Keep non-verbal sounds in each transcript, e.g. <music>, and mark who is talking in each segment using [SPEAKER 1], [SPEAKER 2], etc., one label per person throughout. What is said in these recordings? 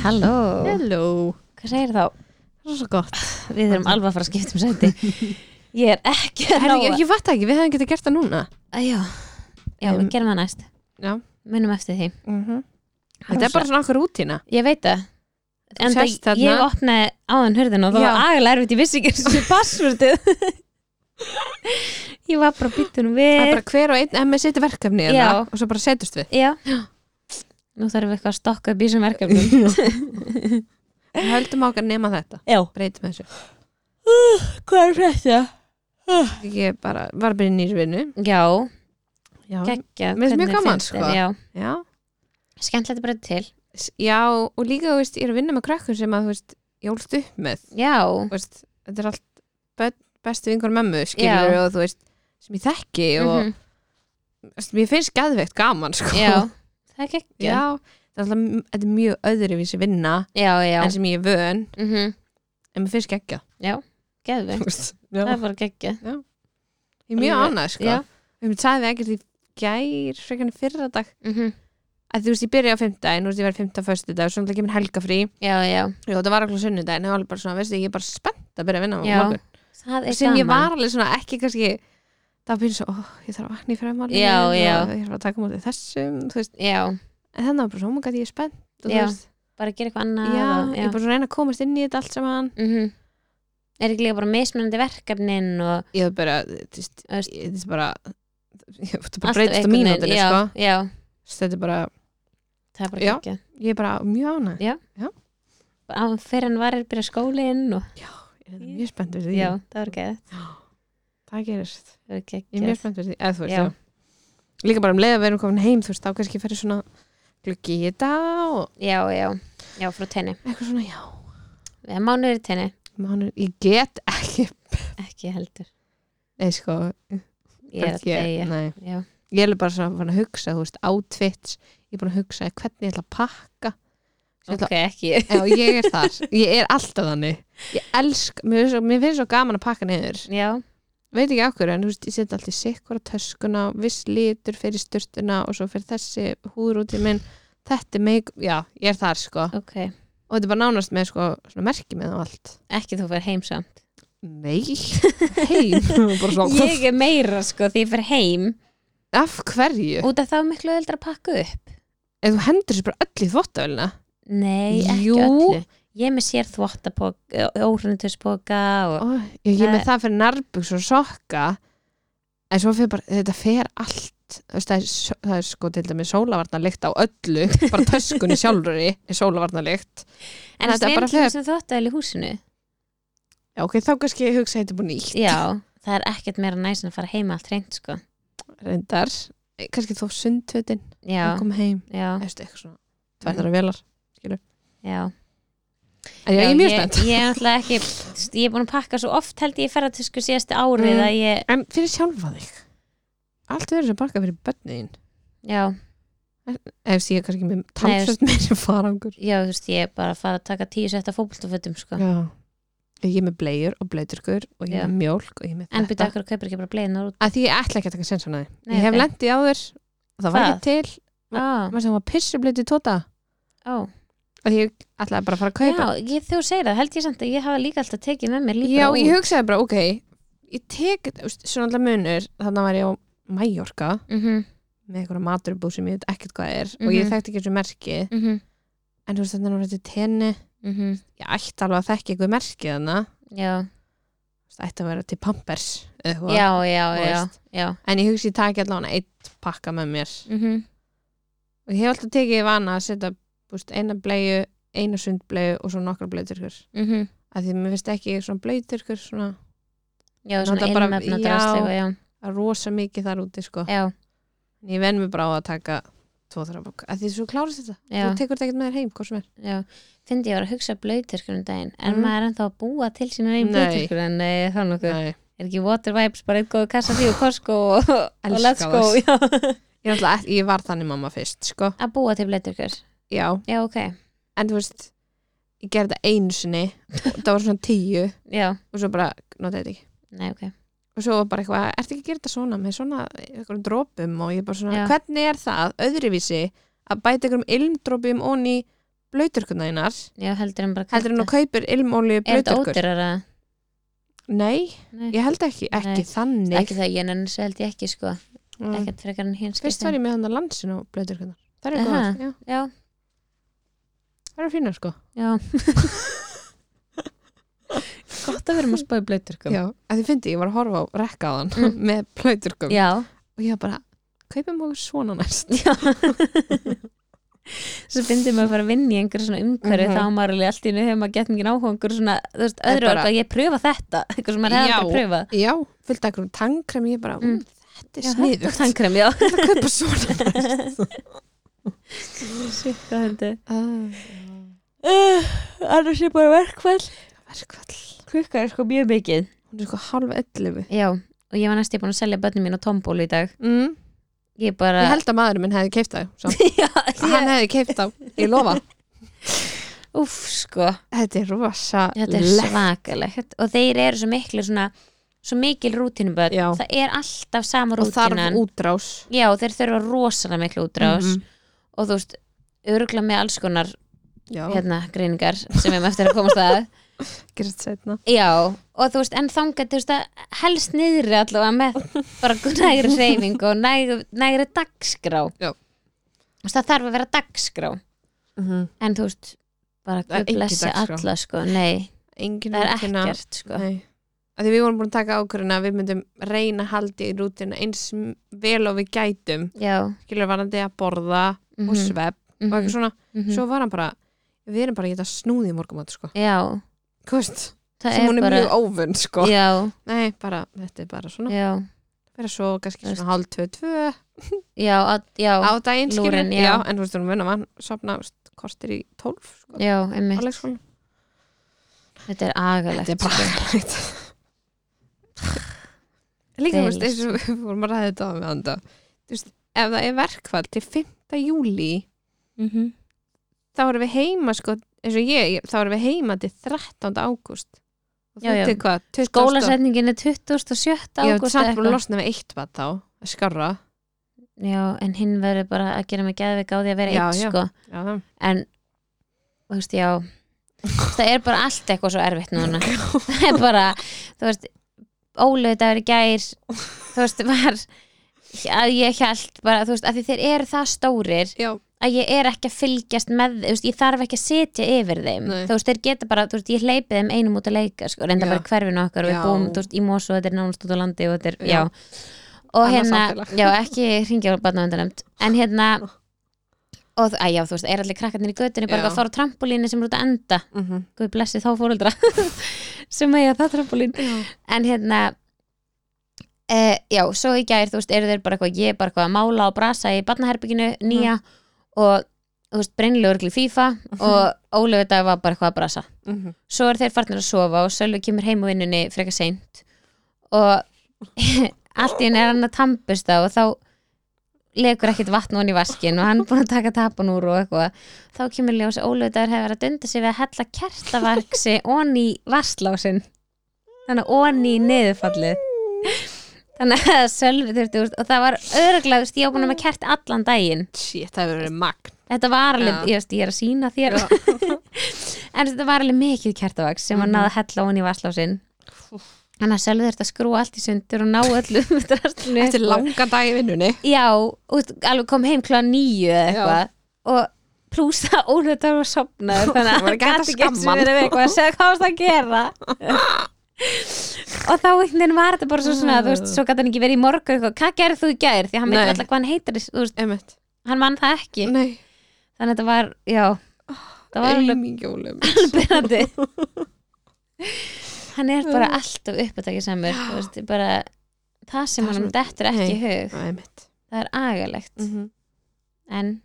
[SPEAKER 1] Halló,
[SPEAKER 2] Hello
[SPEAKER 1] hvað segir þá?
[SPEAKER 2] Það er svo gott
[SPEAKER 1] Við erum alveg að fara að skipta um sæti
[SPEAKER 2] <laughs>
[SPEAKER 1] Ég er ekki að
[SPEAKER 2] Herri, ég,
[SPEAKER 1] ná
[SPEAKER 2] ég fatt ekki, við hefum getið gert það núna
[SPEAKER 1] að Já, já
[SPEAKER 2] Em,
[SPEAKER 1] við gerum það næst
[SPEAKER 2] Já
[SPEAKER 1] Munum eftir því
[SPEAKER 2] Þetta er bara svona okkur rútína
[SPEAKER 1] Ég veit það
[SPEAKER 2] Þú
[SPEAKER 1] En
[SPEAKER 2] sest þarna.
[SPEAKER 1] ég opnaði áðan hurðin og það
[SPEAKER 2] Já.
[SPEAKER 1] var agalega erfitt, ég vissi ekki þessu passvöldið <laughs> Ég var bara býttunum
[SPEAKER 2] Það er
[SPEAKER 1] við
[SPEAKER 2] bara hver og einn, ef maður setur verkefni
[SPEAKER 1] Já.
[SPEAKER 2] hérna, og svo bara setjast við
[SPEAKER 1] Já Nú þarfum við eitthvað að stokka upp í þessum verkefnum
[SPEAKER 2] Við höldum okkar nema þetta,
[SPEAKER 1] Já, Uh,
[SPEAKER 2] breytum þessu
[SPEAKER 1] hvað er Uh. þetta?
[SPEAKER 2] Ég bara, var bara í nýrsvinnu
[SPEAKER 1] Já,
[SPEAKER 2] <laughs> Já,
[SPEAKER 1] geggja
[SPEAKER 2] Mér finnst mjög gaman, sko.
[SPEAKER 1] Já,
[SPEAKER 2] já
[SPEAKER 1] skemmtilegt bara til
[SPEAKER 2] S- Já, og líka, þú veist, ég er að vinna með krakkum sem að, þú veist, ég ólst upp með
[SPEAKER 1] Já,
[SPEAKER 2] Þú veist, þetta er allt börn, bestu vingur mömmu, skilur og þú veist, sem ég þekki og
[SPEAKER 1] Mhm.
[SPEAKER 2] þú veist, mér finnst geðveikt gaman, sko
[SPEAKER 1] já Það er geggja
[SPEAKER 2] <laughs> Já, það er alltaf, þetta er mjög öðruvísi vinna
[SPEAKER 1] já, já.
[SPEAKER 2] en sem ég er vön,
[SPEAKER 1] Mm -hmm.
[SPEAKER 2] en mér finnst geggja
[SPEAKER 1] Geðveikt, það
[SPEAKER 2] <laughs> Já,
[SPEAKER 1] er bara geggja
[SPEAKER 2] ég er mjög
[SPEAKER 1] alveg-
[SPEAKER 2] annað, sko
[SPEAKER 1] Já,
[SPEAKER 2] við sagði við ekkert í gær frekarinn fyrra dag
[SPEAKER 1] mm
[SPEAKER 2] að þú veist ég byrja á fimmtudaginn, þú veist ég verið fimmta föstudag og svo náttúrulega kemur helga frí
[SPEAKER 1] já, já
[SPEAKER 2] og þetta var alveg sunnudaginn og alveg bara svona, veistu, ég er bara spennt að byrja að vinna á
[SPEAKER 1] Já,
[SPEAKER 2] morgun
[SPEAKER 1] Það er
[SPEAKER 2] sem
[SPEAKER 1] gaman
[SPEAKER 2] ég var alveg svona ekki kannski það byrja svo, ó, ég þarf að vakna í fremálinu
[SPEAKER 1] Já,
[SPEAKER 2] og
[SPEAKER 1] já.
[SPEAKER 2] ég þarf að taka mútið þessum þú veist,
[SPEAKER 1] Já,
[SPEAKER 2] en þannig var bara svona, ómugað, ég er spennt og þú
[SPEAKER 1] Já,
[SPEAKER 2] veist,
[SPEAKER 1] bara gera eitthvað
[SPEAKER 2] já,
[SPEAKER 1] annað og,
[SPEAKER 2] ég
[SPEAKER 1] já.
[SPEAKER 2] er bara svona að reyna að komast inn í þetta allt saman
[SPEAKER 1] Mm Er ekki líka bara mismunandi verkefnin og
[SPEAKER 2] ég er bara, þú veist,
[SPEAKER 1] Þú veist.
[SPEAKER 2] ég- þetta er bara þetta bara
[SPEAKER 1] alltaf
[SPEAKER 2] breytist á
[SPEAKER 1] einhvern veginn.
[SPEAKER 2] mínútinu,
[SPEAKER 1] já,
[SPEAKER 2] sko
[SPEAKER 1] já,
[SPEAKER 2] þetta er bara,
[SPEAKER 1] það er bara
[SPEAKER 2] Já.
[SPEAKER 1] geggja
[SPEAKER 2] ég er bara mjög ánægð
[SPEAKER 1] Já. Á fyrir hann varir byrja skólinn og
[SPEAKER 2] Ég er mjög spennt fyrir því,
[SPEAKER 1] Já, það var geggja
[SPEAKER 2] það gerist
[SPEAKER 1] Það var
[SPEAKER 2] Mm. Ég er
[SPEAKER 1] geggja
[SPEAKER 2] mjög spennt fyrir því, eða þú veist,
[SPEAKER 1] Já.
[SPEAKER 2] já. Líka bara um leið að við erum komin heim, þú veist, þá kannski fyrir svona gluggi í þetta og
[SPEAKER 1] Já, já, já, frá tenni
[SPEAKER 2] eitthvað svona, já,
[SPEAKER 1] Við erum mánuður í tenni,
[SPEAKER 2] mánur, ég get ekki,
[SPEAKER 1] ekki heldur
[SPEAKER 2] nei, sko,
[SPEAKER 1] Ég er að
[SPEAKER 2] ég,
[SPEAKER 1] deyja
[SPEAKER 2] nei,
[SPEAKER 1] Já,
[SPEAKER 2] ég er bara svona farin að hugsa, þú veist, outfits, ég er bara að hugsa hvernig ég ætla að pakka, Ég ætla-
[SPEAKER 1] ok, ekki <laughs>
[SPEAKER 2] já, ég er þar, ég er alltaf þannig, ég elsk, mér finnst svo, mér finnst svo gaman að pakka niður,
[SPEAKER 1] Já,
[SPEAKER 2] veit ekki okkur, en þú veist, ég seti allt í sikkura töskuna, viss litur fyrir sturtuna og svo fyrir þessi húður út í minn, þetta er mig, já, ég er þar, sko.
[SPEAKER 1] ok
[SPEAKER 2] og þetta er bara nánast með sko, svona merki með og allt
[SPEAKER 1] Ekki þú fyrir heim samt
[SPEAKER 2] nei, heim <laughs> bara svona,
[SPEAKER 1] ég er meira sko því ég fer heim
[SPEAKER 2] af hverju
[SPEAKER 1] út af það er miklu öðvöldar að pakka upp
[SPEAKER 2] ef þú hendur þessu bara öll í þvottavölina
[SPEAKER 1] nei, ekki
[SPEAKER 2] Jú.
[SPEAKER 1] öllu ég er með sér þvottapoka, óhrunutuspoka og
[SPEAKER 2] ég ég er með
[SPEAKER 1] Það-
[SPEAKER 2] það fyrir nærbuks og sokka en svo fyrir bara, þetta fer allt Þú veist, það, er, s- það er sko til dæmi sólavarnalikt á öllu <laughs> bara töskunni sjálfur í er sólavarnalikt
[SPEAKER 1] en
[SPEAKER 2] þetta
[SPEAKER 1] þetta
[SPEAKER 2] er
[SPEAKER 1] er
[SPEAKER 2] bara
[SPEAKER 1] bara hlut sem þvottavel í húsinu
[SPEAKER 2] já, ok, þá kannski ég hugsa að þetta er búin nýtt
[SPEAKER 1] já, það er ekkert meira næs en að fara heim allt reynd sko
[SPEAKER 2] reyndar, Eh, kannski þó sundtötin
[SPEAKER 1] já,
[SPEAKER 2] og kom heim,
[SPEAKER 1] já,
[SPEAKER 2] eftir eitthvað svona tværðara velar,
[SPEAKER 1] já
[SPEAKER 2] en já, ég
[SPEAKER 1] Já,
[SPEAKER 2] er mjög spennt
[SPEAKER 1] ég, ég, ég, ekki, ég er búin að pakka svo oft held ég í ferðartösku síðasta árið
[SPEAKER 2] Mm.
[SPEAKER 1] að ég,
[SPEAKER 2] En fyrir sjálfa þig Allt verður sem bakka fyrir börniðin
[SPEAKER 1] já,
[SPEAKER 2] Ef því ég er kannski með talsvöld meiri farangur
[SPEAKER 1] já, þú veist, ég er bara að fara að taka tíu setta fótboltafötum sko.
[SPEAKER 2] Já Ég er með bleiur og blöyturkur og ég
[SPEAKER 1] Já.
[SPEAKER 2] er með mjólk og ég er með
[SPEAKER 1] en byrja
[SPEAKER 2] þetta
[SPEAKER 1] okkur að kaupa ekki bara bleiðnar út
[SPEAKER 2] Að því ég ætla ekki að taka sensón að því
[SPEAKER 1] Nei,
[SPEAKER 2] Ég
[SPEAKER 1] ok.
[SPEAKER 2] hef okay. lendið áður og það var
[SPEAKER 1] Hvað?
[SPEAKER 2] ekki til
[SPEAKER 1] á,
[SPEAKER 2] Mér sem var pissublöytu tóta
[SPEAKER 1] á
[SPEAKER 2] Að Tota. því ég ætlaði bara að fara að kaupa
[SPEAKER 1] Já, ég, þú segir það, held ég samt að ég hafa líka alltaf tekið með mér líka
[SPEAKER 2] Já, ég
[SPEAKER 1] út.
[SPEAKER 2] hugsaði bara, ok Ég tek, þú veist, svona alltaf munur Þannig var ég á Mallorca
[SPEAKER 1] Mhm,
[SPEAKER 2] með einhverja maturbú sem ég veit ekkert hvað er og ég
[SPEAKER 1] Mhm.
[SPEAKER 2] þekkti ekki þessu merki
[SPEAKER 1] mhm,
[SPEAKER 2] en þú veist þannig að þetta tenni
[SPEAKER 1] mhm,
[SPEAKER 2] ég ætti alveg að þekki eitthvað merkið hana
[SPEAKER 1] já,
[SPEAKER 2] það ætti að vera til Pampers eða eitthvað.
[SPEAKER 1] já, já,
[SPEAKER 2] þú
[SPEAKER 1] já,
[SPEAKER 2] veist.
[SPEAKER 1] já,
[SPEAKER 2] en ég hugsi ég taki allavega eitt pakka með mér
[SPEAKER 1] mhm,
[SPEAKER 2] og ég hef alltaf tekið í vana að setja búst, eina bleiu, eina sundbleiu og svo nokkra blöyturkur
[SPEAKER 1] mhm,
[SPEAKER 2] af því mér finnst ekki svona blöyturkur svona
[SPEAKER 1] já, svona
[SPEAKER 2] Nota bara-
[SPEAKER 1] ilmefna
[SPEAKER 2] já.
[SPEAKER 1] drastlega, já,
[SPEAKER 2] að rosa mikið þar úti sko
[SPEAKER 1] já,
[SPEAKER 2] en ég venn mig bara á að taka tvo þrjá bók af því svo klárist þetta,
[SPEAKER 1] Já.
[SPEAKER 2] þú tekur þetta ekkert með þér heim hvort sem er,
[SPEAKER 1] já, fyndi ég var að hugsa blöyturkur um daginn, en
[SPEAKER 2] Mm.
[SPEAKER 1] maður er ennþá að búa til sína sko, einn
[SPEAKER 2] Nei.
[SPEAKER 1] blöyturkur, en nei, þá nokkuð,
[SPEAKER 2] nei
[SPEAKER 1] er ekki water vibes bara einn góðu kassa því og Costco og, og
[SPEAKER 2] Elska
[SPEAKER 1] let's go,
[SPEAKER 2] þær.
[SPEAKER 1] já,
[SPEAKER 2] ég, er alltaf, ég var þannig mamma fyrst sko,
[SPEAKER 1] að búa til blöyturkur,
[SPEAKER 2] já,
[SPEAKER 1] já, ok,
[SPEAKER 2] en þú veist ég gerði þetta einu sinni og það var svona tíu
[SPEAKER 1] já,
[SPEAKER 2] og svo bara, notaði þetta ekki
[SPEAKER 1] nei, ok,
[SPEAKER 2] og svo var bara eitthvað, ertu ekki að gera þetta svona með svona einhverjum drópum og ég bara svona
[SPEAKER 1] Já.
[SPEAKER 2] hvernig er það öðruvísi að bæta einhverjum ilmdrópum onni blöyturkunar þínar
[SPEAKER 1] Já, heldur en bara
[SPEAKER 2] heldur en þú kaupir ilmóliu
[SPEAKER 1] Er þetta
[SPEAKER 2] blöyturkur
[SPEAKER 1] ódýrara?
[SPEAKER 2] Nei,
[SPEAKER 1] Nei,
[SPEAKER 2] ég held ekki, ekki
[SPEAKER 1] Nei.
[SPEAKER 2] þannig
[SPEAKER 1] ekki það, ég nenni svo held ég ekki sko
[SPEAKER 2] Mm.
[SPEAKER 1] Ekkert frekar en hins
[SPEAKER 2] Fyrst var ég með hann að landsin á blöyturkunar Það eru
[SPEAKER 1] Aha.
[SPEAKER 2] góðar, já,
[SPEAKER 1] Já,
[SPEAKER 2] það eru fínar sko
[SPEAKER 1] já
[SPEAKER 2] <laughs>
[SPEAKER 1] Gott að vera maður spáði blöyturkum
[SPEAKER 2] Já, að þið fyndi, ég var að horfa á rekka á hann
[SPEAKER 1] Mm.
[SPEAKER 2] <laughs> með blöyturkum
[SPEAKER 1] já.
[SPEAKER 2] og ég var bara, kaupum okkur svona næst
[SPEAKER 1] Já. Svo bindið maður að fara að vinna í einhver svona umhverfi
[SPEAKER 2] Mhm.
[SPEAKER 1] þá á maður alveg allt í henni hefur maður gett mikið áhuga á einhver svona, þú veist,
[SPEAKER 2] er
[SPEAKER 1] öðru
[SPEAKER 2] bara-
[SPEAKER 1] orð að ég pröfa þetta, <laughs> eitthvað sem maður hefði
[SPEAKER 2] Já.
[SPEAKER 1] aldrei pröfað
[SPEAKER 2] Já, fullt af einhverjum tannkrem ég bara,
[SPEAKER 1] Mm.
[SPEAKER 2] mm. þetta er sniðugt
[SPEAKER 1] Tankrem, já <laughs>
[SPEAKER 2] Ég ætla að kaupa svona
[SPEAKER 1] Svitt, hvað hundi
[SPEAKER 2] uh,
[SPEAKER 1] Annars er bara verkfall
[SPEAKER 2] Verkvall
[SPEAKER 1] Klukka er sko mjög mikið
[SPEAKER 2] Hún er sko halv 11
[SPEAKER 1] Já, og ég var næst ég búin að selja börnum mín á tombólu í dag
[SPEAKER 2] mm.
[SPEAKER 1] Ég bara
[SPEAKER 2] Ég held að maðurinn minn hefði keipt það
[SPEAKER 1] <laughs>
[SPEAKER 2] svo.
[SPEAKER 1] Já, ég,
[SPEAKER 2] Hann hefði keipt það, ég lofa
[SPEAKER 1] úf, sko
[SPEAKER 2] Þetta er rosa
[SPEAKER 1] <laughs> Þetta er svakalegt og þeir eru svo miklu svona svo mikil rútinuböld
[SPEAKER 2] Já.
[SPEAKER 1] það er alltaf sama
[SPEAKER 2] og þarf Mhm.
[SPEAKER 1] rútinan
[SPEAKER 2] útrás
[SPEAKER 1] Já, þeir þurfa rosalega miklu útrás og þú veist, örgla með alls konar
[SPEAKER 2] Já,
[SPEAKER 1] hérna, greiningar sem við erum eftir að komast
[SPEAKER 2] <laughs>
[SPEAKER 1] að
[SPEAKER 2] gerist setna
[SPEAKER 1] Já, og þú veist, en þangað þú veist að helst niðri allavega með bara nægri reyfing og nægri, nægri dagskrá
[SPEAKER 2] Já.
[SPEAKER 1] Þú veist, það þarf að vera dagskrá en þú veist, bara
[SPEAKER 2] Það er engin
[SPEAKER 1] guðblessi
[SPEAKER 2] dagskrá.
[SPEAKER 1] alla sko, nei,
[SPEAKER 2] Engin
[SPEAKER 1] það er
[SPEAKER 2] rútína.
[SPEAKER 1] ekkert sko.
[SPEAKER 2] Nei. Af Því við vorum búin að taka ákvörðin að við myndum reyna að haldi í rútina eins m- vel og við gætum
[SPEAKER 1] Já,
[SPEAKER 2] skilur varandi að borða og
[SPEAKER 1] mhm,
[SPEAKER 2] svepp og
[SPEAKER 1] mhm,
[SPEAKER 2] eitthvað svona,
[SPEAKER 1] mhm.
[SPEAKER 2] svo var hann bara við erum bara að geta snúði í morgumat sko.
[SPEAKER 1] Já,
[SPEAKER 2] Kost,
[SPEAKER 1] það
[SPEAKER 2] sem
[SPEAKER 1] er
[SPEAKER 2] hún er
[SPEAKER 1] bara
[SPEAKER 2] mjög óvunn sko.
[SPEAKER 1] Já,
[SPEAKER 2] Nei, bara, þetta er bara svona
[SPEAKER 1] já,
[SPEAKER 2] vera svo kannski
[SPEAKER 1] Veist.
[SPEAKER 2] svona hálf tvö tvö
[SPEAKER 1] já, að, já,
[SPEAKER 2] á daginn skilur,
[SPEAKER 1] Lúrin, já.
[SPEAKER 2] já, en þú veist hún munum hann sopna kostir í tólf sko,
[SPEAKER 1] já,
[SPEAKER 2] á
[SPEAKER 1] einmitt
[SPEAKER 2] leikskólanum.
[SPEAKER 1] Þetta er agalegt
[SPEAKER 2] Þetta er bara
[SPEAKER 1] sko.
[SPEAKER 2] hægt Líka, þú veist,
[SPEAKER 1] Deil,
[SPEAKER 2] eins og við vorum að ræða þetta á með anda Þú veist, ef það er verkfall til 5. júli
[SPEAKER 1] Mhm.
[SPEAKER 2] þá erum við heima, sko eins og ég, ég- þá erum við heima til 13. ágúst og
[SPEAKER 1] Já, já.
[SPEAKER 2] þetta er hvað 20.
[SPEAKER 1] Skólasetningin er 27.
[SPEAKER 2] Ég hef
[SPEAKER 1] ágúst
[SPEAKER 2] samt búin að
[SPEAKER 1] eitthvað.
[SPEAKER 2] losna við eitt bad þá að skarra
[SPEAKER 1] Já, en hinn verður bara að gera mig geðveik á því að vera
[SPEAKER 2] Já,
[SPEAKER 1] einn
[SPEAKER 2] já.
[SPEAKER 1] sko
[SPEAKER 2] Já, það-
[SPEAKER 1] En, þú veist, já Það er bara allt eitthvað svo erfitt
[SPEAKER 2] <laughs>
[SPEAKER 1] núna <laughs> Það er bara, þú veist Ólöðu dagur í gær Þú veist, var að ég held bara, þú veist, að því þeir eru það stórir
[SPEAKER 2] já,
[SPEAKER 1] að ég er ekki að fylgjast með þú veist, ég þarf ekki að setja yfir þeim
[SPEAKER 2] Nei.
[SPEAKER 1] þú veist, þeir geta bara, þú veist, ég hleypi þeim einum út að leika, sko, reynda
[SPEAKER 2] Já.
[SPEAKER 1] bara í hverfinu okkar og við
[SPEAKER 2] Já.
[SPEAKER 1] búum, þú veist, í Mosu, þetta er nánast út á landi og þetta er, já,
[SPEAKER 2] Já.
[SPEAKER 1] og
[SPEAKER 2] Annað
[SPEAKER 1] hérna,
[SPEAKER 2] samfélag.
[SPEAKER 1] já, ekki hringja á barnavendanemt, en
[SPEAKER 2] <laughs>
[SPEAKER 1] hérna og, að já, þú veist, er allir krakkarnir í göttunni bara að
[SPEAKER 2] Já.
[SPEAKER 1] fara á trampolínu sem er út að enda
[SPEAKER 2] mm -hmm.
[SPEAKER 1] guð blessi þá fóreldra <laughs> sem eiga það trampolín en hérna e, já, svo í gær, þú veist, eru þeir bara eitthvað ég er bara eitthvað að mála og brasa í barnaherbygginu nýja og þú veist, brennilegu örgli FIFA og Ólegu dag var bara eitthvað að brasa
[SPEAKER 2] Mhm.
[SPEAKER 1] svo eru þeir farnir að sofa og Sölvi kemur heim úr vinnunni frekar seint og <laughs> allt í henni er hann að tampust á og þá legur ekkert vatn ofan í vaskin og hann er búin að taka tapan úr og eitthvað þá kemur ljós að Ólöf dagur hefur verið að dunda sig við að hella kertavarksi onni í vasslásinn þannig að onni í niðurfallið þannig að Sölvi þurfti úr og það var örglega, þú veist, ég var búin að vera með kert allan daginn
[SPEAKER 2] Shit, það hefur verið magn
[SPEAKER 1] þetta var alveg,
[SPEAKER 2] Já.
[SPEAKER 1] ég veist, ég er að sína þér
[SPEAKER 2] Já.
[SPEAKER 1] <laughs> en þetta var alveg mikið kertavaks sem hann
[SPEAKER 2] Mhm.
[SPEAKER 1] náði að hella hún í vasslásinn þannig að Sölvi þurfti að skrúa allt í sundur og ná öllu <laughs> drastlinu
[SPEAKER 2] Þetta er langa dag í vinnunni
[SPEAKER 1] já, út, alveg kom heim klá nýju eða eitthvað og plús það ólega það var sopnað þannig að
[SPEAKER 2] Það var
[SPEAKER 1] hann
[SPEAKER 2] ekki
[SPEAKER 1] gæti
[SPEAKER 2] hægt að
[SPEAKER 1] ekki eins
[SPEAKER 2] skamma
[SPEAKER 1] og
[SPEAKER 2] hann.
[SPEAKER 1] verið við eitthvað að segja hvað varst að gera og þá einhvern veginn var þetta bara svo svona þú veist, svo gæti hann ekki verið í morgun eitthvað, hvað gerði þú í gær því að hann veit
[SPEAKER 2] Nei.
[SPEAKER 1] alltaf hvað hann heitir þú veist,
[SPEAKER 2] Emmett,
[SPEAKER 1] hann vann það ekki
[SPEAKER 2] nei,
[SPEAKER 1] þannig að þetta var, já það var alveg
[SPEAKER 2] <laughs> eimingjóli
[SPEAKER 1] byrjandi hann er bara alltaf uppatækið samur þú veist, bara það sem
[SPEAKER 2] Það
[SPEAKER 1] hann
[SPEAKER 2] sem-
[SPEAKER 1] dettur ekki í
[SPEAKER 2] Nei. Mhm.
[SPEAKER 1] hug
[SPEAKER 2] Emmett
[SPEAKER 1] það er agalegt en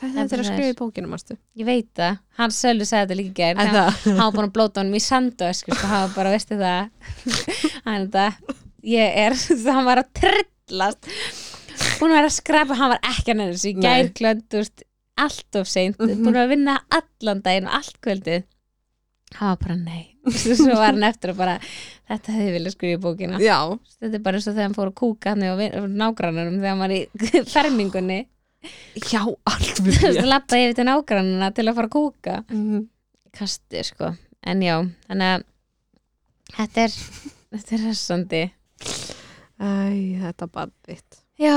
[SPEAKER 2] Þetta þetta
[SPEAKER 1] Ef það
[SPEAKER 2] er að
[SPEAKER 1] er.
[SPEAKER 2] skrifa í bókinu, marstu
[SPEAKER 1] ég veit það, hann Sölvi sagði þetta líka í gær hann
[SPEAKER 2] Það
[SPEAKER 1] hann var búin að blóta honum í sandösk sko, hann var bara, veistu það <laughs> hann þetta, ég er <laughs> hann var að trillast búin að vera að skrapa, hann var ekki hann þessu í
[SPEAKER 2] Nei.
[SPEAKER 1] gær klöndust allt of seint,
[SPEAKER 2] Mhm.
[SPEAKER 1] búin að vinna allan daginn og allt kvöldið hann var bara nei, <laughs> svo var hann eftir að bara, þetta hefði viljað skrifa í bókina
[SPEAKER 2] Já,
[SPEAKER 1] þetta er bara eins og þegar hann fór að kúka hann og nágrannunum þegar hann var í <laughs> fermingunni
[SPEAKER 2] já, alveg
[SPEAKER 1] Þú veist, lappa yfir til nágrannina til að fara að kúka
[SPEAKER 2] <laughs> Mhm.
[SPEAKER 1] kasti sko en já, þannig að þetta <laughs> er, þetta er hressandi
[SPEAKER 2] Æ, þetta barn þitt
[SPEAKER 1] já,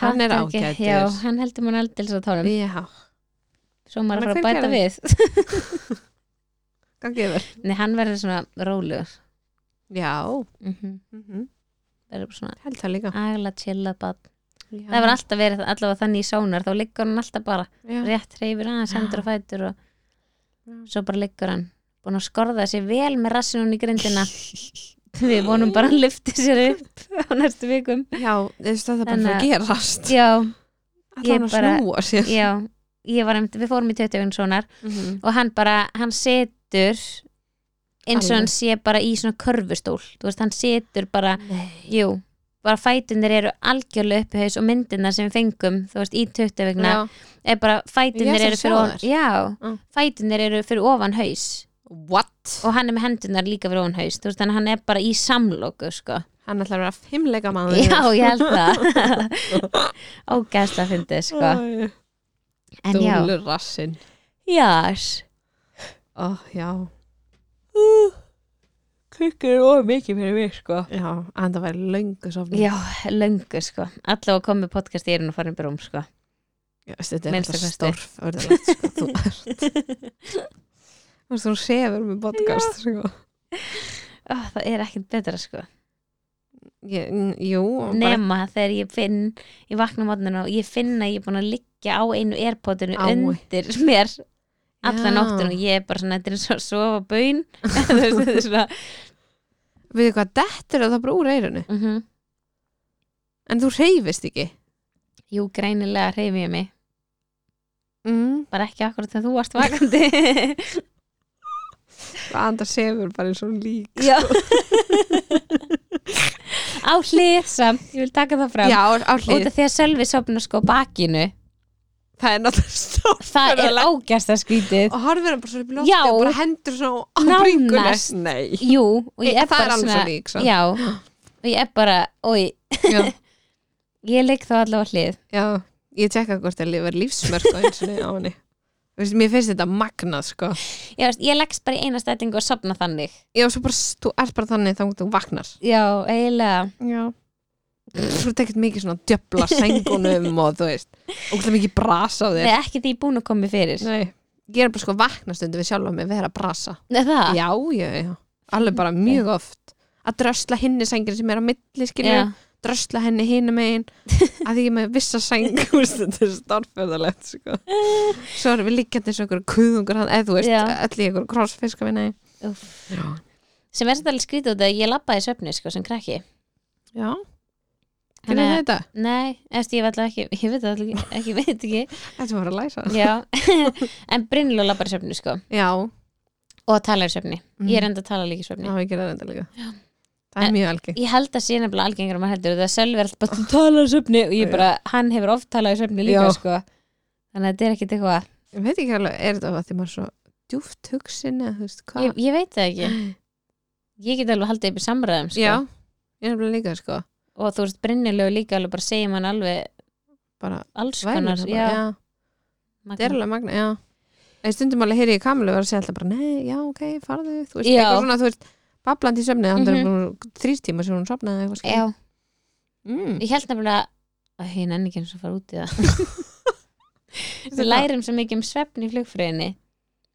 [SPEAKER 2] Hann er
[SPEAKER 1] ekki-
[SPEAKER 2] ágætur.
[SPEAKER 1] já, hann heldur mér aldils á tónum
[SPEAKER 2] Já,
[SPEAKER 1] svo maður
[SPEAKER 2] Þannig
[SPEAKER 1] að fara að bæta
[SPEAKER 2] hver gerir
[SPEAKER 1] við <laughs>
[SPEAKER 2] gangið vel
[SPEAKER 1] Nei, hann verður svona rólegur
[SPEAKER 2] Já,
[SPEAKER 1] mm
[SPEAKER 2] mm
[SPEAKER 1] verður bara svona
[SPEAKER 2] held það líka
[SPEAKER 1] agla chilla bad
[SPEAKER 2] já.
[SPEAKER 1] það var alltaf verið allavega þannig í sónar þá liggur hann alltaf bara
[SPEAKER 2] já.
[SPEAKER 1] rétt reyfir aðeins hendur og fætur og
[SPEAKER 2] Já.
[SPEAKER 1] svo bara liggur hann búin að skorða sér vel með rassinun í <laughs> grindina við vonum bara að hann lyfti sér upp á næstu vikum
[SPEAKER 2] <laughs> Já, þú veist að það bara
[SPEAKER 1] Þannig
[SPEAKER 2] fyrir að gerast
[SPEAKER 1] já, ég
[SPEAKER 2] Allan að
[SPEAKER 1] bara-
[SPEAKER 2] snúa sér
[SPEAKER 1] <laughs> já ég var, einmitt- við fórum í 20 sonar
[SPEAKER 2] Mhm.
[SPEAKER 1] og hann bara, hann setur eins og
[SPEAKER 2] Alveg.
[SPEAKER 1] hann sé bara í svona körfustól, þú veist, hann setur bara
[SPEAKER 2] Nei
[SPEAKER 1] jú, bara fætunir eru algjörlega uppi haus og myndina sem við fengum þú veist, í 20 vegna
[SPEAKER 2] Já.
[SPEAKER 1] er bara,
[SPEAKER 2] Ég
[SPEAKER 1] fætunir
[SPEAKER 2] ætla
[SPEAKER 1] eru
[SPEAKER 2] að
[SPEAKER 1] fyrir
[SPEAKER 2] sjá
[SPEAKER 1] ofan
[SPEAKER 2] þær.
[SPEAKER 1] já,
[SPEAKER 2] Mm.
[SPEAKER 1] fætunir eru fyrir ofan haus
[SPEAKER 2] What?
[SPEAKER 1] og hann er með hendunar líka fyrir ofan haus þú veist, þannig að hann er bara í samlóku sko.
[SPEAKER 2] Hann ætlar að vera fimmleika maður
[SPEAKER 1] <laughs> já, ég held það
[SPEAKER 2] <laughs>
[SPEAKER 1] ógæsla fyndið, sko en já,
[SPEAKER 2] Dúlur rassinn
[SPEAKER 1] jás
[SPEAKER 2] Ó, já
[SPEAKER 1] kukkur og mikið fyrir mig, sko
[SPEAKER 2] Já, en það væri löngu sofnum
[SPEAKER 1] já, löngu, sko allavega komið podcast í erinn og farin byrjum, sko
[SPEAKER 2] Þetta er
[SPEAKER 1] Minnsta
[SPEAKER 2] alltaf
[SPEAKER 1] kosti.
[SPEAKER 2] stórf orðilegt,
[SPEAKER 1] <laughs>
[SPEAKER 2] sko. Þú ert Þú veist, hún sefur með podcast sko.
[SPEAKER 1] Ó, það er ekkert betra, sko
[SPEAKER 2] ég, n- Jú, hún bara
[SPEAKER 1] nema þegar ég finn ég vakna mótninu og ég finn að ég er búin að liggja á einu airpotinu
[SPEAKER 2] Ái.
[SPEAKER 1] undir mér alla
[SPEAKER 2] Já.
[SPEAKER 1] nóttinu og ég er bara svona, þetta er eins og að sofa bön <laughs> Þú veist, þetta er svona
[SPEAKER 2] Við þið hvað, dettur er það bara úr eirinu
[SPEAKER 1] mm
[SPEAKER 2] En þú reyfist ekki
[SPEAKER 1] jú, greinilega hreyfi ég mig
[SPEAKER 2] mm.
[SPEAKER 1] bara ekki akkurat þegar þú varst vakandi
[SPEAKER 2] Andar sefur bara eins og lík
[SPEAKER 1] já <laughs> á hlið samt, ég vil taka það fram
[SPEAKER 2] Já, á
[SPEAKER 1] út
[SPEAKER 2] hlið
[SPEAKER 1] af því að Sölvi sopna sko á bakinu
[SPEAKER 2] Það er náttúrulega stór
[SPEAKER 1] það er ágæsta skrítið
[SPEAKER 2] Og horfir hann bara svo upp í
[SPEAKER 1] Já.
[SPEAKER 2] lofti og bara hendur svona á
[SPEAKER 1] Nánast.
[SPEAKER 2] bringuna Nei
[SPEAKER 1] jú, og ég er
[SPEAKER 2] Það er
[SPEAKER 1] bara
[SPEAKER 2] alveg svo sko.
[SPEAKER 1] svona
[SPEAKER 2] lík samt.
[SPEAKER 1] já, og ég er bara oi,
[SPEAKER 2] Já.
[SPEAKER 1] ég ligg þá allavega á hlið
[SPEAKER 2] Já, ég tjekka hvort það verður lífsmörk og eins og niður á henni Þú veist, Mér finnst þetta magnað sko
[SPEAKER 1] já, veist, ég leggst bara í eina stætingu og sopna þannig
[SPEAKER 2] Já, svo bara, s- þú ert bara þannig þá þú vagnar
[SPEAKER 1] já, eiginlega
[SPEAKER 2] Já Þú ert ekkert mikið svona <laughs> djöfla sengunum og þú veist Og það mikið brasa á
[SPEAKER 1] það
[SPEAKER 2] þér
[SPEAKER 1] er ekki því búin að koma fyrir
[SPEAKER 2] Nei Ég er bara sko vaknastundu við sjálfa mig við erum að brasa
[SPEAKER 1] Er það,
[SPEAKER 2] Já, já, já Alveg bara mjög oft Að drösla hinni sengin sem er á milli skilja
[SPEAKER 1] já,
[SPEAKER 2] drösla henni hinu megin að því ég er með vissa sæng þú veist, þetta er stórfjöðalegt <laughs> sko. svo erum við líkjandi eins og einhver kuðungur hann, eða þú veist,
[SPEAKER 1] Já.
[SPEAKER 2] öll í einhver krossfiska minna
[SPEAKER 1] úff.
[SPEAKER 2] já.
[SPEAKER 1] sem er þetta alveg skrítið út af því að ég labbaði í svefni sko, sem krakki
[SPEAKER 2] já,
[SPEAKER 1] Þannig
[SPEAKER 2] gerðu
[SPEAKER 1] að-
[SPEAKER 2] þetta
[SPEAKER 1] Nei, eftir ég var alltaf ekki, ég veit það allavega ekki, ekki, veit ekki,
[SPEAKER 2] þetta var að læsa
[SPEAKER 1] já, <laughs> en Brynlu labbar í svefni, sko,
[SPEAKER 2] já,
[SPEAKER 1] og talar í svefni,
[SPEAKER 2] Mhm.
[SPEAKER 1] ég er enda að tala líka í svefni.
[SPEAKER 2] já, ég gerði þetta líka það
[SPEAKER 1] En-
[SPEAKER 2] er mjög algengt
[SPEAKER 1] Ég held að sé nefnilega algengur um að heldur, það Sölvi er alltaf bara, þú talar í svefni, og ég bara, hann hefur oft talað í svefni líka,
[SPEAKER 2] Já.
[SPEAKER 1] sko, þannig að þetta er ekkit eitthvað,
[SPEAKER 2] ég veit ekki alveg, er þetta að því maður er svo djúft hugsin eða þú veist hvað
[SPEAKER 1] ég, ég veit það ekki,
[SPEAKER 2] <gasps>
[SPEAKER 1] ég get alveg haldið upp í samræðum, sko,
[SPEAKER 2] já, ég er alveg líka sko
[SPEAKER 1] og þú veist, Brynlu líka alveg bara segja mann alveg
[SPEAKER 2] bara
[SPEAKER 1] alls
[SPEAKER 2] vælir
[SPEAKER 1] konar,
[SPEAKER 2] það bara,
[SPEAKER 1] já,
[SPEAKER 2] já.
[SPEAKER 1] magnað.
[SPEAKER 2] Það er alveg magna, já En stundum alveg heyri ég Kamilu vera að segja alltaf bara Nei, já, ok, farðu, þú veist,
[SPEAKER 1] Já.
[SPEAKER 2] eitthvað svona Þú veist, bablandi í söfnið,
[SPEAKER 1] Mhm.
[SPEAKER 2] þannig mm -hmm. þrýr tíma sem hún sopnaði eitthvað skil.
[SPEAKER 1] já,
[SPEAKER 2] mm.
[SPEAKER 1] ég held nefnilega, að ég nenni ekki eins og fara út
[SPEAKER 2] <laughs>
[SPEAKER 1] í það, við
[SPEAKER 2] Þetta-
[SPEAKER 1] lærum svo mikið um svefni í flugfröðinni,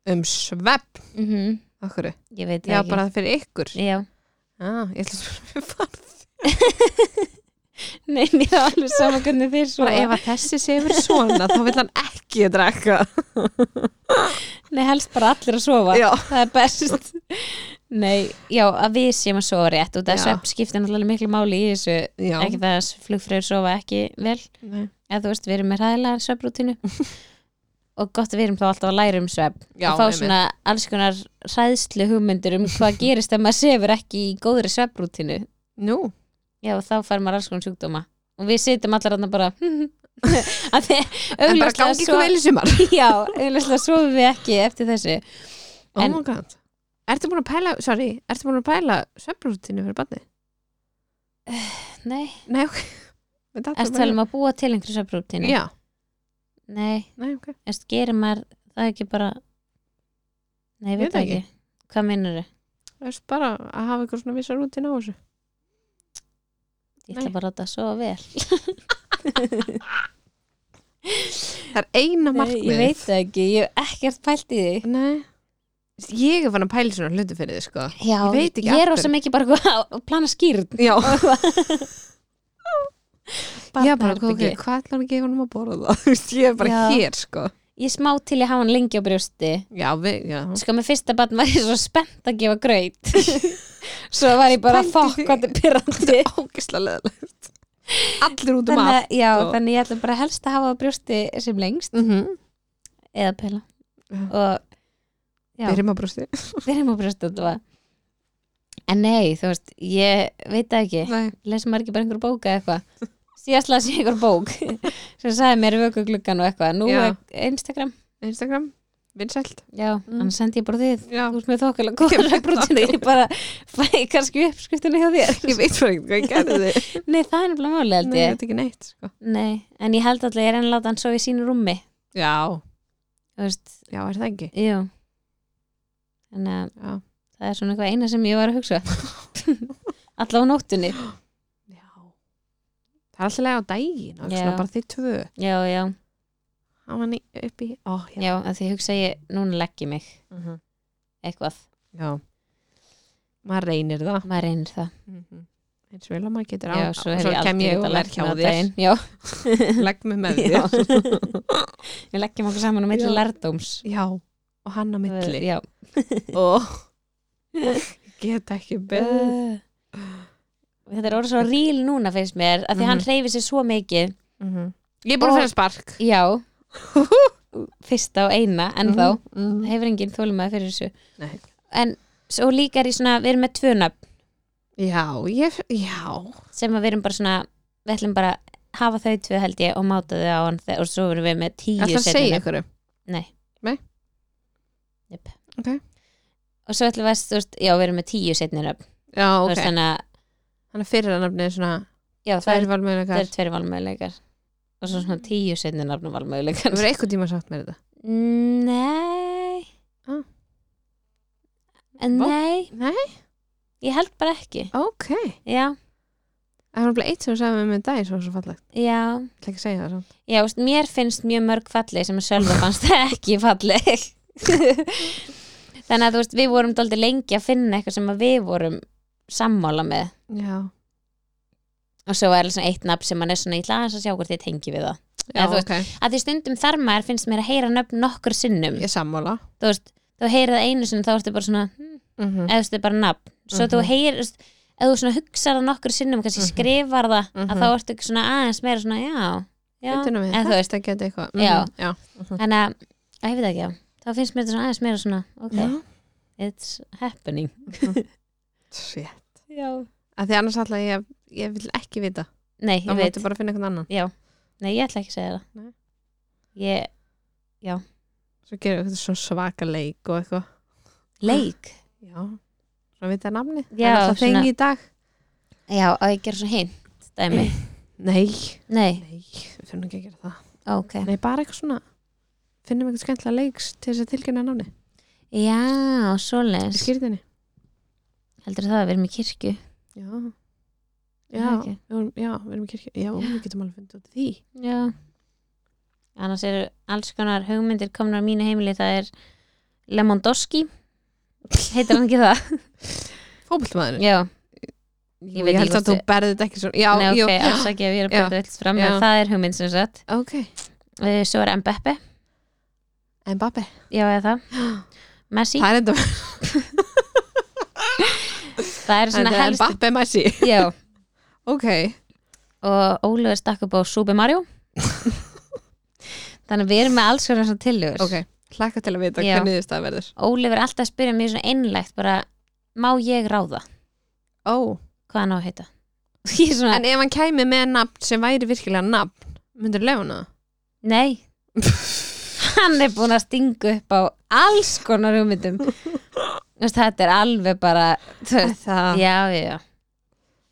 [SPEAKER 2] Um svepp,
[SPEAKER 1] mm
[SPEAKER 2] okkur
[SPEAKER 1] ég veit það
[SPEAKER 2] Mhm. Já,
[SPEAKER 1] ekki
[SPEAKER 2] bara fyrir ykkur Já,
[SPEAKER 1] já.
[SPEAKER 2] ég ætla að spyrja <laughs> farðu
[SPEAKER 1] nei, mér er alveg sama hvernig þeir svo
[SPEAKER 2] Bara ef að þessi sefur svona, þá vil hann ekki drekka
[SPEAKER 1] nei, helst bara allir að sofa
[SPEAKER 2] <laughs> Já,
[SPEAKER 1] það er best nei, já, að við séum að sofa rétt og
[SPEAKER 2] Já.
[SPEAKER 1] þessu skiptir náttúrulega miklu máli í þessu
[SPEAKER 2] já
[SPEAKER 1] ekki það að flugfröður sofa ekki vel
[SPEAKER 2] Nei.
[SPEAKER 1] eða þú veist, við erum með hræðilega
[SPEAKER 2] <laughs>
[SPEAKER 1] svefbrútinu og gott að við erum þá alltaf að læra um svefn
[SPEAKER 2] Já,
[SPEAKER 1] og fá
[SPEAKER 2] einmitt.
[SPEAKER 1] svona alls konar hræðslu hugmyndur um hvað gerist ef maður sefur ekki í góðri svefbrútinu
[SPEAKER 2] Nú,
[SPEAKER 1] Já, og þá fær maður alls konar sjúkdóma og við sitjum allar þarna bara <laughs> að þið
[SPEAKER 2] en bara gangi ykkur vel í sumar
[SPEAKER 1] <laughs> já, auðvitað svofum við ekki eftir þessu
[SPEAKER 2] Oh
[SPEAKER 1] En-
[SPEAKER 2] my god Ertu búin að pæla, sorry, ertu búin að pæla svepprútinu fyrir barnið?
[SPEAKER 1] Nei,
[SPEAKER 2] Nei, ok <laughs> Mér datt það
[SPEAKER 1] erst
[SPEAKER 2] bara-
[SPEAKER 1] um talum að búa til einhverju svefnrútínu
[SPEAKER 2] Já,
[SPEAKER 1] Nei,
[SPEAKER 2] Nei, ok.
[SPEAKER 1] en þú gerir maður það ekki bara Nei, ég veit
[SPEAKER 2] Ég veit
[SPEAKER 1] það ekki. Hvað minnur þau?
[SPEAKER 2] Það er bara að hafa ykkur svona vissar rútin á þessu.
[SPEAKER 1] Ég ætla
[SPEAKER 2] Nei.
[SPEAKER 1] bara að láta það svo vel
[SPEAKER 2] Það er eina markmið.
[SPEAKER 1] Ég veit það ekki, ég hef ekkert pælt í því
[SPEAKER 2] Nei. Ég er fann að pæla í svona hluti fyrir þið, sko.
[SPEAKER 1] Já,
[SPEAKER 2] Ég veit ekki
[SPEAKER 1] ég er
[SPEAKER 2] af
[SPEAKER 1] rosa mikið bara eitthvað að að plana skýrn
[SPEAKER 2] <laughs> Já. Já, bara, ok,
[SPEAKER 1] Barnaherbergi.
[SPEAKER 2] hvað ætlar hann að gefa hann að borða það? <laughs> Þú veist, ég er bara
[SPEAKER 1] Já.
[SPEAKER 2] hér, sko.
[SPEAKER 1] Ég er smá til ég hafa hann lengi á brjósti
[SPEAKER 2] Já, við, já. <laughs>
[SPEAKER 1] Sko, með fyrsta barn var ég svo spennt að gefa graut Svo var ég bara
[SPEAKER 2] Pældi
[SPEAKER 1] fokk
[SPEAKER 2] því.
[SPEAKER 1] hvað þetta er pyrrandi
[SPEAKER 2] Ógislega leðilegt. Allir út um
[SPEAKER 1] Þannig,
[SPEAKER 2] allt.
[SPEAKER 1] að- já,
[SPEAKER 2] og-
[SPEAKER 1] þannig ég ætla bara helst að hafa á brjósti sem lengst
[SPEAKER 2] Mm
[SPEAKER 1] eða pela
[SPEAKER 2] Já.
[SPEAKER 1] og Já.
[SPEAKER 2] Byrjum að brústi.
[SPEAKER 1] byrjum á brjósti þetta en nei, þú veist, ég veit það ekki
[SPEAKER 2] Nei.
[SPEAKER 1] lesa maður ekki bara einhver bók eða eitthvað síðast las ég einhver bók <laughs> sem sagði mér vöku gluggan og eitthvað nú
[SPEAKER 2] Já.
[SPEAKER 1] er Instagram,
[SPEAKER 2] Instagram, vinsælt.
[SPEAKER 1] já, mm. annars sendi ég bara þið
[SPEAKER 2] Já.
[SPEAKER 1] þú veist mér
[SPEAKER 2] <laughs>
[SPEAKER 1] þókala góður að brútinu ég bara fæ kannski uppskriftinu hjá þér
[SPEAKER 2] Ég veit bara ekkert hvað ég gerði þið.
[SPEAKER 1] nei, það er nefnilega máli held
[SPEAKER 2] Nei, ég
[SPEAKER 1] ég
[SPEAKER 2] veit ekki neitt, sko.
[SPEAKER 1] nei, en ég held alltaf ég reyna að láta hann svo í sínu rúmi
[SPEAKER 2] Já.
[SPEAKER 1] þú veist,
[SPEAKER 2] Já, er það ekki?
[SPEAKER 1] jú þannig að
[SPEAKER 2] Já.
[SPEAKER 1] það er svona eitthvað eina sem ég var að hugsa <laughs> allavega á nóttunni
[SPEAKER 2] Já. Það er alltaf lega á daginn og
[SPEAKER 1] Já.
[SPEAKER 2] svona bara þið tvö.
[SPEAKER 1] já, já,
[SPEAKER 2] Hann var ný- upp í, ó, já.
[SPEAKER 1] já, að því hugsa ég núna legg ég mig
[SPEAKER 2] Mhm.
[SPEAKER 1] eitthvað,
[SPEAKER 2] Já. Maður reynir það.
[SPEAKER 1] maður reynir það
[SPEAKER 2] Mm -hmm. Eins og vel að maður getur á.
[SPEAKER 1] Mhm. já, svo, svo
[SPEAKER 2] kem ég og verð hjá þér.
[SPEAKER 1] já,
[SPEAKER 2] Legg mig
[SPEAKER 1] <laughs>
[SPEAKER 2] með
[SPEAKER 1] já.
[SPEAKER 2] þér.
[SPEAKER 1] við leggjum okkur saman á milli
[SPEAKER 2] Já.
[SPEAKER 1] lærdóms
[SPEAKER 2] Já. Og hann á milli.
[SPEAKER 1] já,
[SPEAKER 2] Ó. Get ekki beð.
[SPEAKER 1] Uh, þetta er orðið svo ríl núna finnst mér, að því hann
[SPEAKER 2] Mhm.
[SPEAKER 1] hreyfir sér svo mikið
[SPEAKER 2] Mm Ég er búin að finna spark. <laughs>
[SPEAKER 1] já fyrsta og eina, ennþá mm
[SPEAKER 2] Mm
[SPEAKER 1] hefur enginn þólmaði fyrir þessu
[SPEAKER 2] Nei.
[SPEAKER 1] en svo líka er ég svona, við erum með tvö nöfn
[SPEAKER 2] Já, ég, já.
[SPEAKER 1] sem að við erum bara svona við ætlum bara að hafa þau tvö held ég og máta þau á hann þe- og svo erum við með tíu
[SPEAKER 2] Alltaf að
[SPEAKER 1] seinni nöfn.
[SPEAKER 2] segja ykkur. um?
[SPEAKER 1] Nei.
[SPEAKER 2] Nei?
[SPEAKER 1] Jöp.
[SPEAKER 2] Ok.
[SPEAKER 1] Og svo ætlum við að, þú veist, já, við erum með tíu setnir upp.
[SPEAKER 2] Já,
[SPEAKER 1] Þú
[SPEAKER 2] ok.
[SPEAKER 1] veist, þannig að,
[SPEAKER 2] Þannig að fyrir að nafni er svona
[SPEAKER 1] já, það
[SPEAKER 2] tvær
[SPEAKER 1] er, það
[SPEAKER 2] valmöðuleikar.
[SPEAKER 1] er tveir valmöðuleikar. Og svo svona tíu setnir nafnum valmöðuleikar.
[SPEAKER 2] Þú verður eitthvað tíma sátt með þetta.
[SPEAKER 1] Nei.
[SPEAKER 2] Ah.
[SPEAKER 1] En
[SPEAKER 2] Vá.
[SPEAKER 1] nei.
[SPEAKER 2] Nei?
[SPEAKER 1] Ég held bara ekki.
[SPEAKER 2] Ok.
[SPEAKER 1] Já,
[SPEAKER 2] Það var bara eitt sem þú sagði með mig um daginn sem var svo fallegt.
[SPEAKER 1] já.
[SPEAKER 2] Það er ekki að segja það svona.
[SPEAKER 1] Já, þú veist, mér finnst mjög mörg falleg sem að sjálfa fannst <laughs> ekki falleg <laughs> Þannig að þú veist, við vorum dálítið lengi að finna eitthvað sem að við vorum sammála með
[SPEAKER 2] Já.
[SPEAKER 1] og svo er svona eitt nafn sem mann er svona ítla aðeins að sjá hvort þið tengi við það
[SPEAKER 2] Já,
[SPEAKER 1] Eða þú
[SPEAKER 2] ok.
[SPEAKER 1] að því stundum þar maður finnst mér að heyra nöfn nokkur sinnum
[SPEAKER 2] Ég sammála.
[SPEAKER 1] þú veist, þú heyrið það einu sinni þá ertu bara svona, hm,
[SPEAKER 2] Mm -hmm.
[SPEAKER 1] eða þú veist, þetta er bara nafn svo þú
[SPEAKER 2] Mhm.
[SPEAKER 1] heyrist, eða þú svona hugsar það nokkur sinnum, kannski
[SPEAKER 2] Mhm.
[SPEAKER 1] skrifar það
[SPEAKER 2] Mhm.
[SPEAKER 1] að þá ertu svona aðeins meira svona, já já,
[SPEAKER 2] Þetta
[SPEAKER 1] eða þú
[SPEAKER 2] er námið.
[SPEAKER 1] veist,
[SPEAKER 2] Þetta geti eitthvað.
[SPEAKER 1] Já.
[SPEAKER 2] Mhm, Já.
[SPEAKER 1] þannig að að ég veit ekki, já, þá finnst mér þetta svona aðeins meira svona, ok,
[SPEAKER 2] Já.
[SPEAKER 1] it's happening
[SPEAKER 2] Sér.
[SPEAKER 1] já,
[SPEAKER 2] Því annars alltaf ég, ég vil ekki vita.
[SPEAKER 1] nei, ég
[SPEAKER 2] Þá
[SPEAKER 1] veit
[SPEAKER 2] máttu bara finna eitthvað annan.
[SPEAKER 1] nei, ég ætla ekki að segja það
[SPEAKER 2] Nei.
[SPEAKER 1] ég,
[SPEAKER 2] Svo gerir eitthvað svona svaka leik og eitthvað.
[SPEAKER 1] leik
[SPEAKER 2] Já. Svo vita nafni.
[SPEAKER 1] Já,
[SPEAKER 2] Það er alltaf
[SPEAKER 1] svona-
[SPEAKER 2] þengi í dag.
[SPEAKER 1] já, að ég gera svona hint, dæmi
[SPEAKER 2] Nei.
[SPEAKER 1] <clears throat> nei,
[SPEAKER 2] Nei, við finnum ekki að gera það.
[SPEAKER 1] ok
[SPEAKER 2] Nei, bara eitthvað svona. Finnum eitthvað skemmtilega leiks til þess að tilkynna nafni.
[SPEAKER 1] já,
[SPEAKER 2] Í
[SPEAKER 1] svoleiðis
[SPEAKER 2] skýrðinni.
[SPEAKER 1] heldur það að við erum í kirkju
[SPEAKER 2] Já,
[SPEAKER 1] Er
[SPEAKER 2] já,
[SPEAKER 1] það ekki?
[SPEAKER 2] við vorum, já, við erum í kirkju Já, við getum alveg fundið út í því
[SPEAKER 1] Já Annars eru alls konar hugmyndir komnar á mínu heimili Það er Lemondoski Heitir hann ekki það?
[SPEAKER 2] Fótboltamaðurinn?
[SPEAKER 1] <laughs> Já,
[SPEAKER 2] Jú,
[SPEAKER 1] ég veit
[SPEAKER 2] held
[SPEAKER 1] ekki
[SPEAKER 2] að þú
[SPEAKER 1] hvort-
[SPEAKER 2] berði þetta ekki svona Já,
[SPEAKER 1] Nei,
[SPEAKER 2] jú,
[SPEAKER 1] ok, alls ekki ef ég er að
[SPEAKER 2] Já.
[SPEAKER 1] bæta vilt fram
[SPEAKER 2] Já.
[SPEAKER 1] En það er hugmynd sem sagt
[SPEAKER 2] ok
[SPEAKER 1] Eh, Svo er Mbeppe,
[SPEAKER 2] En Babi,
[SPEAKER 1] já eða það Messi,
[SPEAKER 2] það er enda
[SPEAKER 1] það er svona
[SPEAKER 2] En
[SPEAKER 1] helst
[SPEAKER 2] Babi Messi
[SPEAKER 1] Já,
[SPEAKER 2] Ok,
[SPEAKER 1] og Ólu er stakk upp á Super
[SPEAKER 2] <laughs>
[SPEAKER 1] Mario Þannig að við erum með alls konar svona tillögur
[SPEAKER 2] ok Hlakka til að vita
[SPEAKER 1] Já.
[SPEAKER 2] hvernig þið stað verður
[SPEAKER 1] Óli er alltaf að spyrja mér svona einlægt bara, má ég ráða
[SPEAKER 2] Ó,
[SPEAKER 1] hvað hann á að heita? <laughs> Ég er svona,
[SPEAKER 2] en ef hann kæmi með nafn sem væri virkilega nafn Myndir lefuna
[SPEAKER 1] Nei
[SPEAKER 2] <laughs>
[SPEAKER 1] Hann er búin að stinga upp á alls konar
[SPEAKER 2] <laughs> Ah.
[SPEAKER 1] hugmyndum Þú veist, Þetta er alveg bara þú veist,
[SPEAKER 2] það?
[SPEAKER 1] Já, já, já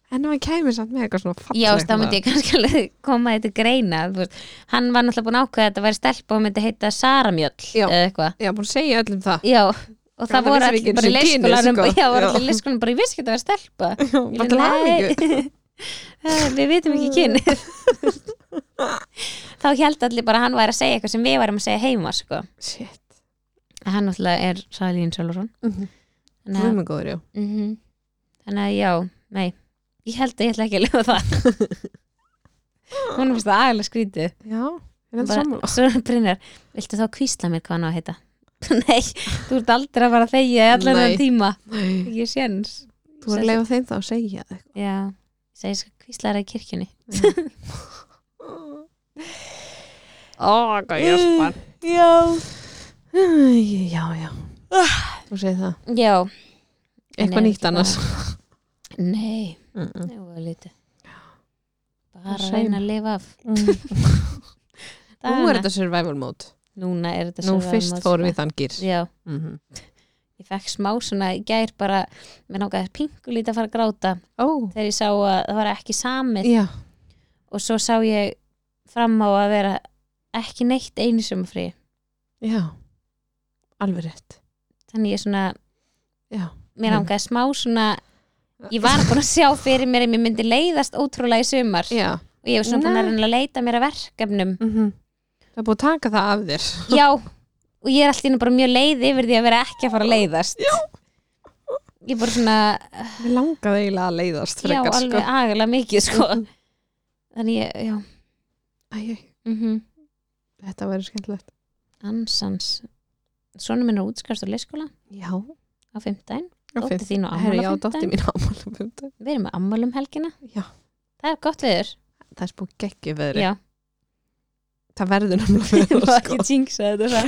[SPEAKER 2] en ef hann kæmi samt með eitthvað svona
[SPEAKER 1] Já,
[SPEAKER 2] fallegt
[SPEAKER 1] það myndi ég kannski alveg koma þetta greina þú veist. Hann var náttúrulega búin að ákveða að þetta væri stelpa og myndi heita Saramjöll
[SPEAKER 2] Já.
[SPEAKER 1] eða eitthvað
[SPEAKER 2] Já, búin að segja öllum það
[SPEAKER 1] Já, og
[SPEAKER 2] það
[SPEAKER 1] það voru
[SPEAKER 2] vissi
[SPEAKER 1] allir
[SPEAKER 2] ekki
[SPEAKER 1] bara í
[SPEAKER 2] einu sinni kynið,
[SPEAKER 1] leikskólanum
[SPEAKER 2] sko.
[SPEAKER 1] Já, voru
[SPEAKER 2] Já.
[SPEAKER 1] allir í leikskólanum bara, ég vissi ekki að það var stelpa
[SPEAKER 2] Bara til hamingju.
[SPEAKER 1] <laughs> Eh, Við vitum ekki kynið
[SPEAKER 2] <laughs>
[SPEAKER 1] Þá held allir bara að hann væri að segja eitthvað sem við værum að segja heima sko.
[SPEAKER 2] Shit,
[SPEAKER 1] En hann náttúrulega er Salín Sölvarsson Þannig
[SPEAKER 2] það
[SPEAKER 1] að-
[SPEAKER 2] er mjög Mm-hmm. góður, já
[SPEAKER 1] Mhm. Þannig að já, nei Ég held að ég ætla ekki að lifa það
[SPEAKER 2] <laughs>
[SPEAKER 1] Hún finnst það agalega skrítið
[SPEAKER 2] Já, ég veit
[SPEAKER 1] Bara-
[SPEAKER 2] sammála
[SPEAKER 1] Svo <laughs> Brynjar, viltu þá kvísla mér hvað hann á að heita? <laughs> Nei, þú ert aldrei að fara að þegja í allan
[SPEAKER 2] Nei.
[SPEAKER 1] þann
[SPEAKER 2] <laughs>
[SPEAKER 1] tíma
[SPEAKER 2] Nei,
[SPEAKER 1] Ekki séns
[SPEAKER 2] þú er að leifa þeim þá að segja það
[SPEAKER 1] Já, ég segi sko kvíslar í kirkjunni
[SPEAKER 2] Ó, hvað ég er
[SPEAKER 1] Mm.
[SPEAKER 2] spann
[SPEAKER 1] Já
[SPEAKER 2] Já, já Þú segir það
[SPEAKER 1] Já, En er
[SPEAKER 2] Eitthvað
[SPEAKER 1] ekki
[SPEAKER 2] nýtt annars
[SPEAKER 1] nei,
[SPEAKER 2] Mm, mm.
[SPEAKER 1] það var lítið Bara
[SPEAKER 2] Það er
[SPEAKER 1] að reyna að lifa af
[SPEAKER 2] Mm, <laughs> Nú er
[SPEAKER 1] dagana.
[SPEAKER 2] þetta survival mode
[SPEAKER 1] Núna er þetta
[SPEAKER 2] Nú
[SPEAKER 1] svo
[SPEAKER 2] fyrst
[SPEAKER 1] vaðmáls-
[SPEAKER 2] fórum við þann gýr
[SPEAKER 1] Já
[SPEAKER 2] Mhm.
[SPEAKER 1] ég fekk smá svona í gær bara mér nákaði pingulítið að fara að gráta
[SPEAKER 2] Ó,
[SPEAKER 1] þegar ég sá að það var ekki samið
[SPEAKER 2] já
[SPEAKER 1] og svo sá ég fram á að vera ekki neitt einu sumafrí
[SPEAKER 2] Já, alveg rétt
[SPEAKER 1] þannig ég svona,
[SPEAKER 2] Já,
[SPEAKER 1] mér
[SPEAKER 2] Mm.
[SPEAKER 1] nákaði smá svona ég var búin að sjá fyrir mér að mér myndi leiðast ótrúlega í sumar
[SPEAKER 2] já
[SPEAKER 1] og ég var svona búin
[SPEAKER 2] Nei.
[SPEAKER 1] að reyna að leita mér að verkefnum
[SPEAKER 2] -hmm. Það er búið að taka það af þér
[SPEAKER 1] já, og ég er alltaf bara mjög leið yfir því að vera ekki að fara að leiðast já. ég er bara svona
[SPEAKER 2] Við langaði eiginlega að leiðast
[SPEAKER 1] já,
[SPEAKER 2] frekar,
[SPEAKER 1] alveg agalega mikið sko. þannig ég, já
[SPEAKER 2] sko. <laughs> Æ, æ,
[SPEAKER 1] mhm
[SPEAKER 2] Þetta verður skemmtilegt
[SPEAKER 1] Ansans Sónu minn er útskast á leyskóla
[SPEAKER 2] Já,
[SPEAKER 1] á fimmtæn
[SPEAKER 2] Já,
[SPEAKER 1] Dóttir
[SPEAKER 2] fyrst.
[SPEAKER 1] þín og
[SPEAKER 2] Herri,
[SPEAKER 1] ammál á
[SPEAKER 2] já, dótti
[SPEAKER 1] fimmtæn
[SPEAKER 2] mín ámálum
[SPEAKER 1] Við erum með ammál um helgina
[SPEAKER 2] Já,
[SPEAKER 1] Það er gott viður
[SPEAKER 2] það er spúið geggjum veðri
[SPEAKER 1] Já,
[SPEAKER 2] Það <laughs> verður náttúrulega
[SPEAKER 1] það
[SPEAKER 2] veður
[SPEAKER 1] var
[SPEAKER 2] sko.
[SPEAKER 1] ekki jinxa þetta það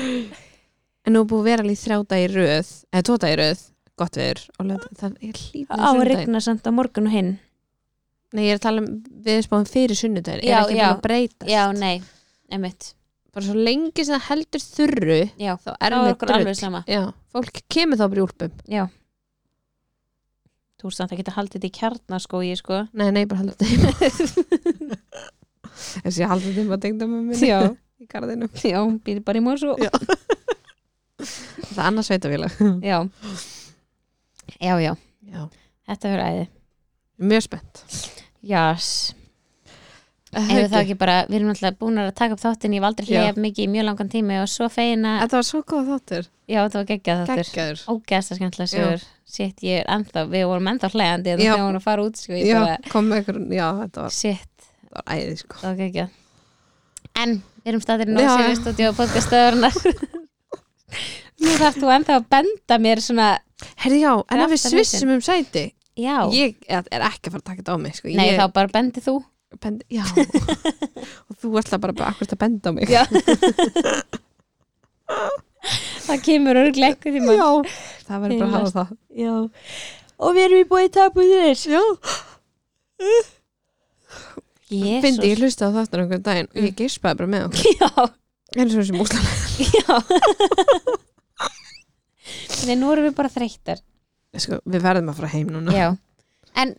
[SPEAKER 2] En nú er búið að vera alveg þrjá dag í röð eða tvo dag í röð, gott veður og lög, það er
[SPEAKER 1] Á að
[SPEAKER 2] hlýtni
[SPEAKER 1] rigna samt á morgun og hinn
[SPEAKER 2] Nei, ég er að tala um viðspáðum fyrir sunnudagir
[SPEAKER 1] Já,
[SPEAKER 2] er ekki búin
[SPEAKER 1] já.
[SPEAKER 2] að breytast
[SPEAKER 1] Já, nei, emmitt
[SPEAKER 2] Bara svo lengi sem það heldur þurru
[SPEAKER 1] Já, þá
[SPEAKER 2] þá er
[SPEAKER 1] er
[SPEAKER 2] með
[SPEAKER 1] okkur alveg
[SPEAKER 2] drull
[SPEAKER 1] sama
[SPEAKER 2] Já, fólk kemur þá bara í úlpum
[SPEAKER 1] Þú veist samt að geta haldið þetta í kjarnaskói sko.
[SPEAKER 2] Nei, nei, bara halda þetta heima <laughs> Þessi halda þetta heima tengda með
[SPEAKER 1] <laughs>
[SPEAKER 2] minni
[SPEAKER 1] Já.
[SPEAKER 2] Í garðinu
[SPEAKER 1] <laughs> Já, býði bara í sko. morsu
[SPEAKER 2] Já. Það er annars sveitafélag
[SPEAKER 1] Já, já, já
[SPEAKER 2] Já
[SPEAKER 1] Þetta verður æði
[SPEAKER 2] Mjög spennt
[SPEAKER 1] Jás Ef það ekki bara, við erum alltaf búin að taka upp þáttinn Ég var aldrei
[SPEAKER 2] Já.
[SPEAKER 1] hleyja mikið í mjög langan tími og svo feina
[SPEAKER 2] Þetta var svo góð þáttur
[SPEAKER 1] Já, þetta var geggjað þáttur
[SPEAKER 2] Gækjaður
[SPEAKER 1] Ógeðslega skemmtilega sögur Sitt, ég er ennþá, við vorum ennþá hlægandi
[SPEAKER 2] Já.
[SPEAKER 1] þegar hún var að fara út sko, ég
[SPEAKER 2] Já,
[SPEAKER 1] bara,
[SPEAKER 2] kom með ykkur Já, þetta var,
[SPEAKER 1] Sitt,
[SPEAKER 2] þetta var æði sko
[SPEAKER 1] það var geggjað En, við erum staðir
[SPEAKER 2] Já,
[SPEAKER 1] nóg
[SPEAKER 2] já.
[SPEAKER 1] sér í stúdíu og podcastöðurnar
[SPEAKER 2] <laughs>
[SPEAKER 1] Nú þarf þú ennþá að benda mér svona
[SPEAKER 2] Herri já, en ef við
[SPEAKER 1] Kraftaverkin.
[SPEAKER 2] svissum um sæti
[SPEAKER 1] Já,
[SPEAKER 2] Ég er er ekki að fara að taka þetta á mig sko
[SPEAKER 1] nei
[SPEAKER 2] ég,
[SPEAKER 1] þá bara bendi þú
[SPEAKER 2] bend, Já Og þú ætla bara bara akkur að benda á mig
[SPEAKER 1] Já Það kemur örglega einhvern tímann
[SPEAKER 2] Já, <laughs> Það verður bara að hafa það
[SPEAKER 1] Já Og við erum í búið tapuðir
[SPEAKER 2] Já Fyndi,
[SPEAKER 1] Jésús
[SPEAKER 2] ég hlusti á þáttur einhvern daginn og ég geispaði bara
[SPEAKER 1] <laughs>
[SPEAKER 2] með okkur
[SPEAKER 1] Já,
[SPEAKER 2] eins og þessi múslan
[SPEAKER 1] já Nei, nú erum við bara þreyttar
[SPEAKER 2] sko, Við verðum að fara heim núna
[SPEAKER 1] Já, en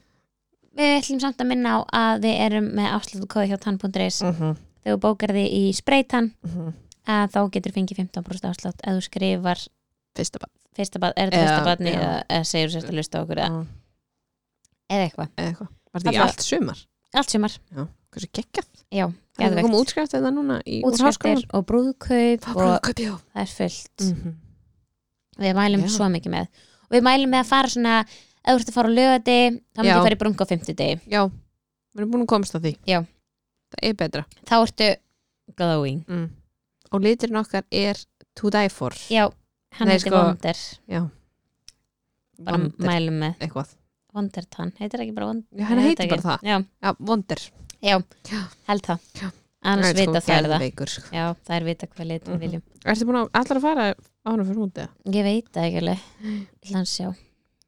[SPEAKER 1] við ætlum samt að minna á að við erum með afslutu kóði hjá tann.is
[SPEAKER 2] mm -hmm.
[SPEAKER 1] þegar þú bókar þig í spreytan
[SPEAKER 2] Mm -hmm.
[SPEAKER 1] að þá getur þú fengið 15% afslut ef þú skrifar
[SPEAKER 2] Fyrsta barn
[SPEAKER 1] fyrsta bad, er þetta
[SPEAKER 2] Já,
[SPEAKER 1] fyrsta badni
[SPEAKER 2] já.
[SPEAKER 1] eða, eða segir sérst að lusta á okkur eða,
[SPEAKER 2] Já.
[SPEAKER 1] eða eitthvað,
[SPEAKER 2] Eða eitthvað Var þetta í
[SPEAKER 1] Alla-
[SPEAKER 2] allt sumar?
[SPEAKER 1] allt sumar
[SPEAKER 2] Hversu geggjað?
[SPEAKER 1] já,
[SPEAKER 2] Það er
[SPEAKER 1] geðveikt.
[SPEAKER 2] að koma útskrift eða núna í
[SPEAKER 1] útskriftir
[SPEAKER 2] útskrift
[SPEAKER 1] og brúðkaup
[SPEAKER 2] Það
[SPEAKER 1] og
[SPEAKER 2] var bara að kaupa hjá
[SPEAKER 1] það er fullt
[SPEAKER 2] Mhm.
[SPEAKER 1] við mælum
[SPEAKER 2] Já.
[SPEAKER 1] svo mikið með og við mælum með að fara svona ef þú ert að fara á lögati, þá myndi
[SPEAKER 2] Já.
[SPEAKER 1] ég fara í brunga á 50 degi,
[SPEAKER 2] Já, við erum búin að komast að því
[SPEAKER 1] Já.
[SPEAKER 2] Það er betra
[SPEAKER 1] þá ertu glowing,
[SPEAKER 2] mm. Og liturinn okkar er to die for
[SPEAKER 1] já, hann
[SPEAKER 2] Nei,
[SPEAKER 1] heiti
[SPEAKER 2] sko,
[SPEAKER 1] Vonder
[SPEAKER 2] Já.
[SPEAKER 1] bara
[SPEAKER 2] Vondir,
[SPEAKER 1] mælum með
[SPEAKER 2] Eitthvað
[SPEAKER 1] Vondertan, heitir ekki bara Vond
[SPEAKER 2] Já, hann
[SPEAKER 1] Ég veit
[SPEAKER 2] heitir
[SPEAKER 1] ekki.
[SPEAKER 2] bara það
[SPEAKER 1] Já,
[SPEAKER 2] Já, vondir
[SPEAKER 1] já,
[SPEAKER 2] Já.
[SPEAKER 1] held það
[SPEAKER 2] Já.
[SPEAKER 1] Annars
[SPEAKER 2] er sko
[SPEAKER 1] vita þær það
[SPEAKER 2] geðveikur, sko.
[SPEAKER 1] Já, það er vita hvað litum
[SPEAKER 2] Mhm.
[SPEAKER 1] við viljum
[SPEAKER 2] Ertu búin að allar að fara ánum fyrir mútið?
[SPEAKER 1] Ég veit það ekki alveg Ég ætla að sjá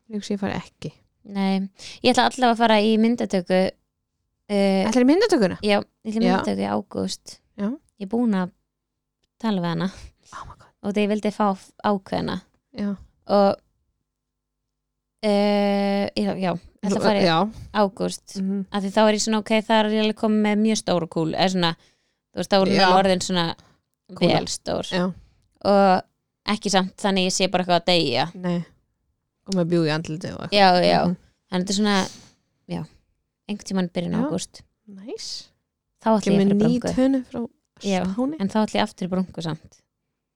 [SPEAKER 2] Ég hugsa ég fari ekki
[SPEAKER 1] Nei, ég ætla allavega að fara í myndatöku uh,
[SPEAKER 2] Ætlar í myndatökuna?
[SPEAKER 1] Já, ég ætla í
[SPEAKER 2] Já.
[SPEAKER 1] myndatöku í ágúst
[SPEAKER 2] Já.
[SPEAKER 1] Ég er búin að tala við hana
[SPEAKER 2] Oh my god
[SPEAKER 1] og þegar ég vildi fá ákveðna
[SPEAKER 2] Já,
[SPEAKER 1] og uh, ég ætla, já, ætla að fara í
[SPEAKER 2] já.
[SPEAKER 1] ágúst
[SPEAKER 2] Mm
[SPEAKER 1] af því þá er ég svona ok, það er ég alveg komið með mjög stóru kúl eða svona, þú veist, þá er
[SPEAKER 2] Já.
[SPEAKER 1] hún orðin svona
[SPEAKER 2] Kúla.
[SPEAKER 1] vel stór
[SPEAKER 2] já,
[SPEAKER 1] og ekki samt, þannig ég sé bara eitthvað að deyja
[SPEAKER 2] nei og með bjúi andliti og
[SPEAKER 1] já, já,
[SPEAKER 2] Mhm.
[SPEAKER 1] þannig þetta er svona já, einhvern tímann byrjun
[SPEAKER 2] Já.
[SPEAKER 1] ágúst
[SPEAKER 2] eitthvað næs,
[SPEAKER 1] þá ætla ég
[SPEAKER 2] kemur
[SPEAKER 1] fyrir
[SPEAKER 2] ný
[SPEAKER 1] brungu
[SPEAKER 2] tönu frá
[SPEAKER 1] Já.
[SPEAKER 2] spáni
[SPEAKER 1] en þá ætla ég aftur í brungu samt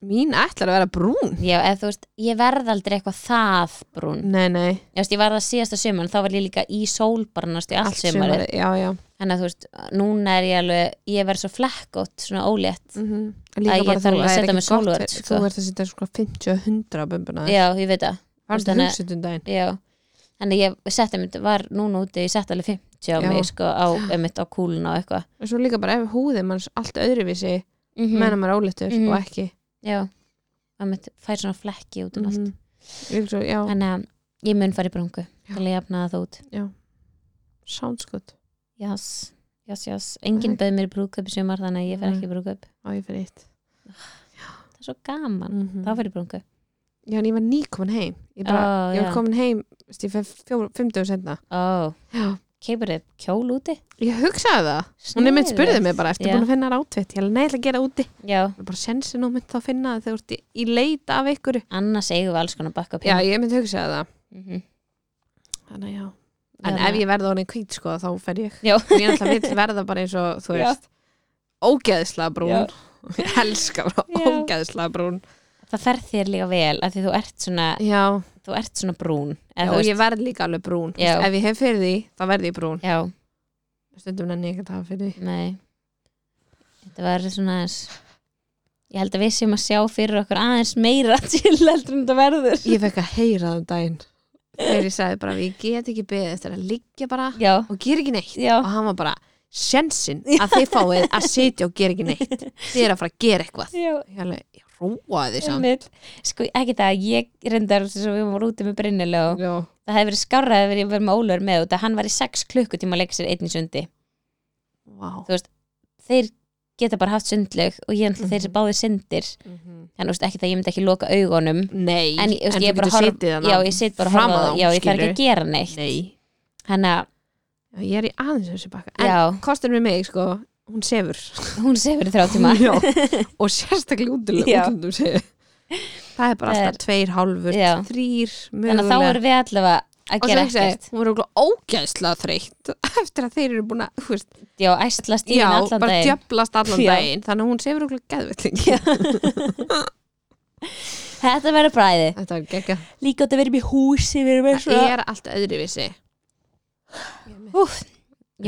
[SPEAKER 2] mín ætlar að vera brún
[SPEAKER 1] já, eða þú veist, ég verð aldrei eitthvað það brún
[SPEAKER 2] nei, nei,
[SPEAKER 1] ég, veist, ég var það síðasta sömur, þá var ég líka í sólbarnast í allt, allt sömur
[SPEAKER 2] sumarið, já, já
[SPEAKER 1] þannig að þú veist, núna er ég alveg ég verð svo flekkótt, svona ólétt
[SPEAKER 2] mm -hmm.
[SPEAKER 1] Mhm. Æ, ég þarf alveg að setja mig sólvörn, sko.
[SPEAKER 2] þú ert að setja svona 50-100 á bumbuna
[SPEAKER 1] já, ég veit það,
[SPEAKER 2] hvað er
[SPEAKER 1] þannig að-
[SPEAKER 2] þetta hugsit um daginn
[SPEAKER 1] já þannig að ég setti mitt, var núna úti ég setti alveg 50 á
[SPEAKER 2] Já.
[SPEAKER 1] mig, sko, á, mitt á kúluna og eitthvað
[SPEAKER 2] og svo líka bara ef húðið manns allt öðruvísi mm.
[SPEAKER 1] mm
[SPEAKER 2] meðan maður áleittur
[SPEAKER 1] Mhm.
[SPEAKER 2] og ekki
[SPEAKER 1] já, að mitt fær svona flekki út um
[SPEAKER 2] mm -hmm. Svo, já,
[SPEAKER 1] allt þannig að ég mun fara í brungu
[SPEAKER 2] Já.
[SPEAKER 1] til að jafna það út
[SPEAKER 2] sounds good
[SPEAKER 1] jás, jás, jás, enginn
[SPEAKER 2] Nei.
[SPEAKER 1] bauð mér í brúðkaup í sumar þannig að ég fer
[SPEAKER 2] Nei.
[SPEAKER 1] ekki í brúðkaup
[SPEAKER 2] á ég fyrir eitt
[SPEAKER 1] það er svo gaman,
[SPEAKER 2] mm
[SPEAKER 1] þá fer ég í brúðkaup
[SPEAKER 2] já, en ég var nýkomin heim ég, bara,
[SPEAKER 1] ó,
[SPEAKER 2] ég var
[SPEAKER 1] Ah, já,
[SPEAKER 2] komin heim veist, ég fyrir fimmtugur senna
[SPEAKER 1] ó,
[SPEAKER 2] já.
[SPEAKER 1] keipur þið kjól úti
[SPEAKER 2] ég hugsaði það hún er mitt spurðið mig bara, eftir
[SPEAKER 1] Já.
[SPEAKER 2] búin að finna ráttvett ég alveg neil að gera það úti
[SPEAKER 1] já,
[SPEAKER 2] Ég bara sensin og mynd þá finna það þegar þú ert í, í leita af ykkur
[SPEAKER 1] annars eigum við alls konar bakka
[SPEAKER 2] já, ég myndi hugsaði það
[SPEAKER 1] Mhm.
[SPEAKER 2] Þannig já. En
[SPEAKER 1] Þannig að-
[SPEAKER 2] ef ég verða honum kvít sko þá fer ég.
[SPEAKER 1] Já.
[SPEAKER 2] Og ég ætla að vil verða bara eins og þú
[SPEAKER 1] Já.
[SPEAKER 2] veist ógeðslega brún.
[SPEAKER 1] Já.
[SPEAKER 2] <laughs> Ég elska bara
[SPEAKER 1] Já.
[SPEAKER 2] ógeðslega brún.
[SPEAKER 1] það fer þér líka vel af því þú ert svona,
[SPEAKER 2] Já.
[SPEAKER 1] þú ert svona brún
[SPEAKER 2] já
[SPEAKER 1] eða,
[SPEAKER 2] og
[SPEAKER 1] þú
[SPEAKER 2] ég verð líka alveg brún. Þú
[SPEAKER 1] Já.
[SPEAKER 2] Veist, ef ég hef fyrir því þá verð ég brún.
[SPEAKER 1] já,
[SPEAKER 2] Stundum nenni ég ekki að hafa
[SPEAKER 1] <laughs>
[SPEAKER 2] fyrir því.
[SPEAKER 1] nei þetta var svona aðeins ég held að við séum að sjá fyrir okkur aðeins meira <laughs> til heldur en þetta verður
[SPEAKER 2] Ég fekk að heyra það um daginn. Þegar ég sagði bara ég get ekki beðið eftir að liggja bara
[SPEAKER 1] já,
[SPEAKER 2] og gera ekki neitt.
[SPEAKER 1] já,
[SPEAKER 2] Og hann var bara sjensin að þið fáið að sitja og gera ekki
[SPEAKER 1] <laughs>
[SPEAKER 2] neitt. Þið er að fara að gera eitthvað.
[SPEAKER 1] já
[SPEAKER 2] Ég alveg, ég róaði því samt.
[SPEAKER 1] einmitt. sko ekki það, að ég reyndar þess að við varum úti með brinnilega og
[SPEAKER 2] Já.
[SPEAKER 1] það hefði verið skárað að verið með Ólur með út að hann var í 6 klukkutíma að leika sér einn í sundi
[SPEAKER 2] Vá.
[SPEAKER 1] þeir geta bara haft sundlaug og ég ætla
[SPEAKER 2] Mhm.
[SPEAKER 1] þeir sem báðir syndir
[SPEAKER 2] -hmm.
[SPEAKER 1] þannig þú veist, ekki það ég myndi ekki loka augunum
[SPEAKER 2] Nei,
[SPEAKER 1] Mhm. en, ég- þú veist, ég
[SPEAKER 2] þú
[SPEAKER 1] bara
[SPEAKER 2] getur
[SPEAKER 1] horf-
[SPEAKER 2] setið hana
[SPEAKER 1] já, ég sit bara að
[SPEAKER 2] fram
[SPEAKER 1] horfa
[SPEAKER 2] að
[SPEAKER 1] á
[SPEAKER 2] þá,
[SPEAKER 1] það já, ég þarf ekki að
[SPEAKER 2] skilurðu.
[SPEAKER 1] gera neitt
[SPEAKER 2] Nei,
[SPEAKER 1] þannig að
[SPEAKER 2] já, ég er í aðeins þessu bakka En
[SPEAKER 1] Já.
[SPEAKER 2] kostur með mig, sko, hún sefur
[SPEAKER 1] hún sefur í þrjá tíma
[SPEAKER 2] <laughs>
[SPEAKER 1] <laughs>
[SPEAKER 2] Já, Og sérstaklega
[SPEAKER 1] Já.
[SPEAKER 2] útlundum útlundum sefur Það er bara
[SPEAKER 1] Það
[SPEAKER 2] alltaf tveir, hálfur,
[SPEAKER 1] Já.
[SPEAKER 2] þrýr
[SPEAKER 1] þannig að þá erum við allavega að
[SPEAKER 2] Og
[SPEAKER 1] gera
[SPEAKER 2] sem ég segi,
[SPEAKER 1] ekkert
[SPEAKER 2] hún er okkur ógæðslega þreytt <laughs> Eftir að þeir eru búin að, þú veist
[SPEAKER 1] já, æslast í
[SPEAKER 2] Já,
[SPEAKER 1] henni allan
[SPEAKER 2] bara
[SPEAKER 1] daginn
[SPEAKER 2] djöflast allan
[SPEAKER 1] Já.
[SPEAKER 2] daginn Þannig að hún sefur okkur geðvilling
[SPEAKER 1] þetta verður bræði,
[SPEAKER 2] Þetta er gegga
[SPEAKER 1] líka þetta verður í húsi við erum með
[SPEAKER 2] Það
[SPEAKER 1] svona
[SPEAKER 2] er allt öðruvísi
[SPEAKER 1] Úff,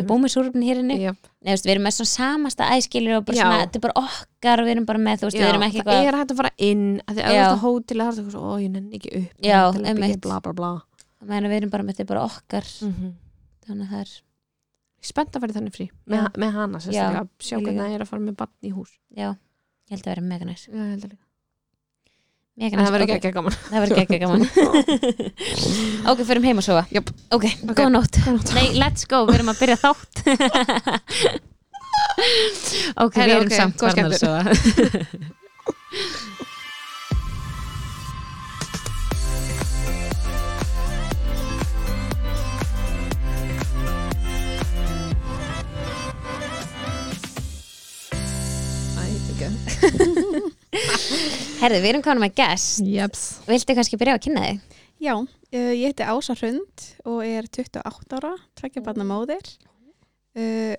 [SPEAKER 1] ég búið með súröfni hér inni
[SPEAKER 2] Jöp.
[SPEAKER 1] Nei, þú veist, við erum með svona samasta æskilir og bara
[SPEAKER 2] Já.
[SPEAKER 1] svona, þetta er bara okkar og við erum bara með, þú veist, við
[SPEAKER 2] Já,
[SPEAKER 1] erum ekki
[SPEAKER 2] það
[SPEAKER 1] eitthvað
[SPEAKER 2] er hægt að fara inn að því að
[SPEAKER 1] Já.
[SPEAKER 2] þetta hótel er hægt að ó, ég nenni ekki upp
[SPEAKER 1] Já,
[SPEAKER 2] hótelherbergi,
[SPEAKER 1] einmitt.
[SPEAKER 2] bla bla bla
[SPEAKER 1] Ég meina, við erum bara með þetta er bara okkar
[SPEAKER 2] mm -hmm.
[SPEAKER 1] þannig að það er,
[SPEAKER 2] spennt að vera þannig frí með,
[SPEAKER 1] Mhm. Já.
[SPEAKER 2] með hana sérstaklega, sjá
[SPEAKER 1] ég
[SPEAKER 2] hvernig
[SPEAKER 1] líka.
[SPEAKER 2] það er að fara með bann í hús
[SPEAKER 1] já, ég held að vera mega næs
[SPEAKER 2] Já, ég held að líka.
[SPEAKER 1] Mega
[SPEAKER 2] en
[SPEAKER 1] næs
[SPEAKER 2] það verður
[SPEAKER 1] bók.
[SPEAKER 2] ekki ekki gaman
[SPEAKER 1] Það verður ekki
[SPEAKER 2] <laughs>
[SPEAKER 1] gaman <laughs> Ok, förum heim að sofa
[SPEAKER 2] Jöp.
[SPEAKER 1] Ok, góða nótt
[SPEAKER 2] Góða nótt.
[SPEAKER 1] Nei, let's go, við erum að byrja þátt <laughs> Ok, við
[SPEAKER 2] Heyrðu,
[SPEAKER 1] erum
[SPEAKER 2] ok,
[SPEAKER 1] samt
[SPEAKER 2] góð
[SPEAKER 1] farnar að
[SPEAKER 2] skemmtun.
[SPEAKER 1] sofa Herðu, við erum kannan með gest
[SPEAKER 2] Jeps.
[SPEAKER 1] Viltu kannski byrja á að kynna þig?
[SPEAKER 3] Já, uh, ég heiti Ása Hrund og er 28 ára, tveggja barna móðir uh,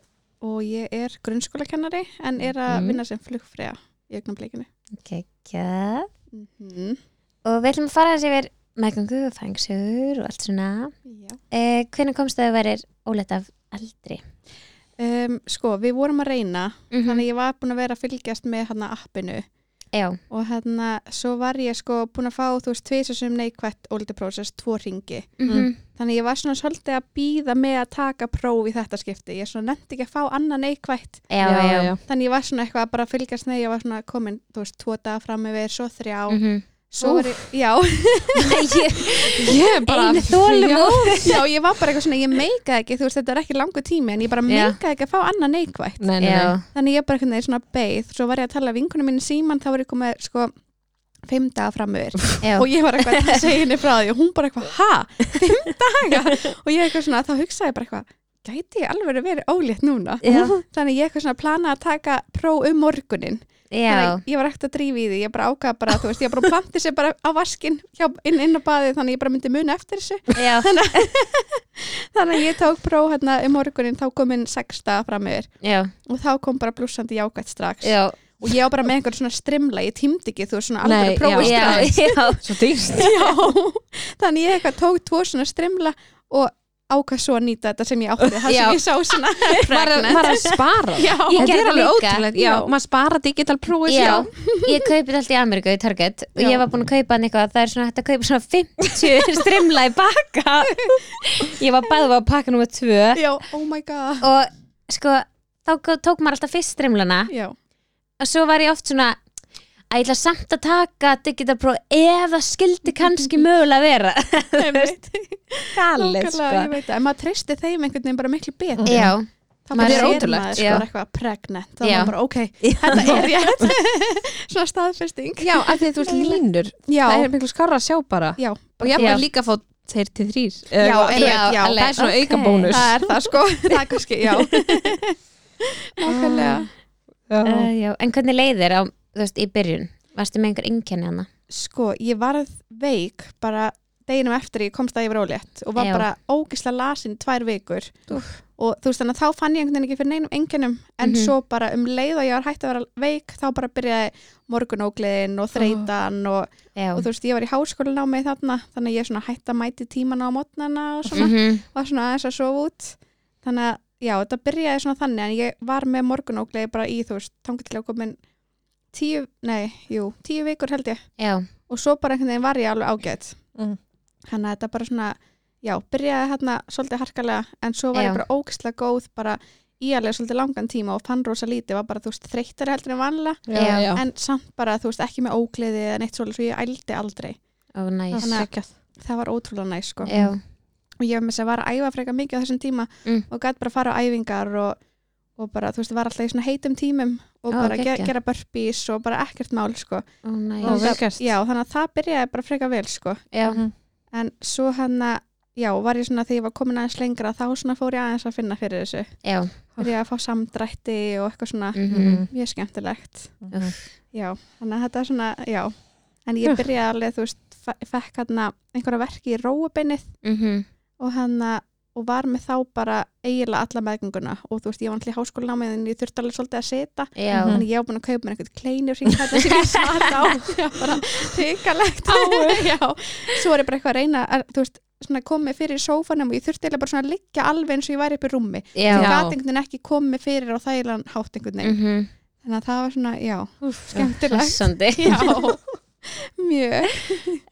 [SPEAKER 3] og ég er grunnskólakennari en er
[SPEAKER 1] Mhm.
[SPEAKER 3] að vinna sem flugfræja í augnablikinu.
[SPEAKER 1] Gekja
[SPEAKER 3] Mm
[SPEAKER 1] Og við ætlum að fara þessi yfir meðgangu, fangsur og allt svona
[SPEAKER 3] Já.
[SPEAKER 1] eh, Hvernig komst það að verið óleitt af aldri?
[SPEAKER 3] Um, sko, við vorum að reyna,
[SPEAKER 1] Mm
[SPEAKER 2] Mhm.
[SPEAKER 3] þannig að ég var búin að vera að fylgjast með hérna appinu
[SPEAKER 1] Já,
[SPEAKER 3] og hérna svo var ég sko búin að fá, þú veist, tvisar sem neikvætt ólítið prósess, tvo ringi.
[SPEAKER 2] Mhm.
[SPEAKER 1] mm
[SPEAKER 3] Þannig að ég var svona svolítið að býða með að taka próf í þetta skipti. Ég svona nefndi ekki að fá annað neikvætt
[SPEAKER 1] já, já, já.
[SPEAKER 3] þannig ég var svona eitthvað að bara fylgjast neð ég var svona komin, þú veist, tvo daga fram yfir svo þrjá,
[SPEAKER 1] Mm
[SPEAKER 2] Mhm.
[SPEAKER 1] -hmm.
[SPEAKER 3] svo var ég, já
[SPEAKER 2] ég er bara
[SPEAKER 1] Einu þólum
[SPEAKER 2] Já.
[SPEAKER 3] <laughs> já, ég var bara eitthvað svona, ég meikaði ekki þú veist, þetta er ekki langu tími, en ég bara
[SPEAKER 1] Já.
[SPEAKER 3] meikaði ekki að fá annað neikvætt,
[SPEAKER 2] nei, nei, nei.
[SPEAKER 1] Já,
[SPEAKER 3] þannig ég bara eitthvað svona beið, svo var ég að tala vinkunum mín síman, þá var ég komið, sko fimm daga framöver
[SPEAKER 1] Já.
[SPEAKER 3] og ég var eitthvað að <laughs> segja henni frá því og hún bara eitthvað, ha, fimm daga og ég eitthvað svona, þá hugsaði ég bara eitthvað gæti ég alveg verið ólétt núna
[SPEAKER 1] Já.
[SPEAKER 3] þannig ég eitthvað svona plana að taka pró um morgunin
[SPEAKER 1] já,
[SPEAKER 3] þannig ég var ekkert að drífa í því, ég bara ákvað bara, þú veist, ég bara planti sér bara á vaskin hjá, inn, inn á baðið, þannig ég bara myndi muna eftir þessu
[SPEAKER 1] já,
[SPEAKER 3] þannig að ég tók pró hérna um morgunin þá kom inn sexta framöver
[SPEAKER 1] já,
[SPEAKER 3] og þá kom bara blúsandi jákvætt strax
[SPEAKER 1] já,
[SPEAKER 3] og ég á bara með einhver svona strimla, ég tímdi ekki þú veist svona alveg
[SPEAKER 2] Nei,
[SPEAKER 3] að prófa
[SPEAKER 2] já.
[SPEAKER 1] já,
[SPEAKER 3] strax
[SPEAKER 1] já.
[SPEAKER 2] Svo dýrst
[SPEAKER 3] <laughs> já, þannig ég eitthvað tók tvo svona strimla og ákvað svo að nýta þetta sem ég átti það
[SPEAKER 1] Já.
[SPEAKER 3] sem ég sá
[SPEAKER 1] <laughs>
[SPEAKER 3] svona
[SPEAKER 2] Maður
[SPEAKER 3] pregnant.
[SPEAKER 2] maður að spara
[SPEAKER 3] já,
[SPEAKER 1] Ég
[SPEAKER 2] Þetta
[SPEAKER 1] gerði
[SPEAKER 2] er alveg
[SPEAKER 1] líka.
[SPEAKER 2] ótrúlegt Já,
[SPEAKER 3] Já.
[SPEAKER 2] maður spara digital prófið
[SPEAKER 1] Já,
[SPEAKER 2] sjálf.
[SPEAKER 1] ég kaupið allt í Ameríku í Target og
[SPEAKER 3] Já.
[SPEAKER 1] ég var búin að kaupa hann eitthvað það er svona hægt að kaupa svona 50 <laughs> strimla í bakka ég var bæðið á pakka nummer 2
[SPEAKER 3] já, oh my god
[SPEAKER 1] og sko þá gó- tók maður alltaf fyrst strimlana
[SPEAKER 3] já,
[SPEAKER 1] <laughs> og svo var ég oft svona að ég ætla samt að taka digital pro ef það skildi kannski mögulega vera
[SPEAKER 3] einmitt
[SPEAKER 2] Galið, sko.
[SPEAKER 3] Nákvæmlega, ég veit það, en maður treysti þeim einhvern veginn bara miklu
[SPEAKER 1] sko.
[SPEAKER 3] betur
[SPEAKER 1] Já,
[SPEAKER 3] þá
[SPEAKER 1] maður
[SPEAKER 3] bara
[SPEAKER 1] er
[SPEAKER 3] sér
[SPEAKER 2] ótrúlegt,
[SPEAKER 3] maður
[SPEAKER 1] já.
[SPEAKER 3] sko eitthvað pregnant þá
[SPEAKER 1] Já.
[SPEAKER 3] er maður <laughs> bara ok, þetta er rétt <laughs> svona staðfesting
[SPEAKER 2] Já, af því að þú veist línur
[SPEAKER 3] já,
[SPEAKER 2] Það er miklu skárra að sjá bara
[SPEAKER 3] já,
[SPEAKER 2] Og ég var
[SPEAKER 1] Já.
[SPEAKER 2] líka að fá þeir til þrýr
[SPEAKER 3] Já,
[SPEAKER 1] já,
[SPEAKER 3] einmitt, já.
[SPEAKER 2] Það
[SPEAKER 1] alveg,
[SPEAKER 2] er svona
[SPEAKER 1] ok.
[SPEAKER 2] auka bónus
[SPEAKER 3] það er það <laughs> sko það er kannski, já Ah. nákvæmlega
[SPEAKER 1] Uh, já, en hvernig leið þér á, þú veist, í byrjun? Varstu með einhver einkenni hana?
[SPEAKER 3] sko, ég varð veik bara deginum eftir ég komst að ég var ólétt og var
[SPEAKER 1] Já.
[SPEAKER 3] bara ógislega lasin tvær vikur og þú veist þannig að þá fann ég einhvern veginn ekki fyrir neinum enginnum en
[SPEAKER 1] Mhm.
[SPEAKER 3] svo bara um leið og ég var hægt að vera veik þá bara byrjaði morgunógliðin og þreytan og,
[SPEAKER 1] Já,
[SPEAKER 3] og þú veist ég var í háskólanámi þarna þannig að ég svona hægt að mæti tímana á mótnana og svona
[SPEAKER 1] Mhm.
[SPEAKER 3] var svona aðeins að sofa út þannig að já, þetta byrjaði svona þannig en ég var með morgunóglegi bara í þú veist, þangur til að komin tíu, nei, jú, tíu vikur held ég
[SPEAKER 1] já,
[SPEAKER 3] og svo bara einhvern veginn var ég alveg ágætt
[SPEAKER 2] Mhm.
[SPEAKER 3] þannig að þetta bara svona já, byrjaði hérna svolítið harkalega en svo var
[SPEAKER 1] Já.
[SPEAKER 3] ég bara ógislega góð bara í alveg svolítið langan tíma og fann rosa lítið var bara þú veist þreyttari heldur en vanlega
[SPEAKER 1] Já.
[SPEAKER 2] já
[SPEAKER 3] en samt bara þú veist ekki með ógleði eða neitt svolítið svo ég ældi aldrei
[SPEAKER 1] ó, næs
[SPEAKER 3] Þannig að-
[SPEAKER 2] Geggjað.
[SPEAKER 3] það var ótrúlega næ sko
[SPEAKER 1] Já,
[SPEAKER 3] og ég var með þess að var að æfa frekar mikið á þessum tíma
[SPEAKER 1] Mm.
[SPEAKER 3] og gæti bara að fara á æfingar og, og bara, þú veist, var alltaf í svona heitum tímum og
[SPEAKER 1] Ó,
[SPEAKER 3] bara ge
[SPEAKER 1] geggjað.
[SPEAKER 3] gera burpees og bara ekkert mál, sko
[SPEAKER 1] ó,
[SPEAKER 2] Ó,
[SPEAKER 1] næs
[SPEAKER 2] vel gert.
[SPEAKER 3] já, þannig að það byrjaði bara frekar vel, sko
[SPEAKER 1] Já,
[SPEAKER 2] Mhm.
[SPEAKER 3] en svo hann að, já, var ég svona þegar ég var komin aðeins lengra, þá svona fór ég aðeins að finna fyrir þessu,
[SPEAKER 1] já,
[SPEAKER 3] fyrir ég að fá samdrætti og eitthvað svona
[SPEAKER 1] mhm
[SPEAKER 3] mjög skemmtilegt
[SPEAKER 1] Úff.
[SPEAKER 3] já, þannig að þetta er svona, já en ég byrjaði alveg, þú veist, fe- fekk hann einhverja verki í róubinnið
[SPEAKER 1] Mhm.
[SPEAKER 3] og hann og var með þá bara eiginlega alla meðgönguna og þú veist, ég var náttúrulega í háskólanámið en ég þurfti alveg svolítið að setja
[SPEAKER 1] Já,
[SPEAKER 2] Mhm.
[SPEAKER 3] þannig ég var búin að kaupa mér einhvern kleinur sem
[SPEAKER 1] <laughs>
[SPEAKER 3] ég satt á Já, bara hrikalegt <laughs> Já, svo var ég bara eitthvað að reyna að, þú veist, svona komið fyrir í sófanum og ég þurfti eiginlega bara svona að liggja alveg eins og ég væri upp í rúmi
[SPEAKER 1] já
[SPEAKER 3] ég gat einhvern veginn ekki komið fyrir á þægilegan hátt einhvern veginn
[SPEAKER 1] Mhm.
[SPEAKER 3] þannig að það var svona, já, skemmtilegt
[SPEAKER 1] Hressandi
[SPEAKER 3] <laughs> Já, mjög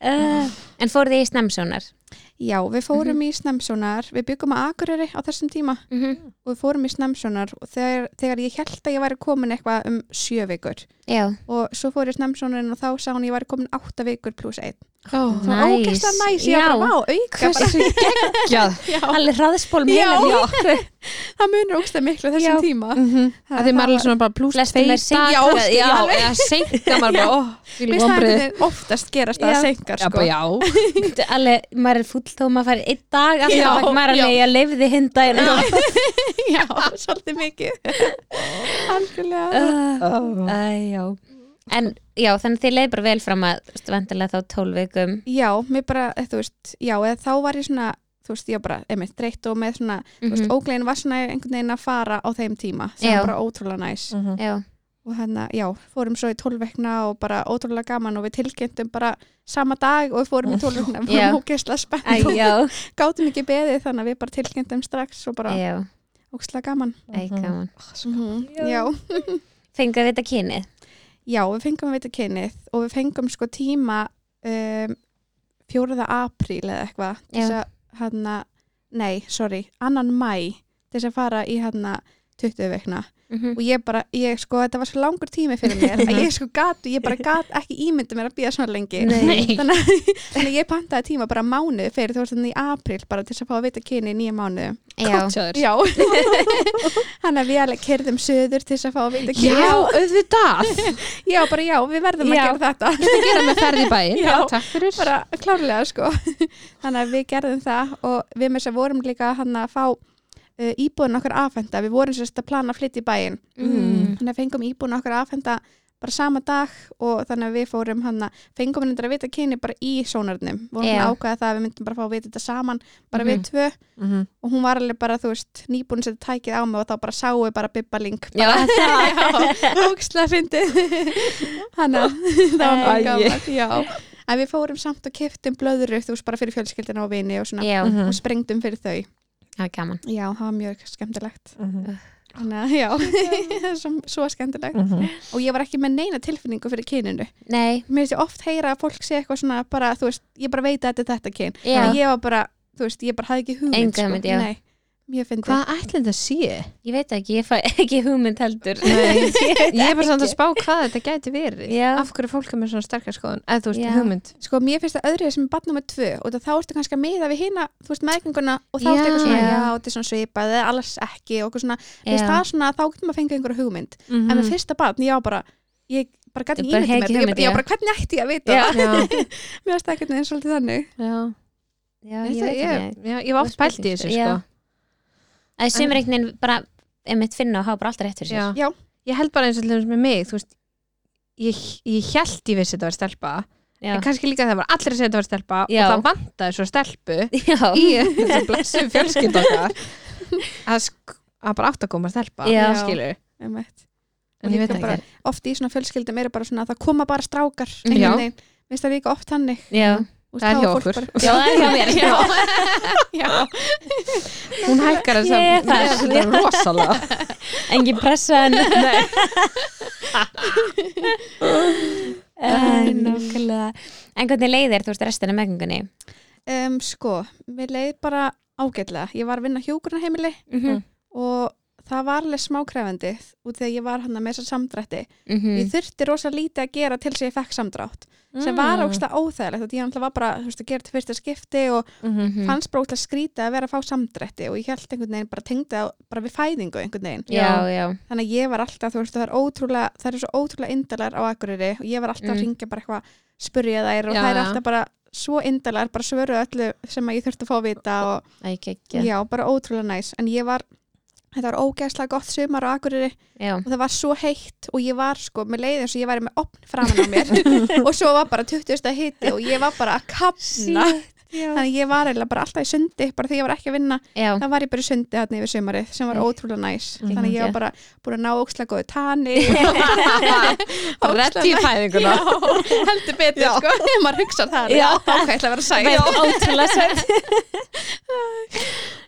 [SPEAKER 1] Eh, En fór þið í snemsónar?
[SPEAKER 3] Já, við fórum í Snemsónar, við byggum að Akureyri á þessum tíma
[SPEAKER 1] Mhm.
[SPEAKER 3] og við fórum í Snemsónar og þegar, þegar ég held að ég væri komin eitthvað um sjö vikur
[SPEAKER 1] Já,
[SPEAKER 3] og svo fór ég Snemsónarinn og þá sá hún að ég væri komin átta vikur pluss einn.
[SPEAKER 2] Ó,
[SPEAKER 3] Það var
[SPEAKER 1] Næs.
[SPEAKER 3] ógæslega næs, ég var
[SPEAKER 1] Já.
[SPEAKER 3] bara, vá, auka bara,
[SPEAKER 2] Hversu geggjað
[SPEAKER 3] <laughs> já,
[SPEAKER 1] allir hraðspólum
[SPEAKER 3] Já.
[SPEAKER 1] heilan Já, <laughs>
[SPEAKER 3] það munur ógæslega miklu á þessum
[SPEAKER 1] Já.
[SPEAKER 3] tíma.
[SPEAKER 2] að Mhm. því
[SPEAKER 3] það
[SPEAKER 2] maður er
[SPEAKER 3] var-
[SPEAKER 2] svona bara pluss
[SPEAKER 1] Flestum er seinkað,
[SPEAKER 2] já,
[SPEAKER 1] já.
[SPEAKER 2] já, eða seinka maður bara, ó, því
[SPEAKER 3] Mér
[SPEAKER 2] líka
[SPEAKER 3] staðið
[SPEAKER 2] ombrið
[SPEAKER 3] þetta oftast gerast að
[SPEAKER 1] Já.
[SPEAKER 3] það senkar,
[SPEAKER 2] já,
[SPEAKER 3] sko.
[SPEAKER 2] bara, já,
[SPEAKER 1] Þetta er alveg, maður er fúll þó maður farið einn dag alltaf já,
[SPEAKER 3] Já,
[SPEAKER 1] maður er
[SPEAKER 3] já.
[SPEAKER 1] alveg, ég lifði hinn daginn af.
[SPEAKER 3] <laughs> já, svolítið
[SPEAKER 2] <laughs>
[SPEAKER 3] mikið. Algjörlega.
[SPEAKER 2] Uh.
[SPEAKER 1] Æ, já En já, þannig þið leið bara vel fram að þú veist, vendilega þá tólf vikum
[SPEAKER 3] Já, mér bara, eh, þú veist, já, eða þá var ég svona, þú veist, ég var bara, einmitt, dreitt og með svona þú veist,
[SPEAKER 1] Mhm.
[SPEAKER 3] óglegin var svona einhvern veginn að fara á þeim tíma sem
[SPEAKER 1] Já.
[SPEAKER 3] var bara ótrúlega næs
[SPEAKER 1] Já,
[SPEAKER 3] og hérna, já, fórum svo í tólvekna og bara ótrúlega gaman og við tilkynntum bara sama dag og við fórum
[SPEAKER 1] <laughs>
[SPEAKER 3] í tólvekna við
[SPEAKER 1] Já.
[SPEAKER 3] fórum ógeðslega
[SPEAKER 1] Æ,
[SPEAKER 3] spennt og <laughs>
[SPEAKER 1] já
[SPEAKER 3] gátum ekki beðið þannig að við bara tilkynntum strax og bara
[SPEAKER 1] Já,
[SPEAKER 3] ógeðslega gaman
[SPEAKER 1] æ, gaman
[SPEAKER 3] Mhm, já.
[SPEAKER 1] Fengu að vita kynið
[SPEAKER 3] já, við fengum að vita kynnið og við fengum sko tíma um, 4. apríl eða eitthvað til
[SPEAKER 1] Já.
[SPEAKER 3] þess að, hérna, nei, sorry, annan mæ til þess að fara í hérna 20 veikna
[SPEAKER 1] Mhm.
[SPEAKER 3] og ég bara, ég sko, þetta var svo langur tími fyrir mér að ég sko gat, ég bara gat ekki ímyndi mér að býða svona lengi
[SPEAKER 1] Nei.
[SPEAKER 3] þannig, að- þannig að ég pantaði tíma bara mánuð fyrir þú veist þannig í april bara til þess að fá að vita kyni í nýja mánuðu
[SPEAKER 1] Já,
[SPEAKER 2] Gotchaður.
[SPEAKER 3] já <laughs> hann að við alveg kerðum söður til þess að fá að vita kyni
[SPEAKER 2] Já, auðvitað
[SPEAKER 3] já, bara já, við verðum
[SPEAKER 1] Já.
[SPEAKER 3] að gera þetta <laughs>
[SPEAKER 2] Þetta gera með ferð í bæinn
[SPEAKER 3] Já.
[SPEAKER 2] takk fyrir
[SPEAKER 3] bara klárlega sko þannig að við gerðum það og við með þess að vorum líka hann að fá uh, íbúðin okkar afhenda, við vorum sérst að plana að flytja í bæinn,
[SPEAKER 2] Mm.
[SPEAKER 3] þannig að fengum íbúðin okkar afhenda bara sama dag og þannig að við fórum hann að fengum hendur að vita kyni bara í sónarnum, vorum
[SPEAKER 1] Já.
[SPEAKER 3] yeah. ákvaða það að við myndum bara fá að vita þetta saman, bara
[SPEAKER 2] Mhm.
[SPEAKER 3] við tvö
[SPEAKER 2] mm -hmm.
[SPEAKER 3] og hún var alveg bara, þú veist, nýbúin sem tækið á mig og þá bara sáu við bara Bibba Link
[SPEAKER 1] <laughs> já,
[SPEAKER 3] ókslega fyndið hana, <laughs> það var
[SPEAKER 2] Æi.
[SPEAKER 3] mjög gaman já. að við fórum samt og keftum blöðru þú veist bara fyrir fjölskyldina og vini og svona
[SPEAKER 1] já,
[SPEAKER 2] Mhm.
[SPEAKER 3] og sprengdum fyrir þau
[SPEAKER 1] það var gaman
[SPEAKER 3] já, það var mjög skemmtilegt
[SPEAKER 1] Mhm.
[SPEAKER 2] Mm
[SPEAKER 3] hana, já, svo, <laughs> svo skemmtilegt
[SPEAKER 2] Mhm.
[SPEAKER 3] og ég var ekki með neina tilfinningu fyrir kyninu
[SPEAKER 1] Nei,
[SPEAKER 3] mér finnst ég oft heyra að fólk sé eitthvað svona bara, þú veist, ég bara veit að þetta er þetta kyn
[SPEAKER 1] Já.
[SPEAKER 3] en ég var bara, þú veist, ég bara hafði ekki hugmynd sko.
[SPEAKER 1] Enga hugmynd, já.
[SPEAKER 3] Nei, mjög fyndið
[SPEAKER 2] Hvað ætlum þetta sé?
[SPEAKER 1] ég veit ekki, ég fæ <laughs> ekki hugmynd heldur
[SPEAKER 2] Nei.
[SPEAKER 1] Ég veit
[SPEAKER 2] Ég er bara samt að
[SPEAKER 1] ekki.
[SPEAKER 2] spá hvað þetta gæti verið
[SPEAKER 1] Já.
[SPEAKER 2] Af hverju fólk er með svona sterkar skoðun eða þú veist,
[SPEAKER 1] Já.
[SPEAKER 2] hugmynd
[SPEAKER 3] sko, mér finnst það öðruðið sem er barn nummer tvö og þá ertu kannski að miða við hina, þú veist, meðgenguna og þá ertu
[SPEAKER 2] Já.
[SPEAKER 3] eitthvað svona,
[SPEAKER 1] Já.
[SPEAKER 3] já, þetta er svona svipað eða alls ekki og eitthvað svona, þú veist,
[SPEAKER 1] Já.
[SPEAKER 3] það er svona þá getur maður að fengja einhverja hugmynd
[SPEAKER 1] Mhm.
[SPEAKER 2] mm
[SPEAKER 3] en með fyrsta barn, já, bara, ég bara gæti
[SPEAKER 1] Ég
[SPEAKER 3] ekki
[SPEAKER 1] bara
[SPEAKER 3] ímyndið
[SPEAKER 1] hef
[SPEAKER 3] mér,
[SPEAKER 1] ekki
[SPEAKER 3] ég
[SPEAKER 1] hugmynd,
[SPEAKER 3] bara, já,
[SPEAKER 1] já.
[SPEAKER 3] bara hvernig ætti ég að vita
[SPEAKER 1] Já.
[SPEAKER 3] það?
[SPEAKER 2] Já,
[SPEAKER 3] mér finnst það ekkert eins svolítið þannig
[SPEAKER 2] já
[SPEAKER 1] <laughs> Já,
[SPEAKER 2] Ég,
[SPEAKER 1] ég veit ekki
[SPEAKER 2] ég, já, ég var oft pælt í þessu sko.
[SPEAKER 1] Já. Það er sumir einhvern veginn bara einmitt finna og hafa bara alltaf rétt fyrir sér
[SPEAKER 2] Já.
[SPEAKER 3] Já.
[SPEAKER 2] Ég held bara eins og til dæmis með mig þú veist, ég, ég held ég vissi þetta var stelpa
[SPEAKER 1] Já,
[SPEAKER 2] en kannski líka það var allir að segja þetta var stelpa
[SPEAKER 1] Já.
[SPEAKER 2] og það vantaði svo stelpu
[SPEAKER 1] já,
[SPEAKER 2] í <laughs> þessu blessu fjölskyld okkar að, sk- að bara átt að koma stelpa
[SPEAKER 1] Já.
[SPEAKER 2] skilur,
[SPEAKER 3] Einmitt.
[SPEAKER 2] en ég
[SPEAKER 3] Líka
[SPEAKER 2] veit það
[SPEAKER 3] bara-
[SPEAKER 2] ekki
[SPEAKER 3] oft í svona fjölskyldum eru bara svona, það koma bara strákar
[SPEAKER 2] Já.
[SPEAKER 3] einhvern veginn. Mér finnst það líka oft þannig
[SPEAKER 1] já
[SPEAKER 3] Og
[SPEAKER 2] Það er
[SPEAKER 3] þá
[SPEAKER 2] hjá
[SPEAKER 3] fólk
[SPEAKER 2] okkur.
[SPEAKER 3] bara-
[SPEAKER 1] Já, það er hjá mér já.
[SPEAKER 3] Já.
[SPEAKER 2] hún hækkar þess
[SPEAKER 1] Ég er það.
[SPEAKER 2] að þetta er rosalega
[SPEAKER 1] Engin pressa en
[SPEAKER 3] <laughs>
[SPEAKER 1] Nei Nákvæmlega En hvernig leið er þú veist restina meðgöngunni?
[SPEAKER 3] Um, sko, mér leið bara ágætlega. Ég var að vinna hjúkurnaheimili
[SPEAKER 1] Mhm.
[SPEAKER 3] og það var alveg smákrefandi út því að ég var hann með þessar samdrætti ég
[SPEAKER 2] Mm.
[SPEAKER 1] Mhm.
[SPEAKER 3] þurfti rosa lítið að gera til þess að ég fekk samdrátt sem var
[SPEAKER 2] Mm.
[SPEAKER 3] ógstlega óþægilegt því ég náttúrulega var bara þú veist, að gera til fyrsta skipti og
[SPEAKER 1] <laughs>
[SPEAKER 2] Mhm.
[SPEAKER 3] fannst bara ógstlega skrítið að vera að fá samdrætti og ég held einhvern veginn bara tengdi á bara við fæðingu einhvern veginn
[SPEAKER 1] Já, já
[SPEAKER 3] þannig að ég var alltaf, þú veist, það er ótrúlega það eru svo ótrúlega indalar á Akureyri og ég var alltaf
[SPEAKER 1] Mm.
[SPEAKER 3] að ringja bara eitthvað spurja þær og
[SPEAKER 2] Já,
[SPEAKER 3] það er
[SPEAKER 2] já.
[SPEAKER 3] alltaf bara svo indalar, bara svöru öllu sem að ég þurfti að fá að vita og
[SPEAKER 1] Æ, ekki
[SPEAKER 3] Já, bara ótrúlega næs en ég var, þetta var ógæslega gott sumar á Akureyri
[SPEAKER 1] Já,
[SPEAKER 3] og það var svo heitt og ég var sko með leið eins og ég væri með opn framan á mér og svo var bara 20. hitti og ég var bara að kapna
[SPEAKER 1] já.
[SPEAKER 3] þannig að ég var eiginlega bara alltaf í sundi bara þegar ég var ekki að vinna,
[SPEAKER 1] já.
[SPEAKER 3] þá var ég bara í sundi þarna yfir sumarið sem
[SPEAKER 2] Mm.
[SPEAKER 3] var
[SPEAKER 1] Nei.
[SPEAKER 3] ótrúlega næs þannig að ég
[SPEAKER 1] Já.
[SPEAKER 3] var bara búin að ná ógæslega góðu tani <laughs>
[SPEAKER 2] rétt í fæðinguna
[SPEAKER 3] Já, heldur betur
[SPEAKER 2] Já.
[SPEAKER 3] sko, <laughs> maður hugsa það
[SPEAKER 1] Já.
[SPEAKER 3] ágæslega vera sæt
[SPEAKER 1] Já, Ótrúlega sætt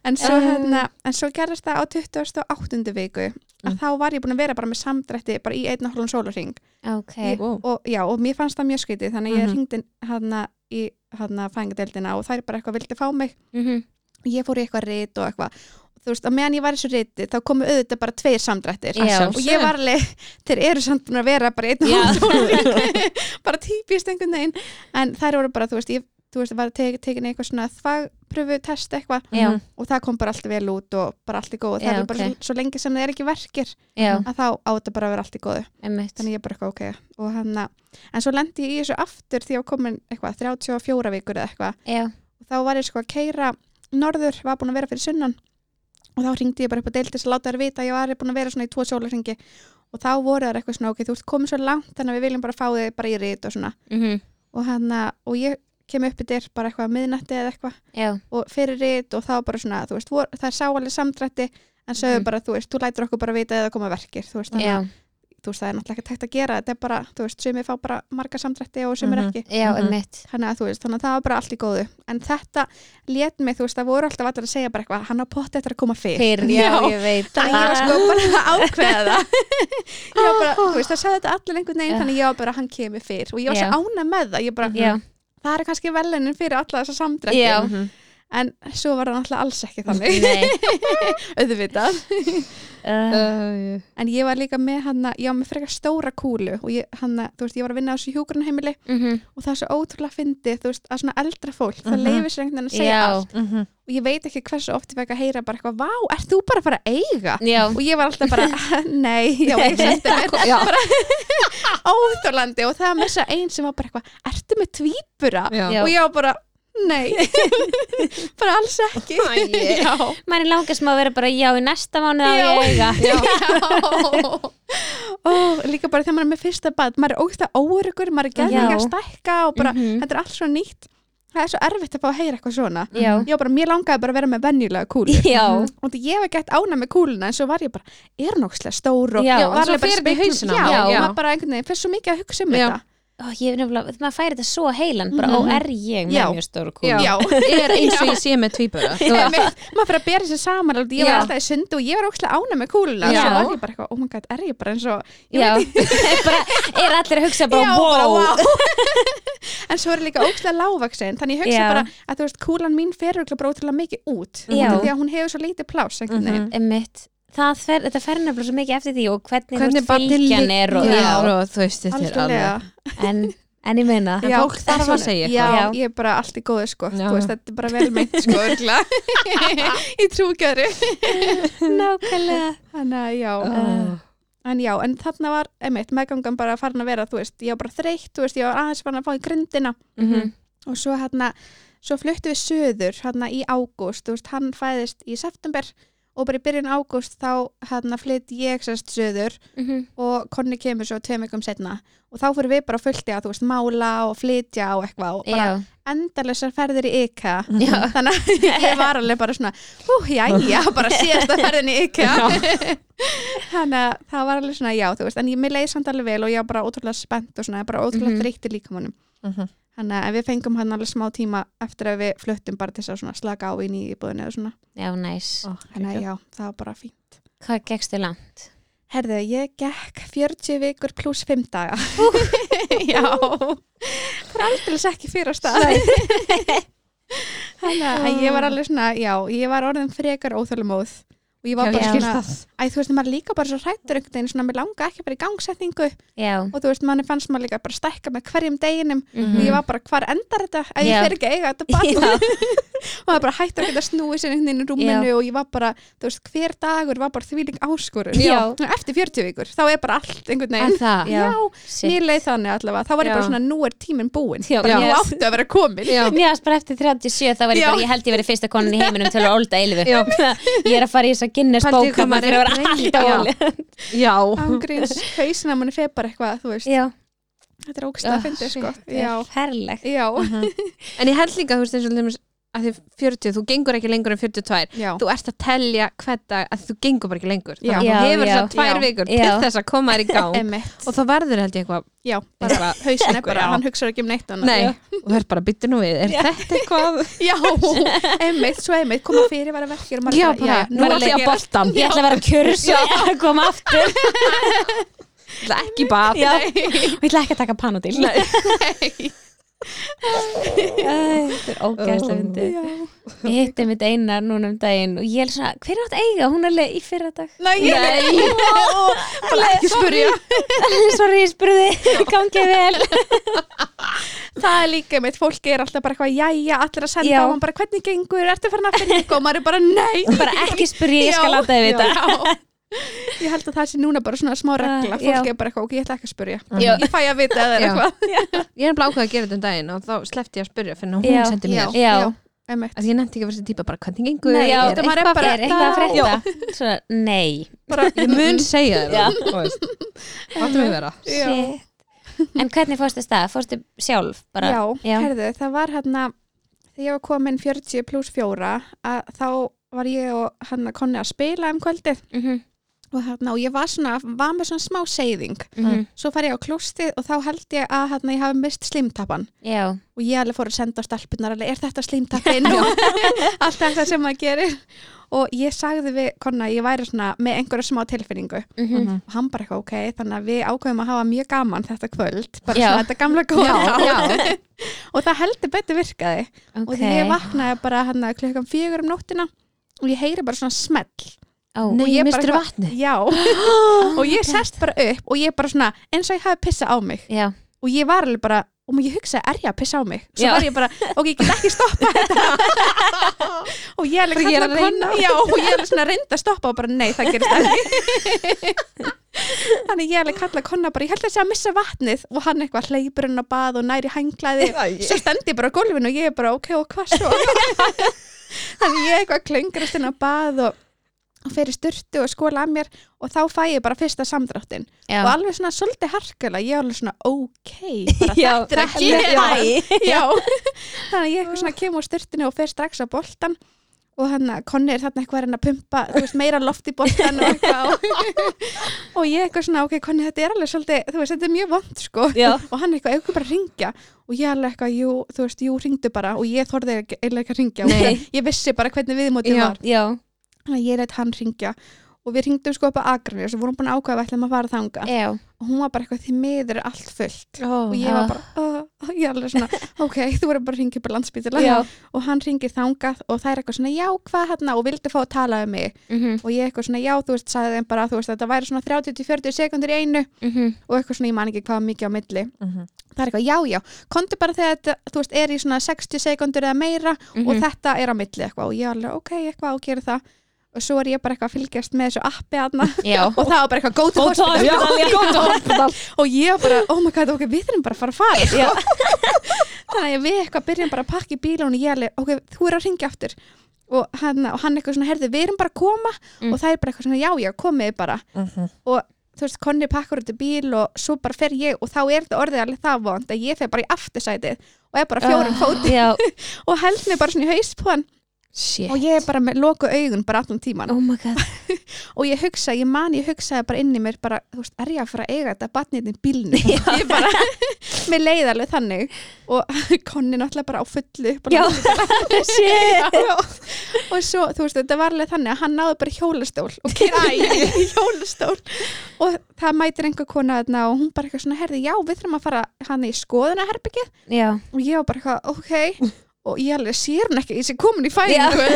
[SPEAKER 3] En svo,
[SPEAKER 2] Um.
[SPEAKER 1] Eh.
[SPEAKER 3] hérna, en svo gerðist það á 28. viku að
[SPEAKER 2] Mm.
[SPEAKER 3] þá var ég búin að vera bara með samdrætti bara í einn og hálfum sólarring
[SPEAKER 1] Ok
[SPEAKER 2] Wow.
[SPEAKER 3] og, já, og mér fannst það mjög skytið þannig að ég
[SPEAKER 2] Mhm.
[SPEAKER 3] mm -hmm. hringdi í hana, fængadeldina og þær bara eitthvað vildi fá mig
[SPEAKER 1] Mhm.
[SPEAKER 3] og ég fór í eitthvað rit og eitthvað og þú veist, og meðan ég var í þessu riti þá komu auðvitað bara tveir samdrættir
[SPEAKER 1] Já.
[SPEAKER 3] og ég var alveg, þeir eru samt búin að vera bara einn og
[SPEAKER 2] <laughs>
[SPEAKER 1] Já.
[SPEAKER 3] hálfum
[SPEAKER 1] <laughs>
[SPEAKER 3] sólarring <laughs> bara típist einhvern veginn en þær voru bara, þú veist, ég þú veist, var te tekin eitthvað svona þvagpröfu test eitthvað
[SPEAKER 1] Já,
[SPEAKER 3] og það kom bara allt vel út og bara allt í góðu það
[SPEAKER 1] Já,
[SPEAKER 3] er bara
[SPEAKER 1] ok.
[SPEAKER 3] svo, svo lengi sem það er ekki verkir
[SPEAKER 1] já,
[SPEAKER 3] að þá á þetta bara að vera allt í góðu
[SPEAKER 1] emmitt
[SPEAKER 3] Mhm. þannig ég bara eitthvað ok og hann að, en svo lendi ég í þessu aftur því að komin eitthvað 34 vikur eða eitthvað
[SPEAKER 1] Já,
[SPEAKER 3] og þá var ég sko að keira norður, var búin að vera fyrir sunnan og þá ringdi ég bara upp á deildis að láta þær vita að ég var búin að vera svona í tvo sólarringi og þá voru þær eitthvað svona ok, þú ert komin svo langt þannig að við viljum bara fá þig bara í rít og svona
[SPEAKER 1] Mhm.
[SPEAKER 3] og hann að, og ég kem upp í dyr bara eitthvað að miðnætti eða eitthvað
[SPEAKER 1] já,
[SPEAKER 3] og fyrir rít og þá bara svona, þú veist, vor, það er sáalið samdrætti en sögðu
[SPEAKER 1] Mhm.
[SPEAKER 3] bara, þú veist, þú lætur okkur bara vita eða koma verkir, þú veist, þannig
[SPEAKER 1] já,
[SPEAKER 3] að þú veist, það er náttúrulega ekki tækt að gera, þetta er bara, þú veist, sumir fá bara marga samdrætti og sumir
[SPEAKER 2] Mhm.
[SPEAKER 3] ekki
[SPEAKER 1] já,
[SPEAKER 2] Mhm.
[SPEAKER 1] emmitt
[SPEAKER 3] þannig að þú veist, þannig að það var bara allt í góðu en þetta lét mig, þú veist, það voru alltaf allir að segja bara eitthvað, hann á pott eftir að koma fyrr
[SPEAKER 1] Fyrr,
[SPEAKER 3] <laughs>
[SPEAKER 1] já, ég veit
[SPEAKER 3] þannig að ég
[SPEAKER 1] <laughs>
[SPEAKER 3] var sko bara <laughs> að ákveða það ég var bara, þú veist, það sagði þetta allir einhvern veginn,
[SPEAKER 1] Já.
[SPEAKER 3] þannig að ég var bara, hann kemur fyrr og ég var
[SPEAKER 1] Já.
[SPEAKER 3] svo ána með það, ég bara,
[SPEAKER 1] Já,
[SPEAKER 3] það er kannski velunin fyrir alla þessa samdrætti
[SPEAKER 1] já,
[SPEAKER 2] Mhm.
[SPEAKER 3] en svo var það náttúrulega alls
[SPEAKER 1] <laughs>
[SPEAKER 3] ekki þannig <laughs>
[SPEAKER 1] Nei,
[SPEAKER 3] auðvitað
[SPEAKER 1] uh,
[SPEAKER 2] uh,
[SPEAKER 3] en ég var líka með hann að, já, með frekar stóra kúlu og ég, hann að, þú veist, ég var að vinna á þessu hjúgrunheimili og það er svo ótrúlega fyndið, þú veist, að svona eldra fólk það
[SPEAKER 2] Mhm.
[SPEAKER 3] leifir sér einhvern veginn að segja
[SPEAKER 1] Já.
[SPEAKER 3] allt og ég veit ekki hversu oft ég fekk að heyra bara eitthvað, vá, ert þú bara að fara að eiga?
[SPEAKER 1] já,
[SPEAKER 3] og ég var
[SPEAKER 1] <laughs>
[SPEAKER 3] alltaf bara, nei, já, ég seti <laughs>
[SPEAKER 2] já,
[SPEAKER 3] óþólandi og það var með þess að einn sem var bara eitthvað, ertu með tvíbura?
[SPEAKER 1] Já.
[SPEAKER 3] og ég var bara,
[SPEAKER 1] <laughs>
[SPEAKER 3] nei bara alls ekki
[SPEAKER 2] Æi.
[SPEAKER 3] já,
[SPEAKER 1] mann er langast maður að vera bara já í næsta mánu á
[SPEAKER 3] Já.
[SPEAKER 1] ég að eiga
[SPEAKER 3] já. Ó, líka bara þegar maður er með fyrsta bad maður er ógst að óurugur, maður er gerðið ekki að
[SPEAKER 1] Já.
[SPEAKER 3] stækka og bara,
[SPEAKER 1] Mhm.
[SPEAKER 3] þetta er allt svo nýtt það er svo erfitt að fá að heyra eitthvað svona
[SPEAKER 1] Já,
[SPEAKER 3] já, bara, mér langaði bara að vera með venjulega kúlu
[SPEAKER 1] <laughs> já,
[SPEAKER 3] og því ég var gett ána með kúluna en svo var ég bara, er nógslega stór og
[SPEAKER 1] Já,
[SPEAKER 3] var
[SPEAKER 2] svo
[SPEAKER 3] alveg bara
[SPEAKER 2] fer þetta í
[SPEAKER 3] speglun-
[SPEAKER 2] hausinn á
[SPEAKER 3] já,
[SPEAKER 1] manni, já.
[SPEAKER 3] maður bara einhvern veginn, fyrst svo mikið að hugsa um
[SPEAKER 2] Já.
[SPEAKER 3] þetta
[SPEAKER 1] Ó, ég er nefnilega, maður færi þetta svo heilan bara,
[SPEAKER 3] Mhm.
[SPEAKER 1] ó, er ég með
[SPEAKER 3] Já.
[SPEAKER 1] mjög stóru kúlu
[SPEAKER 2] Já. er eins og ég sé með tvíbura <laughs> þú
[SPEAKER 3] Einmitt.
[SPEAKER 2] veist.
[SPEAKER 3] maður fyrir að bera sér saman alveg, ég var
[SPEAKER 2] Já.
[SPEAKER 3] alltaf í sundu og ég var ókslega ána með kúluna
[SPEAKER 2] Já.
[SPEAKER 3] svo var ég bara eitthvað, oh my god, er ég bara eins og ég
[SPEAKER 1] Já, <laughs> bara, er allir að hugsa bara,
[SPEAKER 3] Já,
[SPEAKER 1] wow,
[SPEAKER 3] bara, wow. <laughs> en svo er ég líka ókslega lágvaksin þannig ég hugsa
[SPEAKER 1] Já.
[SPEAKER 3] bara að þú veist, kúlan mín fer örugglega bara ótrúlega mikið út
[SPEAKER 1] Já.
[SPEAKER 3] Út af því að hún hefur svo lítið pláss
[SPEAKER 1] Mhm.
[SPEAKER 2] Mhm.
[SPEAKER 3] mm -hmm.
[SPEAKER 1] Einmitt. Það fer, þetta fer nefnilega svo mikið eftir því og hvernig,
[SPEAKER 2] hvernig
[SPEAKER 1] hvernig
[SPEAKER 2] barnið
[SPEAKER 1] fylgjan er og,
[SPEAKER 2] liggur
[SPEAKER 1] já.
[SPEAKER 2] og þú veist þetta er alveg
[SPEAKER 3] algjörlega
[SPEAKER 1] En, en ég meina
[SPEAKER 2] En fólk þarf að
[SPEAKER 3] svona-
[SPEAKER 2] segja
[SPEAKER 3] já,
[SPEAKER 1] eitthvað. Já.
[SPEAKER 3] ég er bara allt í góðu sko
[SPEAKER 2] Já.
[SPEAKER 3] Þú veist, þetta er bara vel meint sko örugglega.
[SPEAKER 2] <laughs>
[SPEAKER 3] í trúgjöru
[SPEAKER 1] Nákvæmlega
[SPEAKER 3] þannig að já
[SPEAKER 2] Ó.
[SPEAKER 3] en já, en þarna var, einmitt, meðgangan bara farin að vera, þú veist, ég var bara þreytt þú veist, ég var aðeins farin að fá í grindina
[SPEAKER 1] Mhm.
[SPEAKER 2] Mhm.
[SPEAKER 3] og svo hérna, svo fluttu við söður hérna í ágúst, þú veist, hann fæðist í september og bara í byrjun ágúst þá hérna flytt ég sérst söður og konni kemur svo tveim vikum setna og þá fyrir við bara á fullt í að þú veist mála og flytja og eitthvað og
[SPEAKER 1] Já,
[SPEAKER 3] bara endalessar ferðir í IKEA
[SPEAKER 1] Já.
[SPEAKER 3] þannig að
[SPEAKER 1] <laughs>
[SPEAKER 3] ég var alveg bara svona hú, jæja, bara síðasta ferðin í IKEA <laughs> þannig að það var alveg svona, já, þú veist en ég, mér leið samt alveg vel og ég var bara ótrúlega spennt og svona, bara ótrúlega
[SPEAKER 1] Mhm.
[SPEAKER 3] mm -hmm. þreytti líkamunum
[SPEAKER 2] Mhm.
[SPEAKER 3] þannig að en við fengum hann alveg smá tíma eftir að við fluttum bara til þess að svona slaka á í nýjibúðinu eða svona,
[SPEAKER 1] já, næs
[SPEAKER 2] Ó,
[SPEAKER 3] þannig að já, það var bara fín
[SPEAKER 1] Hvað gekkstu langt?
[SPEAKER 3] Herðu, ég gekk 40 vikur pluss 5 daga <laughs> Já Það er aldrei ekki fyrir á stað Þannig að ég var alveg svona, já, ég var orðin frekar óþölumóð og ég var
[SPEAKER 2] Já,
[SPEAKER 3] bara
[SPEAKER 2] ég skil
[SPEAKER 3] svona,
[SPEAKER 2] það.
[SPEAKER 3] æ, þú veist, maður er líka bara svo hrættur einhvern veginn, svona, mér langa ekki bara í gangsetningu
[SPEAKER 1] Já,
[SPEAKER 3] og þú veist, manni fannst maður líka bara stækka með hverjum deginum
[SPEAKER 1] Mhm.
[SPEAKER 3] og ég var bara, hvar endar þetta? Ef
[SPEAKER 1] Já.
[SPEAKER 3] ég fer ekki að eiga þetta
[SPEAKER 1] <laughs> Já.
[SPEAKER 3] bara og maður bara hættur ekki að snúi sér einhvern veginn í rúminu og ég var bara, þú veist, hver dagur var bara þvíling áskorun
[SPEAKER 1] Já.
[SPEAKER 3] Svona eftir 40 vikur, þá er bara allt einhvern
[SPEAKER 2] Er
[SPEAKER 3] veginn
[SPEAKER 2] það?
[SPEAKER 1] Já.
[SPEAKER 3] mér leið þannig allavega, þá var ég bara
[SPEAKER 2] Já.
[SPEAKER 3] svona nú er tíminn búin,
[SPEAKER 1] Já.
[SPEAKER 3] bara nú
[SPEAKER 1] Já.
[SPEAKER 3] áttu að vera komin
[SPEAKER 2] Já.
[SPEAKER 1] Mér varst bara eftir 37 þá var ég
[SPEAKER 3] Já.
[SPEAKER 1] bara, ég held ég verið fyrsta konan í heiminum til að ólda eilifu <laughs>
[SPEAKER 2] Já.
[SPEAKER 1] Ég er að fara í þess að Guinness
[SPEAKER 2] Pældi hvað
[SPEAKER 1] bóka
[SPEAKER 2] maður
[SPEAKER 1] maður
[SPEAKER 2] er
[SPEAKER 1] er að vera
[SPEAKER 2] lengi-
[SPEAKER 1] alltaf
[SPEAKER 2] Já.
[SPEAKER 1] óli
[SPEAKER 2] Já.
[SPEAKER 3] ángríns, hausina manni feð bara eitthvað, þú veist,
[SPEAKER 1] Já,
[SPEAKER 3] þetta er ógstlega
[SPEAKER 1] Ah,
[SPEAKER 3] að fyndi sko,
[SPEAKER 1] shit,
[SPEAKER 3] já,
[SPEAKER 1] er ferlegt
[SPEAKER 3] já,
[SPEAKER 2] En ég held líka, þú veist, eins og þeim að því 40, þú gengur ekki lengur en 42
[SPEAKER 3] já
[SPEAKER 2] þú ert að telja hvern dag að þú gengur bara ekki lengur
[SPEAKER 3] Já.
[SPEAKER 1] Já,
[SPEAKER 2] þannig að þú hefur
[SPEAKER 1] já.
[SPEAKER 2] þess tvær
[SPEAKER 3] Já.
[SPEAKER 2] vikur
[SPEAKER 1] Já.
[SPEAKER 2] til þess að koma þér í gang
[SPEAKER 3] emitt,
[SPEAKER 2] og þá verður held ég eitthvað
[SPEAKER 3] já, bara
[SPEAKER 2] bara,
[SPEAKER 3] hausin er
[SPEAKER 2] Einhver,
[SPEAKER 3] bara,
[SPEAKER 2] já.
[SPEAKER 3] hann hugsar ekki um neitt annað.
[SPEAKER 2] nei, og þú er bara byttu nú við er þetta eitthvað
[SPEAKER 1] <laughs>
[SPEAKER 3] já, emitt, svo emitt koma fyrir var að verkjur og maður bara, já,
[SPEAKER 2] nú
[SPEAKER 1] bara
[SPEAKER 2] ætla ég að
[SPEAKER 3] gera-
[SPEAKER 2] boltan
[SPEAKER 1] Ég ætla að vera að kjörsa <laughs> að koma aftur
[SPEAKER 2] ætla ekki bað <laughs>
[SPEAKER 1] Já, og ég ætla ekki að taka panodil Nei Þetta er ógæðslega fyndið
[SPEAKER 3] Já.
[SPEAKER 1] Ég hitti mitt einar núna um daginn og ég er svona, hver er átt að eiga? Hún er alveg í fyrra dag
[SPEAKER 3] Nei, <laughs>
[SPEAKER 2] Nei.
[SPEAKER 3] bara ekki spurja
[SPEAKER 1] <laughs> Sorry, ég spurði, gangið vel
[SPEAKER 3] Það er líka mitt, fólk er alltaf bara eitthvað jæja, allir að senda
[SPEAKER 1] Já.
[SPEAKER 3] á hann bara hvernig gengur, ertu farin að fyrir ykkur og maður er bara nei
[SPEAKER 1] Bara ekki spurði, ég skal
[SPEAKER 3] Já,
[SPEAKER 1] láta þið vita
[SPEAKER 3] já. Ég held að það sé núna bara svona smá regla,
[SPEAKER 1] Ah,
[SPEAKER 3] fólk
[SPEAKER 1] já.
[SPEAKER 3] er bara eitthvað ok, ég ætla ekki að spurja,
[SPEAKER 1] Já.
[SPEAKER 3] ég fæ að vita eða
[SPEAKER 2] Já.
[SPEAKER 3] eitthvað
[SPEAKER 2] ég er bara ákveð að gera þetta um daginn og þá sleppti ég að spyrja fyrir hún
[SPEAKER 1] Já.
[SPEAKER 2] sendi mér
[SPEAKER 1] Já.
[SPEAKER 3] einmitt,
[SPEAKER 2] að ég nefndi ekki að vera þessi típa bara hvernig gengur
[SPEAKER 1] Nei, já,
[SPEAKER 2] er
[SPEAKER 3] þetta maður er
[SPEAKER 2] eitthvað
[SPEAKER 3] bara-
[SPEAKER 1] Er eitthvað að
[SPEAKER 2] Já.
[SPEAKER 1] frétta? Svona, nei
[SPEAKER 3] bara,
[SPEAKER 2] ég mun segja
[SPEAKER 1] Já.
[SPEAKER 2] þér það áttum við vera
[SPEAKER 3] Já.
[SPEAKER 1] Shit En hvernig fórstu stað? Fórstu sjálf bara?
[SPEAKER 3] já,
[SPEAKER 1] já.
[SPEAKER 3] herðu, það var hérna þegar ég var komin 40 pluss 4 að þá var ég og hann að konni að hérna spila um kvöldið
[SPEAKER 1] Mhm.
[SPEAKER 3] og þarna, og ég var svona, var með svona smá seyðing
[SPEAKER 1] Mhm.
[SPEAKER 3] svo fær ég á klóstið og þá held ég að þarna, ég hafi mist slimtappan
[SPEAKER 1] Já,
[SPEAKER 3] og ég alveg fór að senda á stelpunar alveg, er þetta
[SPEAKER 1] <laughs>
[SPEAKER 3] slímtappin og <laughs> allt þetta sem maður gerir og ég sagði við konna, að ég væri svona með einhverja smá tilfinningu
[SPEAKER 1] mhm.
[SPEAKER 3] og hann bara eitthvað ok, þannig að við ákveðum að hafa mjög gaman þetta kvöld, bara
[SPEAKER 1] Já.
[SPEAKER 3] svona þetta gamla góða ár."
[SPEAKER 2] já,
[SPEAKER 3] <laughs> og það heldur betur virkaði og
[SPEAKER 1] ok
[SPEAKER 3] því ég vaknaði bara hann klukkan fjögur um nóttina og ég heyri bara svona smell
[SPEAKER 1] Ó,
[SPEAKER 2] Nei,
[SPEAKER 3] ég bara
[SPEAKER 2] mistur
[SPEAKER 3] eitthvað-
[SPEAKER 2] vatni
[SPEAKER 3] já,
[SPEAKER 1] <gasps>
[SPEAKER 3] og ég sest bara upp og ég bara svona, eins og ég hafi pissað á mig
[SPEAKER 1] Já,
[SPEAKER 3] og ég var alveg bara og ég hugsaði, er ég að pissa á mig? Svo
[SPEAKER 1] Já.
[SPEAKER 3] var ég bara, ok, ég get ekki stoppa þetta og ég alveg
[SPEAKER 2] Bara ég er
[SPEAKER 3] kallaði
[SPEAKER 2] að reyna.
[SPEAKER 3] konu- já, og ég alveg svona reyndi að stoppa og bara nei, það gerist ekki þannig ég alveg kallaði konna bara, ég held að sé að missa vatnið og hann eitthvað hleypur hann á bað og næri hanglaði svo stend ég bara á gólfinu og ég er bara, ok, og hvað svo? þannig ég eitthvað klöngrast inn á bað og, og fer í styrtu og skóla að mér og þá fæ ég bara fyrsta samdráttin
[SPEAKER 1] já
[SPEAKER 3] og alveg svona svolítið harkulega, ég er alveg svona ok,
[SPEAKER 1] <laughs>
[SPEAKER 3] bara
[SPEAKER 1] Já,
[SPEAKER 3] þetta er ekki
[SPEAKER 1] þetta er
[SPEAKER 3] hæ <laughs> já, þannig að ég eitthvað svona kemur á styrtinu og fer strax á boltan og hann að konni er þarna eitthvað að reyna að pumpa þú veist, meira loft í boltan og eitthvað og, og ég eitthvað svona, ok, konni þetta er alveg svolítið, þú veist, þetta er mjög vond sko
[SPEAKER 1] Já.
[SPEAKER 3] og hann eitthvað, eitthvað bara að ringja og ég alveg eitthvað, jú, þú veist, jú, ringdu bara og ég þorði ekki- eiginlega ekki að ringja og
[SPEAKER 1] Nei.
[SPEAKER 3] ég vissi bara hvernig viðmótið
[SPEAKER 2] Já.
[SPEAKER 3] var
[SPEAKER 1] Já,
[SPEAKER 3] þannig að ég leitt hann ringja og við ringdum sko upp á Akranes og vorum búin að ákvæða að við ætlum að fara þanga
[SPEAKER 1] já,
[SPEAKER 3] og hún var bara eitthvað því miður er allt fullt
[SPEAKER 2] oh,
[SPEAKER 3] og ég var bara, uh, uh, ég er alveg svona ok, þú verður bara að ringja upp á landsbytila
[SPEAKER 1] já
[SPEAKER 3] og hann ringir þangað og það er eitthvað svona já, hvað hérna, og vildi fá að tala um mig
[SPEAKER 1] mhm,
[SPEAKER 3] og ég eitthvað svona já, þú veist, sagði þeim bara þú veist, þetta væri svona 30-40 sekundur í einu
[SPEAKER 1] mhm,
[SPEAKER 3] og eitthvað svona, ég man ekki hvað var mikið á milli það er eitthvað, já, já, komdu bara þegar þetta, þú veist, er í svona 60 sekundur eða meira og
[SPEAKER 1] mhm.
[SPEAKER 3] þetta er á milli eitthvað og ég alveg, ok, eitthvað og gera það og svo er ég bara eitthvað að fylgjast með þessu appi aðna
[SPEAKER 1] <laughs> Já,
[SPEAKER 3] og það var bara eitthvað go
[SPEAKER 1] <laughs>
[SPEAKER 3] to hospital
[SPEAKER 2] já, gott að hospital
[SPEAKER 3] og ég var bara, oh my god, ok, við þurfum bara að fara að fara sko. <laughs> þannig að við eitthvað byrjum bara að pakka í bílun og ég alveg, ok, þú er að ringja aftur og hann, og hann eitthvað svona, herði, við erum bara að koma
[SPEAKER 1] Mm.
[SPEAKER 3] og það er bara eitthvað svona, já, já, komið bara
[SPEAKER 1] Mhm.
[SPEAKER 3] þú veist, konni pakkar út í bíl og svo bara fer ég og þá er það orðið alveg það vond að ég fer bara í aftursætið og er bara á fjórum
[SPEAKER 1] Ah,
[SPEAKER 3] fóti
[SPEAKER 1] Já,
[SPEAKER 3] og held mig bara svona í haus på hann
[SPEAKER 2] shit
[SPEAKER 3] og ég er bara með loku augun bara allan tíman
[SPEAKER 1] oh my god
[SPEAKER 3] og ég hugsa, ég man, ég hugsaði bara inn í mér bara, þú veist, er ég að fara að eiga þetta batnið í bílnu, <laughs> ég bara mér leið alveg þannig og <laughs> konni náttúrulega bara á fullu upp á
[SPEAKER 1] Já,
[SPEAKER 3] landi.
[SPEAKER 1] <laughs> shit
[SPEAKER 3] <laughs> Já. og svo, þú veist, þetta var alveg þannig að hann náði bara í hjólastól og
[SPEAKER 1] <laughs>
[SPEAKER 3] kyrði <laughs> í hjólastól og það mætir einhver kona þarna og hún bara eitthvað svona, herði, já, við þurfum að fara hann í skoðunaherbyggið
[SPEAKER 1] Já,
[SPEAKER 3] og ég var bara eitthvað,
[SPEAKER 2] <laughs>
[SPEAKER 3] ok og ég alveg sér hún ekki, ég sé komin í fæðingu <laughs>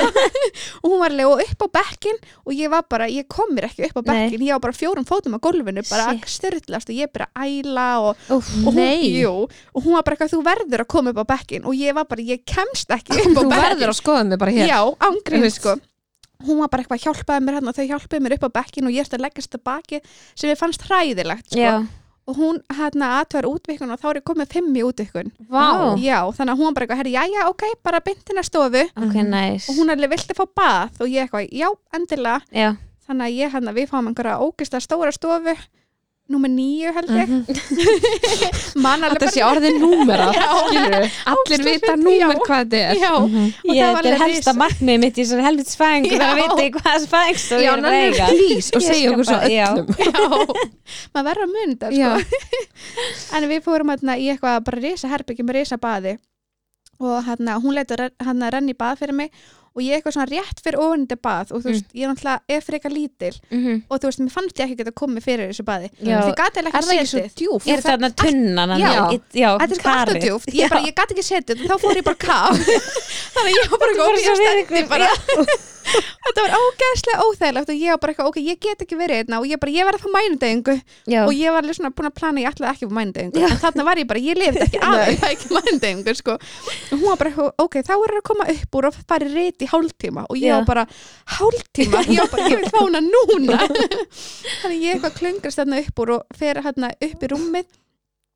[SPEAKER 3] og hún var alveg og upp á bekkin og ég var bara, ég kom mér ekki upp á
[SPEAKER 1] Nei.
[SPEAKER 3] bekkin, ég var bara fjórum fótum á gólfinu bara að styrlast og ég bara að æla og,
[SPEAKER 1] úf,
[SPEAKER 3] og, hún,
[SPEAKER 2] Nei.
[SPEAKER 3] jú, og hún var bara eitthvað, þú verður að koma upp á bekkin og ég var bara, ég kemst ekki upp á
[SPEAKER 2] þú
[SPEAKER 3] bekkin
[SPEAKER 2] verður að skoða mig bara hér
[SPEAKER 3] já, ángrið
[SPEAKER 2] Einmitt.
[SPEAKER 3] sko hún var bara eitthvað að hjálpaði mér hérna, þau hjálpaði mér upp á bekkin og ég ætti að leggast það baki sem ég fannst hræðilegt sko.
[SPEAKER 1] já,
[SPEAKER 3] og hún hérna aðtver útvikkun og þá er ég komið fimm í útvikkun
[SPEAKER 1] Vá.
[SPEAKER 3] já, þannig að hún bara eitthvað, herri, já, já, ok, bara byntina stofu
[SPEAKER 1] ok, næs
[SPEAKER 3] Mhm. og hún alveg vilti fá bað og ég eitthvað, já, endilega
[SPEAKER 1] Já,
[SPEAKER 3] þannig að ég hann við fáum einhverja ógislega stóra stofu númer nýju held ég mm
[SPEAKER 1] Mhm.
[SPEAKER 3] -hmm. man alveg
[SPEAKER 2] Mhm. þetta sé orðið númera skilurðu. allir
[SPEAKER 3] Ógeðslega
[SPEAKER 2] vita
[SPEAKER 3] fyndið,
[SPEAKER 2] númer
[SPEAKER 3] já.
[SPEAKER 2] hvað þetta er
[SPEAKER 3] já, og
[SPEAKER 1] ég,
[SPEAKER 3] það var
[SPEAKER 1] þetta er
[SPEAKER 3] alveg
[SPEAKER 1] helsta
[SPEAKER 3] risa.
[SPEAKER 1] markmið mitt í þessari helvits fæðing
[SPEAKER 3] Já.
[SPEAKER 1] Það er að vita í hvað fæðingst og
[SPEAKER 2] Já,
[SPEAKER 1] ég er að
[SPEAKER 2] nei,
[SPEAKER 1] eiga
[SPEAKER 2] please, og
[SPEAKER 1] Ég
[SPEAKER 2] segja
[SPEAKER 1] skal
[SPEAKER 2] okkur svo
[SPEAKER 1] bara- já.
[SPEAKER 2] öllum
[SPEAKER 3] já, maður verður að muni þetta sko. en við fórum hérna í eitthvað bara risa herbyggi með risa baði og hérna hún leitur hérna renni í bað fyrir mig og ég eitthvað svona rétt fyrir ofan þetta bað og þú
[SPEAKER 1] Mm.
[SPEAKER 3] veist, ég er náttúrulega er frekar lítil
[SPEAKER 1] Mhm.
[SPEAKER 3] og þú veist, mér fannst ég ekki geta komið fyrir þessu baði
[SPEAKER 1] Já.
[SPEAKER 3] því gati
[SPEAKER 2] er það
[SPEAKER 3] ekki
[SPEAKER 2] ekki svo
[SPEAKER 3] setið
[SPEAKER 2] djúf
[SPEAKER 1] Er þarna tunnan hann?
[SPEAKER 3] Já.
[SPEAKER 1] í- já,
[SPEAKER 3] Þetta er sko alltaf
[SPEAKER 1] karið.
[SPEAKER 3] djúft, ég, bara,
[SPEAKER 1] Já.
[SPEAKER 3] ég gat ekki setið og þá fór ég bara
[SPEAKER 1] <laughs>
[SPEAKER 3] kaf Þannig að ég var bara
[SPEAKER 1] Þú voru svo
[SPEAKER 3] góð,
[SPEAKER 1] við
[SPEAKER 3] ég stendi
[SPEAKER 1] ykkur,
[SPEAKER 3] bara <laughs> Þetta var ógeðslega óþægilegt og ég var bara eitthvað, ok, ég get ekki verið hérna og ég bara, ég verði að fá mænudegingu
[SPEAKER 1] Já,
[SPEAKER 3] og ég var alveg svona búin að plana, ég ætlaði ekki að fá mænudegingu en þarna var ég bara, ég
[SPEAKER 1] <laughs>
[SPEAKER 3] lifið ekki af ég fæ ekki mænudegingu, sko og hún var bara, eitthvað, ok, þá er að koma upp úr og fara í reyt í hálftíma og ég
[SPEAKER 1] Já.
[SPEAKER 3] var bara, hálftíma, ég var bara, ég vil fá hana núna
[SPEAKER 1] <laughs>
[SPEAKER 3] þannig ég eitthvað klöngrast þarna upp úr og fer hérna upp í rúmið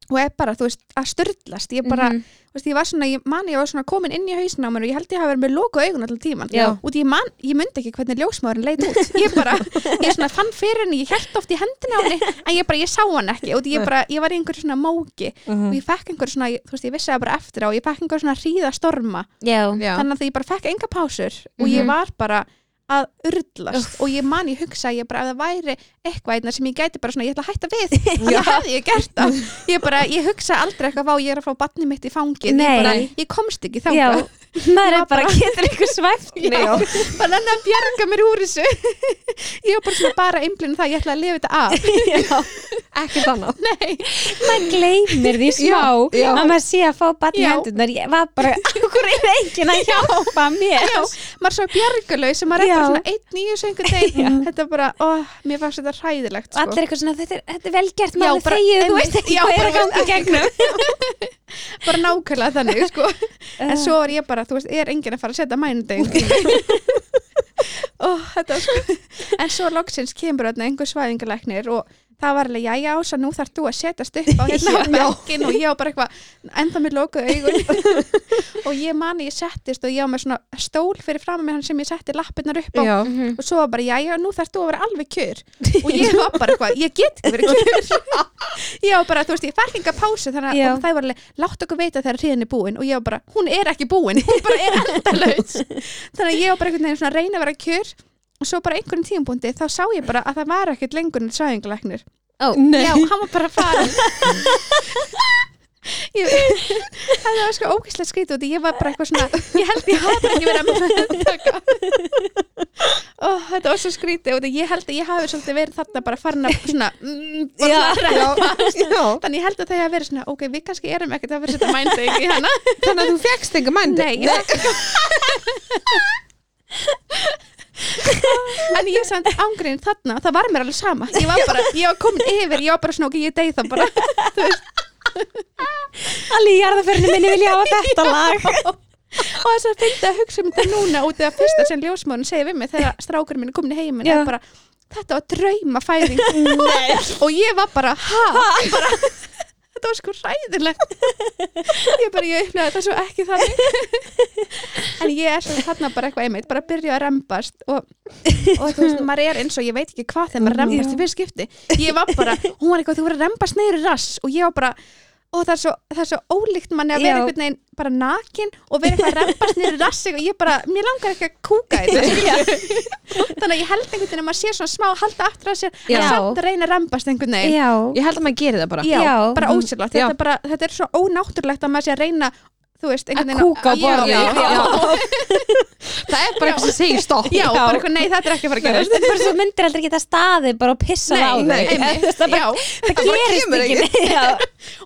[SPEAKER 3] og er bara, þú veist, að störtlast ég bara,
[SPEAKER 1] Mhm.
[SPEAKER 3] þú veist, ég var svona, ég man ég var svona komin inn í hausin á mér og ég held ég hafa verið með loka augun allan tíman
[SPEAKER 1] Já.
[SPEAKER 3] og ég man, ég myndi ekki hvernig ljósmaðurinn leit út ég bara, ég svona fann fyrir henni ég held oft í hendina á henni en ég bara, ég sá hann ekki og ég bara, ég var í einhverju svona móki og
[SPEAKER 1] Mhm.
[SPEAKER 3] ég fekk einhverju svona, ég- þú veist, ég vissi það bara eftir á ég fekk einhverju svona hríða storma
[SPEAKER 1] já,
[SPEAKER 2] já,
[SPEAKER 3] þannig að ég bara fekk enga pásur og ég
[SPEAKER 1] Mhm.
[SPEAKER 3] var bara að urðlast og ég man ég hugsa ég bara að það væri eitthvað einna sem ég gæti bara svona ég ætla að hætta
[SPEAKER 1] <laughs>
[SPEAKER 3] við
[SPEAKER 2] Já.
[SPEAKER 3] það hefði ég gert það ég bara, ég hugsa aldrei eitthvað vá ég er að fá batni mitt í fangið
[SPEAKER 1] Nei.
[SPEAKER 3] ég, bara, ég komst ekki þá
[SPEAKER 1] já,
[SPEAKER 3] bara,
[SPEAKER 1] <laughs>
[SPEAKER 3] <laughs>
[SPEAKER 1] maður er
[SPEAKER 3] Var
[SPEAKER 1] bara
[SPEAKER 3] bara-
[SPEAKER 1] getur ykkur svæft
[SPEAKER 3] Já. bara nenni að bjarga mér úr þessu <laughs> ég var bara svona bara einblinn það ég ætla að lifa þetta
[SPEAKER 1] <laughs>
[SPEAKER 3] af
[SPEAKER 2] ekkert annað
[SPEAKER 3] <laughs> nei,
[SPEAKER 1] maður gleymir því smá
[SPEAKER 2] Já, já.
[SPEAKER 1] að maður sé að fá batni
[SPEAKER 3] Já.
[SPEAKER 1] hendunar ég var bara, okkur er enginn að hjálpa mér
[SPEAKER 3] já, maður er svo bjargalaus sem maður er
[SPEAKER 1] Já.
[SPEAKER 3] bara svona einn í þessu einhver
[SPEAKER 1] Já.
[SPEAKER 3] deg þetta er bara, ó, mér fannst þetta hræðilegt
[SPEAKER 1] og
[SPEAKER 3] sko.
[SPEAKER 1] allir eitthvað svona, þetta er, þetta er velgert
[SPEAKER 3] Já,
[SPEAKER 1] maður
[SPEAKER 3] bara-
[SPEAKER 1] þegið, þú
[SPEAKER 3] einmitt.
[SPEAKER 1] veist ekki
[SPEAKER 3] Já,
[SPEAKER 1] hvað er
[SPEAKER 3] bara
[SPEAKER 1] að ganga í gegnum
[SPEAKER 3] <laughs> bara nákvæmlega þannig sko. en svo er ég bara, þú veist, er enginn að fara að setja mænudegin <laughs> og þetta var sko en svo loksins kemur þarna einhver svæðingalæknir og það var alveg, já, já, svo nú þarf þú að setjast <laughs> upp á hérna
[SPEAKER 1] Já.
[SPEAKER 3] bekkin og ég á bara eitthvað enda mér lokuð augun <laughs> og ég mani, ég settist og ég á með svona stól fyrir fram með hann sem ég setti lappirnar upp á
[SPEAKER 2] já,
[SPEAKER 1] Mhm.
[SPEAKER 3] og svo var bara, já, já, nú þarf þú að vera alveg kjör og ég var bara eitthvað, ég get ekki verið
[SPEAKER 1] <laughs>
[SPEAKER 3] kjör ég var bara, þú veist, ég fer hinga pásu þannig
[SPEAKER 1] Já.
[SPEAKER 3] að og það var alveg, látt okkur veita þegar hriðin er búin og ég var bara, hún er ekki búin hún bara er endalaus
[SPEAKER 1] <laughs>
[SPEAKER 3] þannig að ég var bara einhvern veginn svona að reyna að vera kjör og svo bara einhvern tímpúndi, þá sá ég bara að það var ekkert lengur en svæðingalæknir
[SPEAKER 1] Ó,
[SPEAKER 2] Nei.
[SPEAKER 3] já, hann var bara farin ég, það var sko ógeðslega skrítið út ég var bara eitthvað svona, ég held ég hafi ekki verið að meðtaka Ó, þetta var svo skrítið út ég held að ég hafi svolítið verið þarna bara farin að svona, mm, bara
[SPEAKER 1] Já.
[SPEAKER 3] svona
[SPEAKER 2] já, já.
[SPEAKER 3] þannig ég held að það hefði verið svona, ok, við kannski erum ekkert að vera þetta mændegi í hana
[SPEAKER 2] þannig að þú fegst enga mændi
[SPEAKER 3] Nei, ég fékk En ég samt ángriðin þarna, það var mér alveg sama Ég var bara, ég var komin yfir, ég var bara svona ok, ég deyð það bara
[SPEAKER 1] allir í jarðaförnum minni vilja hafa
[SPEAKER 3] <laughs>
[SPEAKER 1] þetta lag
[SPEAKER 3] Og þess að fyndi að hugsa um þetta núna út af fyrsta sem ljósmóðun segir við mig þegar strákur minn er komin í heiminn
[SPEAKER 1] Já.
[SPEAKER 3] er bara, þetta var
[SPEAKER 1] <laughs>
[SPEAKER 3] draumafæðing Og ég var bara, ha? Bara, þetta var sko ræðilegt <laughs> Ég bara, ég upplega þetta svo ekki þannig
[SPEAKER 1] <laughs>
[SPEAKER 3] En ég er svona þarna bara eitthvað einmitt bara að byrja að rembast og, og þú
[SPEAKER 1] <laughs>
[SPEAKER 3] veist, maður er eins og ég veit ekki hvað þegar maður rembast í fyrir skipti Ég var bara, hún var eitthvað, þú voru að rembast neyri rass og ég var bara og það er svo, það er svo ólíkt manni
[SPEAKER 1] Já.
[SPEAKER 3] að vera einhvern veginn bara nakin og vera eitthvað að rembast neyri rassi og ég bara, mér langar ekki að kúka í þetta
[SPEAKER 1] <laughs>
[SPEAKER 3] þannig að ég held einhvern veginn að maður sé svona smá að halda aftur að sér
[SPEAKER 1] Já.
[SPEAKER 3] en samt reyna að rembast einhvern veginn
[SPEAKER 1] <laughs> já,
[SPEAKER 2] ég held að maður gerir það bara
[SPEAKER 1] Já. mm,
[SPEAKER 3] bara ósýrlegt
[SPEAKER 2] Já.
[SPEAKER 3] þetta, er bara, þetta er svo ónáttúrulegt að maður sé að reyna þú veist,
[SPEAKER 1] að
[SPEAKER 3] einhvern
[SPEAKER 1] kúka á
[SPEAKER 3] Já,
[SPEAKER 1] borði
[SPEAKER 3] já, já, <laughs>
[SPEAKER 2] það er bara eitthvað sem segir stopp
[SPEAKER 3] já,
[SPEAKER 1] Já.
[SPEAKER 3] bara eitthvað, nei, þetta er ekki að fara að
[SPEAKER 1] Þú <laughs>
[SPEAKER 3] gerast
[SPEAKER 1] veist, bara svo myndir aldrei geta staðið bara og pissa á
[SPEAKER 3] Nei,
[SPEAKER 1] þig
[SPEAKER 2] nei,
[SPEAKER 1] Þú veist, það,
[SPEAKER 3] já,
[SPEAKER 1] bara, það gerist
[SPEAKER 2] kemur
[SPEAKER 1] ekki, <laughs> Já,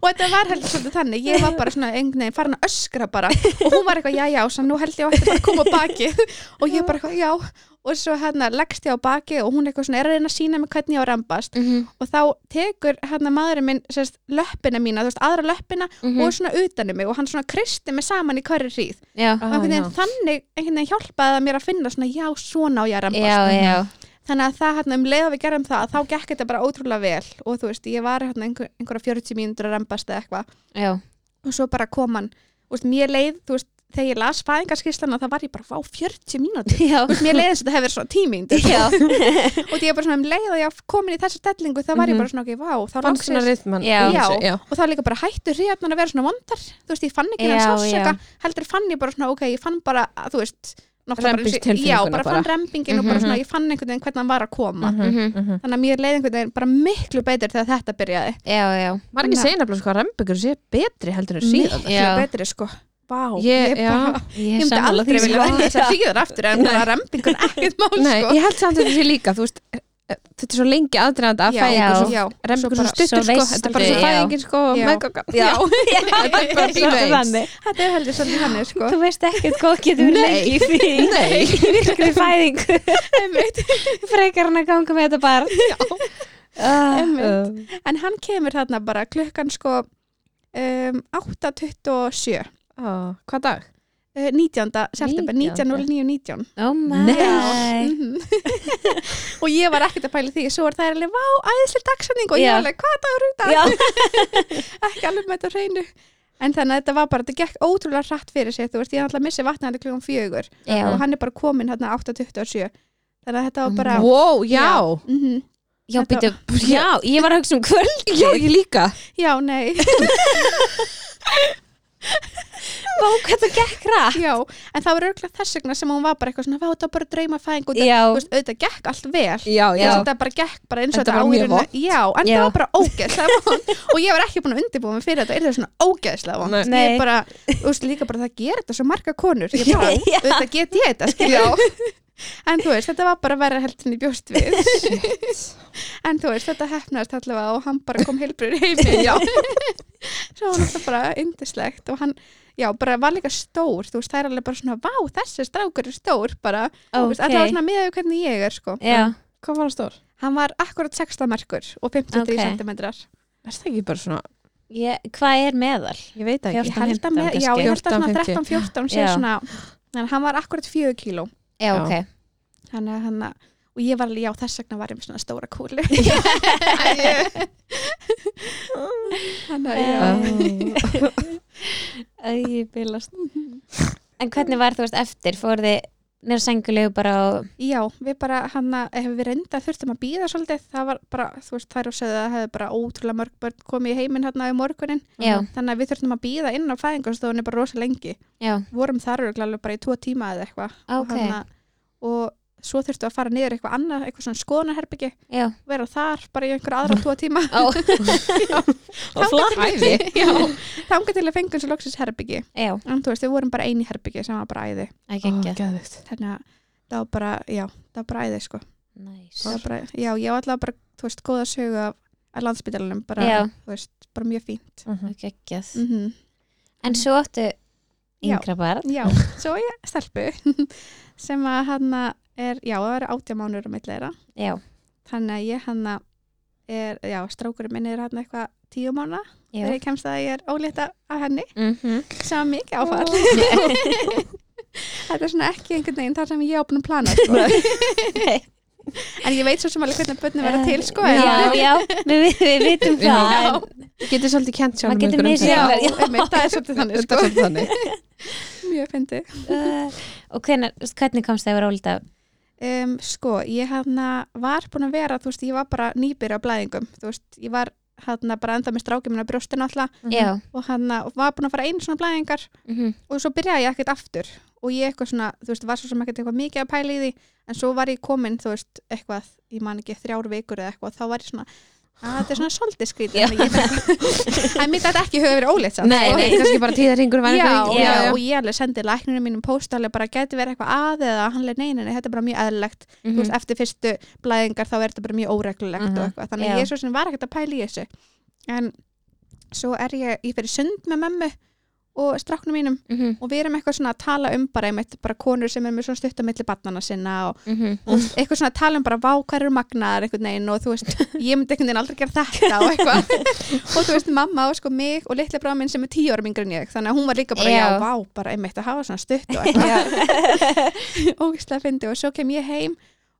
[SPEAKER 3] og þetta var heldur svolítið þannig ég var bara svona einhvern veginn farin að öskra bara og hún var eitthvað, já, já, sem nú held ég að þetta bara að koma á baki <laughs> og ég bara eitthvað, já og svo hérna leggst ég á baki og hún eitthvað svona er að reyna að sína mig hvernig ég á að rembast og þá tekur hérna maðurinn minn sérst, löppina mína, þú veist, aðra löppina
[SPEAKER 1] Mhm.
[SPEAKER 3] og svona utanum mig og hann svona kristi mig saman í hverri hríð
[SPEAKER 1] já,
[SPEAKER 2] Ah,
[SPEAKER 3] og
[SPEAKER 2] já.
[SPEAKER 3] einhvern veginn þannig einhvern veginn hjálpaði það mér að finna svona já, svona á ég að rembast
[SPEAKER 1] já, já.
[SPEAKER 3] þannig að það hérna um leið og við gerum það þá gekk þetta bara ótrúlega vel og þú veist, ég var hérna einhver, einhverja 40 mínútur að rembast eða eitthvað
[SPEAKER 1] já.
[SPEAKER 3] og svo bara kom hann, þú veist, mér leið þú veist, þegar ég las fæðingarskýslana þá var ég bara, vá, 40 mínútur
[SPEAKER 1] já.
[SPEAKER 3] Þú veist, mér leið eins og þetta hefur verið svona
[SPEAKER 2] <laughs>
[SPEAKER 3] tímyndur
[SPEAKER 1] já.
[SPEAKER 3] og því ég bara svona um leið og ég var komin í þessa stellingu þá var ég bara svona, ok, vá, þá
[SPEAKER 2] fann Mhm. svona
[SPEAKER 3] loksins-
[SPEAKER 2] rithman
[SPEAKER 1] Já.
[SPEAKER 2] í
[SPEAKER 3] já,
[SPEAKER 2] þessu, já.
[SPEAKER 3] og þá líka bara hættu hriðarnar að vera svona vondar þú veist, ég fann ekki
[SPEAKER 1] Já,
[SPEAKER 3] hann sásöka heldur fann ég bara svona, ok, ég fann bara að, þú veist, náttúrulega bara eins og-
[SPEAKER 2] Rembingstilfinninguna
[SPEAKER 3] já, bara
[SPEAKER 2] bara.
[SPEAKER 3] fann rembingin og bara
[SPEAKER 1] Mhm.
[SPEAKER 3] svona, ég fann einhvern veginn hvernig hann var að koma þannig að mér leið einhvern veginn bara miklu betur þegar þetta byrjaði
[SPEAKER 1] já, já.
[SPEAKER 2] margir
[SPEAKER 3] Þannig að-
[SPEAKER 2] segir nefnilega sko að rembingur sé betri heldur en síðan
[SPEAKER 3] miklu
[SPEAKER 1] Já.
[SPEAKER 3] betri, sko Vá,
[SPEAKER 2] Ég-
[SPEAKER 3] ég, bara,
[SPEAKER 1] Ég
[SPEAKER 3] ég myndi
[SPEAKER 1] sammála
[SPEAKER 3] aldrei
[SPEAKER 1] því,
[SPEAKER 3] vilja <laughs>
[SPEAKER 1] sko.
[SPEAKER 3] vona þess að hríðar aftur en bara rembingun ekkert mál,
[SPEAKER 2] Nei,
[SPEAKER 3] sko
[SPEAKER 2] ég held samt að þetta sé líka þú veist, eh, þetta er svo lengi aðdreðandi að
[SPEAKER 3] Já,
[SPEAKER 2] fæðingur
[SPEAKER 1] já.
[SPEAKER 2] svo
[SPEAKER 3] já,
[SPEAKER 2] rembingur
[SPEAKER 3] svo
[SPEAKER 2] svo
[SPEAKER 3] bara-
[SPEAKER 2] stuttur
[SPEAKER 1] svo
[SPEAKER 2] sko,
[SPEAKER 1] veist
[SPEAKER 2] þetta er bara svo
[SPEAKER 1] aldrei, já.
[SPEAKER 2] fæðingin sko
[SPEAKER 3] Já.
[SPEAKER 2] meðganga.
[SPEAKER 1] Já, <laughs> já,
[SPEAKER 2] Þetta er bara
[SPEAKER 1] já,
[SPEAKER 2] pínu eins.
[SPEAKER 1] þannig.
[SPEAKER 3] þetta er heldur svolítið hann, sko
[SPEAKER 1] <laughs> Þú veist ekkert hvað getur verið lengi í <laughs> því
[SPEAKER 2] Nei.
[SPEAKER 1] í virkri fæðingu frekar hann að ganga með þetta Ah, bara já,
[SPEAKER 3] Einmitt.
[SPEAKER 2] Uh,
[SPEAKER 3] en hann kemur þarna bara klukkan sko um, 8.27
[SPEAKER 2] á, hvað dag?
[SPEAKER 3] uh, 19. september
[SPEAKER 2] 19.
[SPEAKER 3] 19.09.19
[SPEAKER 1] oh
[SPEAKER 2] Nei.
[SPEAKER 1] my
[SPEAKER 3] Mhm. <laughs> og ég var ekkert að pæla í því svo er það alveg, vá, æðislega dagsanning og ég
[SPEAKER 1] Já.
[SPEAKER 3] var alveg, hvað dagur er
[SPEAKER 1] já,
[SPEAKER 3] þetta? ekki alveg með þetta á hreinu en þannig að þetta var bara, þetta gekk ótrúlega hratt fyrir sig, þú veist, ég er alltaf að missi vatna hann klukkan fjögur
[SPEAKER 1] já. Oh
[SPEAKER 3] og hann er bara komin hérna 8.27 þannig að þetta var bara
[SPEAKER 2] Wow, já.
[SPEAKER 3] mm
[SPEAKER 1] já, býtu, já, ég var að hugsa um kvöld
[SPEAKER 2] já, ég líka
[SPEAKER 3] já, nei
[SPEAKER 1] bók þetta gekk rætt
[SPEAKER 3] <laughs> Já, en það var örgulega þess vegna sem hún var bara eitthvað svona, vá, það var bara drauma fæðing og
[SPEAKER 1] Já.
[SPEAKER 3] það, þú veist, auðvitað gekk allt vel.
[SPEAKER 2] já,
[SPEAKER 3] Ég
[SPEAKER 2] já,
[SPEAKER 3] veist, Þetta bara gekk bara eins og
[SPEAKER 2] Þetta
[SPEAKER 3] þetta
[SPEAKER 2] var mjög
[SPEAKER 3] áhyrinu.
[SPEAKER 2] vont.
[SPEAKER 3] Já, en
[SPEAKER 1] Já.
[SPEAKER 3] það var bara ógeðslega
[SPEAKER 2] <laughs>
[SPEAKER 3] vond og ég var ekki búin að undirbúa mig fyrir þetta, er það svona ógeðslega vond.
[SPEAKER 2] Nei.
[SPEAKER 1] Nei.
[SPEAKER 3] Ég bara, þú veist, líka bara það gerir þetta svo marga konur. Ég
[SPEAKER 2] <laughs>
[SPEAKER 3] bara, auðvitað get ég þetta, skilja. En þú veist, þetta var bara verra heldur en ég bjóst við. En þú veist, þetta hefnaðist allavega og hann bara kom heilbrur heimi. Já. <laughs> Svo var þetta bara yndislegt og hann, já, bara var líka stór, þú veist, það er alveg bara svona, vá, þessi strákur er stór bara. Þú veist, Þetta var svona miðað við hvernig ég er, sko.
[SPEAKER 1] já,
[SPEAKER 2] hvað var hann stór?
[SPEAKER 3] Hann var akkurat 16 merkur og 53
[SPEAKER 1] Ok.
[SPEAKER 3] okay. cm.
[SPEAKER 2] Er það ekki bara svona,
[SPEAKER 1] ég, hvað er meðal?
[SPEAKER 2] ég veit það
[SPEAKER 1] Já.
[SPEAKER 2] ekki
[SPEAKER 3] Ég held að
[SPEAKER 1] 15
[SPEAKER 3] með, já,
[SPEAKER 1] kannski.
[SPEAKER 3] ég held að
[SPEAKER 2] 14, 15.
[SPEAKER 3] svona 13-14 sé
[SPEAKER 1] Já.
[SPEAKER 3] svona, en hann var akkurat 4 kíló.
[SPEAKER 1] já,
[SPEAKER 2] Já.
[SPEAKER 1] ok
[SPEAKER 3] Þannig að hann, og ég var alveg, já, þess vegna var ég með svona stóra
[SPEAKER 1] <laughs>
[SPEAKER 3] kúli. Þannig að, já.
[SPEAKER 2] <laughs> Ó,
[SPEAKER 1] Æ, bílast En hvernig var þú veist eftir? Fóruð þið nýra sengulegu bara og
[SPEAKER 3] Já, við bara hann að ef við reynda þurftum að býða svolítið, það var bara, þú veist, þær og segði að það hefði bara ótrúlega mörg börn komið í heiminn hérna í morgunin,
[SPEAKER 1] Já,
[SPEAKER 3] þannig að við þurftum að býða inn á fæðingarstofunni bara rosa lengi.
[SPEAKER 1] já,
[SPEAKER 3] Vorum þar örugglega alveg bara í tvo tíma eða eitthvað. Og
[SPEAKER 1] Ah, ok
[SPEAKER 3] þarna- Og svo þurftum við að fara niður eitthvað annað, eitthvað svona skoðunarherbyggi,
[SPEAKER 1] Já,
[SPEAKER 3] vera þar bara í einhverja aðra tvo
[SPEAKER 1] <laughs>
[SPEAKER 3] tíma.
[SPEAKER 1] ó,
[SPEAKER 2] Og flott ævi
[SPEAKER 3] Já, þangað til að fengum svo loksins herbyggi.
[SPEAKER 1] já,
[SPEAKER 3] En þú veist, við vorum bara eini herbyggi sem var bara æði.
[SPEAKER 1] ekki ekki
[SPEAKER 2] geðvikt
[SPEAKER 3] Þannig að það var bara, já, það var bara æði, sko.
[SPEAKER 1] Næs
[SPEAKER 3] Það var bara, já, ég var alltaf bara, þú veist, góða sögu af, af landsbytalanum, bara,
[SPEAKER 1] Já.
[SPEAKER 3] þú veist, bara mjög fínt.
[SPEAKER 1] Ekki ekki
[SPEAKER 3] Mm
[SPEAKER 1] En svo áttu
[SPEAKER 3] Já.
[SPEAKER 1] yngra barn
[SPEAKER 3] Já, svo ég stelpu <laughs> sem að hann er, já, það er átja mánur um eitthvað
[SPEAKER 1] Já,
[SPEAKER 3] þannig að ég hann er, já, strákurinn minn er hann eitthvað tíu mánu,
[SPEAKER 1] já
[SPEAKER 3] þegar ég kemst að ég er ólétta af henni,
[SPEAKER 1] Mhm.
[SPEAKER 3] sem var mikið áfall. <laughs> Þetta er svona ekki einhvern veginn þar sem ég á búin að plana, sko. en ég veit svo sem alveg hvernig bönnum verða til, sko. en-
[SPEAKER 1] Eh, Já, já, við, við, við vitum
[SPEAKER 2] Já.
[SPEAKER 1] það en,
[SPEAKER 2] Getur svolítið kent sjálfum
[SPEAKER 1] Maður getur
[SPEAKER 2] ykkur um
[SPEAKER 1] misjafn-
[SPEAKER 2] þetta.
[SPEAKER 3] Já,
[SPEAKER 1] Já.
[SPEAKER 3] einmitt, það er svolítið þannig,
[SPEAKER 2] Þetta er
[SPEAKER 3] sko.
[SPEAKER 2] svolítið <laughs> þannig
[SPEAKER 3] Mjög fyndið.
[SPEAKER 1] uh, Og hvenar, hvernig komst það að vera ólita?
[SPEAKER 3] Um, sko, ég hana var búin að vera, þú veist, ég var bara nýbyrja á blæðingum, þú veist, ég var hana bara enda með strákjum minna brjóstinu alltaf
[SPEAKER 1] Já,
[SPEAKER 3] og hana og var búin að fara einu svona blæðingar
[SPEAKER 1] mhm,
[SPEAKER 3] og svo byrjaði ég ekkert aftur og ég eitthvað svona, þú veist, var svo sem ekkert eitthvað mikið að pæla í því en svo var ég komin, þú veist, eitthvað, ég man ekki þrjár vikur eða eitthvað, þá var ég svona, að þetta er svona
[SPEAKER 1] Já.
[SPEAKER 3] svolítið skrítið, þannig að ég <laughs> þekka, en mér þetta ekki höfðu verið óleitt samt,
[SPEAKER 2] Nei,
[SPEAKER 3] sko.
[SPEAKER 2] nei, kannski bara tíðarhingur
[SPEAKER 3] Já,
[SPEAKER 2] væri
[SPEAKER 3] já,
[SPEAKER 2] einhver-
[SPEAKER 3] og ég alveg sendi lækninu mínum póst alveg bara geti verið eitthvað að eða hann leið neinin, þetta er bara mjög eðlilegt þú
[SPEAKER 1] mhm
[SPEAKER 3] veist, eftir fyrstu blæðingar þá er þetta bara mjög óreglulegt
[SPEAKER 2] Mhm.
[SPEAKER 3] og eitthvað, þannig að
[SPEAKER 1] Já.
[SPEAKER 3] ég svo sem var ekkert að pæla í þessu en svo er ég, ég fyrir sund með mömmu og stráknum mínum
[SPEAKER 1] mhm,
[SPEAKER 3] og við erum eitthvað svona að tala um bara einmitt bara konur sem er með svona stutt á milli barnana sinna og
[SPEAKER 1] mhm.
[SPEAKER 3] eitthvað svona að tala um bara vá hvað eru magnaðar einhvern veginn og þú veist, <laughs> ég myndi einhvern veginn aldrei gera þetta og eitthvað og þú veist, mamma og sko mig og litli bráð minn sem er tíu ára mingur en ég, þannig að hún var líka bara
[SPEAKER 1] Já.
[SPEAKER 3] já, vá, bara einmitt að hafa svona stutt og eitthvað <laughs> ógislega fyndi og svo kem ég heim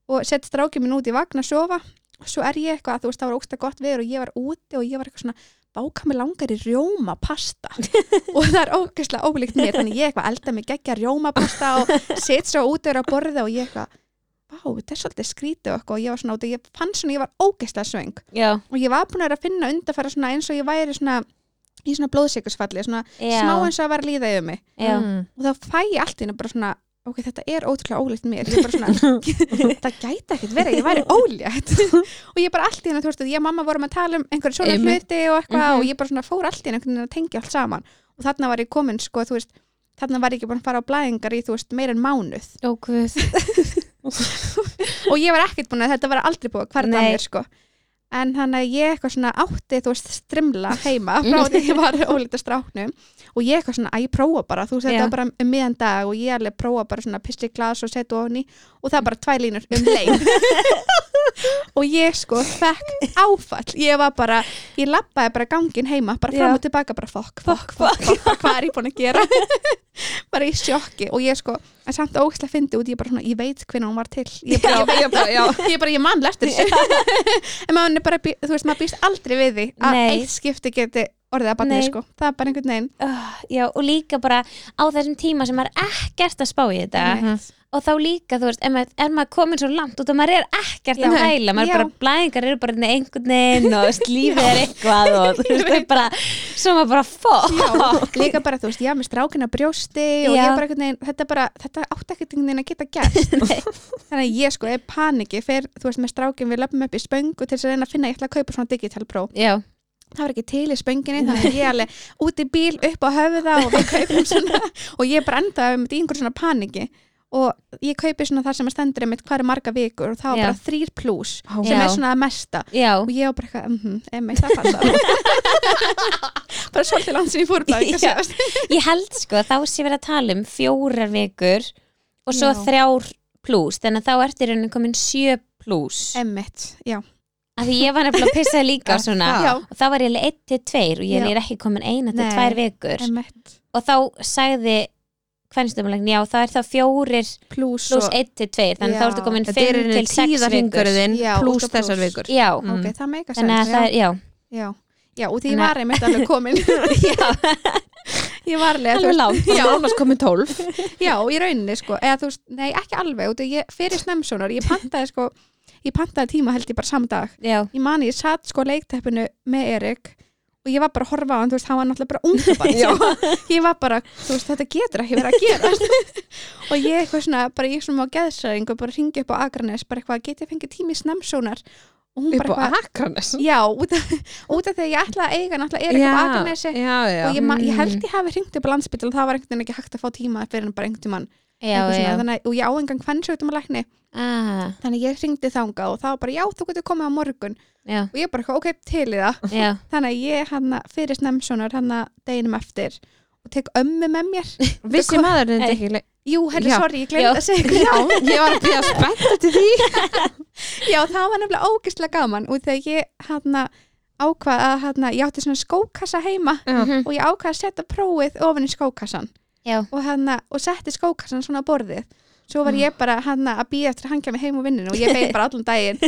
[SPEAKER 3] og sett strákið minn út í vagn að sofa og svo er ég eitthvað, þú veist, það var ógislega gott veður og ég var úti og ég var eitthvað svona báka mig langar í rjóma pasta og það er ógislega ólíkt mér þannig ég eitthvað elda mig geggja rjóma pasta og set svo út og er að borða og ég eitthvað vá, þetta er svolítið skrítið og eitthvað og ég var svona út og ég fann svona, ég var ógislega svöng
[SPEAKER 1] Já,
[SPEAKER 3] og ég var búin að vera að finna undarfæra svona eins og ég væri svona í svona blóðsikursfalli, svona smá
[SPEAKER 1] já,
[SPEAKER 3] eins og að vera að líða yfir mig
[SPEAKER 1] já
[SPEAKER 2] Mm.
[SPEAKER 3] og þá fæ ég allt í henni bara svona ok, þetta er ótrúlega ólétt mér ég bara
[SPEAKER 1] <laughs>
[SPEAKER 3] svona, það gæti ekkert verið, ég væri ólétt <laughs> og ég bara allt í henni, þú veist, ég og mamma vorum að tala um einhverja svona
[SPEAKER 2] Einmitt.
[SPEAKER 3] hluti og eitthvað
[SPEAKER 1] Mhm.
[SPEAKER 3] og ég bara svona fór allt í henni einhvern veginn að tengja allt saman og þarna var ég komin, sko, þú veist þarna var ég ekki búin að fara á blæðingar í, þú veist, meir en mánuð
[SPEAKER 1] Ó, guð
[SPEAKER 3] og ég var ekkert búin að þetta var aldrei búið að hverða
[SPEAKER 1] Nei.
[SPEAKER 3] mér, sko en þannig að ég eitthvað svona átti, þú veist, strimla heima
[SPEAKER 1] Mhm.
[SPEAKER 3] frá því ég var ólítið stráknum og ég eitthvað svona, að ég prófa bara þú veist,
[SPEAKER 1] Já.
[SPEAKER 3] þetta var bara um miðan dag og ég alveg prófa bara svona pisti glas og setja ofan í og það er bara tvær línur um
[SPEAKER 1] <laughs>
[SPEAKER 3] leið og ég sko fekk áfall, ég var bara ég labbaði bara gangin heima, bara fram
[SPEAKER 1] Já.
[SPEAKER 3] og tilbaka bara fokk, fokk, fokk, fokk, fokk hvað er ég búin að gera bara í sjokki og ég sko, en samt ógislega fyndi út, ég bara svona, ég veit hvernig hún var til ég bara,
[SPEAKER 2] Já, ég bara, já
[SPEAKER 3] <laughs> ég bara, ég man <laughs> leftir þessu en maður er bara, bí- þú veist, maður býst aldrei við því að
[SPEAKER 1] Nei.
[SPEAKER 3] eitt skipti geti orðið að barnið
[SPEAKER 1] Nei.
[SPEAKER 3] sko það er bara einhvern veginn
[SPEAKER 1] uh, já, og líka bara á þessum tíma sem maður er ekkert að spá í þetta
[SPEAKER 3] Mhm.
[SPEAKER 2] Mhm.
[SPEAKER 1] og þá líka, þú veist, ef maður, ef maður komin svo langt út og maður er ekkert
[SPEAKER 3] Já.
[SPEAKER 1] að hæla maður
[SPEAKER 3] Já.
[SPEAKER 1] er bara, blæðingar eru bara hérna einhvern veginn
[SPEAKER 3] <laughs>
[SPEAKER 1] og þú veist, lífið er eitthvað og þú veist, það er bara, svo maður bara fó
[SPEAKER 3] Já, líka bara, þú veist, ég haf með strákina brjósti
[SPEAKER 1] Já.
[SPEAKER 3] og ég bara einhvern veginn, þetta bara, þetta átt ekkert einhvern veginn að geta
[SPEAKER 2] <laughs>
[SPEAKER 3] gert þannig að ég sko, ég paniki fer, þú veist, með strákin við löpum upp í spöngu til þess að reyna að finna, ég ætla að kaupa svona digital pro
[SPEAKER 1] já,
[SPEAKER 3] það var ekki til í spönginni, þannig að ég alveg út í bíl, upp á höfða og við kaupum
[SPEAKER 1] <laughs>
[SPEAKER 3] svona og ég bara endaði með í einhver svona paniki og ég kaupi svona þar sem að stendur einmitt hvað er marga vikur og það var
[SPEAKER 1] Já.
[SPEAKER 3] bara þrýr pluss
[SPEAKER 2] Ó.
[SPEAKER 3] sem
[SPEAKER 1] Já.
[SPEAKER 3] er svona að mesta
[SPEAKER 1] já
[SPEAKER 3] og ég var bara eitthvað, mhm, emmi, það
[SPEAKER 1] <laughs>
[SPEAKER 3] passar bara svolítið langt sem ég fór bara, ekki að
[SPEAKER 1] Já.
[SPEAKER 3] segja
[SPEAKER 1] ég held sko að þá sé verið að tala um fjórar vikur og svo
[SPEAKER 3] Já.
[SPEAKER 1] þrjár pluss þannig að þá ertu í rauninni komin sjö pluss
[SPEAKER 3] Emmitt, já.
[SPEAKER 1] af því ég var nefnilega að pissa líka á
[SPEAKER 2] Er
[SPEAKER 1] svona
[SPEAKER 2] það?
[SPEAKER 3] <laughs> Já,
[SPEAKER 1] og þá var ég alveg 1 til 2 og ég
[SPEAKER 3] Já.
[SPEAKER 1] er ekki komin eina til
[SPEAKER 3] Nei.
[SPEAKER 1] 2 vikur
[SPEAKER 3] Emmitt.
[SPEAKER 1] og þá sagði hvernstumlegin, já það er þá fjórir
[SPEAKER 3] Plús
[SPEAKER 1] pluss
[SPEAKER 3] og...
[SPEAKER 1] 1 til 2 þannig
[SPEAKER 3] Já.
[SPEAKER 1] þá ertu komin
[SPEAKER 2] Þetta
[SPEAKER 1] 5
[SPEAKER 2] er
[SPEAKER 1] til
[SPEAKER 2] einu
[SPEAKER 1] 6 vikur
[SPEAKER 2] tíðarhingurðin
[SPEAKER 3] Já,
[SPEAKER 2] pluss
[SPEAKER 3] út af
[SPEAKER 2] þessar
[SPEAKER 3] plús.
[SPEAKER 2] vikur
[SPEAKER 1] já, mm.
[SPEAKER 3] Ok, það meika sens.
[SPEAKER 1] þannig að það
[SPEAKER 3] já.
[SPEAKER 1] er, já
[SPEAKER 3] Já. já, og því
[SPEAKER 1] Þannig
[SPEAKER 3] ég
[SPEAKER 1] að-
[SPEAKER 3] var einmitt alveg
[SPEAKER 1] <laughs>
[SPEAKER 3] komin. já. <laughs> Ég var alveg, þú
[SPEAKER 1] alveg
[SPEAKER 3] veist,
[SPEAKER 1] langt
[SPEAKER 2] Já, annars komið tólf
[SPEAKER 3] já, í rauninni, sko. Eða þú veist, nei, ekki alveg, út af ég fyrir snemsónar, ég pantaði, sko, ég pantaði tíma held ég bara saman dag.
[SPEAKER 1] já,
[SPEAKER 3] Ég mani, ég satt, sko, leikteppinu með Erik og ég var bara að horfa á hann, þú veist, hann var náttúrulega bara ungabann. já. Ég var bara, þú veist, þetta getur ekki verið að gera. og ég eitthvað svona, bara ég svona á geðsæðingu, bara ringi upp á Akranes, bara eitthvað, get ég fengið tími snemsónar? Og hún bara
[SPEAKER 2] upp á
[SPEAKER 3] eitthvað,
[SPEAKER 2] Akranes
[SPEAKER 3] Já, út af, út af því að ég ætlaði að eiga náttúrulega Erik á Akranesi
[SPEAKER 2] já, já.
[SPEAKER 3] og ég, ma- ég
[SPEAKER 1] Mm.
[SPEAKER 3] held ég hafi hringt upp á landsbytl og það var einhvern veginn ekki hægt að fá tíma fyrir en bara einhvern tímann
[SPEAKER 1] já,
[SPEAKER 3] eitthvað svona,
[SPEAKER 1] já.
[SPEAKER 3] þannig, að- og ég á engan kvennsjóttum að lækni
[SPEAKER 1] Ah,
[SPEAKER 3] þannig að ég hringdi þanga og það var bara já, þú getur komið á morgun
[SPEAKER 1] já,
[SPEAKER 3] og ég bara eitthvað, ok, til í
[SPEAKER 1] <laughs>
[SPEAKER 3] það
[SPEAKER 1] já,
[SPEAKER 3] þannig að ég hann fyrir snemsónar hann deginum eftir og tek ömmu með mér Sko-
[SPEAKER 2] vissi maður þetta
[SPEAKER 1] Nei.
[SPEAKER 2] ekki leik
[SPEAKER 3] jú, herri,
[SPEAKER 2] Já.
[SPEAKER 3] sorry, ég glemt
[SPEAKER 1] Já.
[SPEAKER 3] að segja
[SPEAKER 1] <laughs>
[SPEAKER 3] ykkur
[SPEAKER 2] já, ég var að býja spennt eftir því
[SPEAKER 3] Já, það var nefnilega ógeðslega gaman og þegar ég hann ákvað að hann, ég átti svona skókassa heima
[SPEAKER 2] já,
[SPEAKER 1] Mhm.
[SPEAKER 3] og ég ákvað að setja prófið ofan í skókassan
[SPEAKER 1] Já.
[SPEAKER 3] og, hana, og setti skókassan svona á borðið svo
[SPEAKER 1] Ah.
[SPEAKER 3] var ég bara hana, að býja eftir að hann kemur heim úr vinninu og ég beið bara allan daginn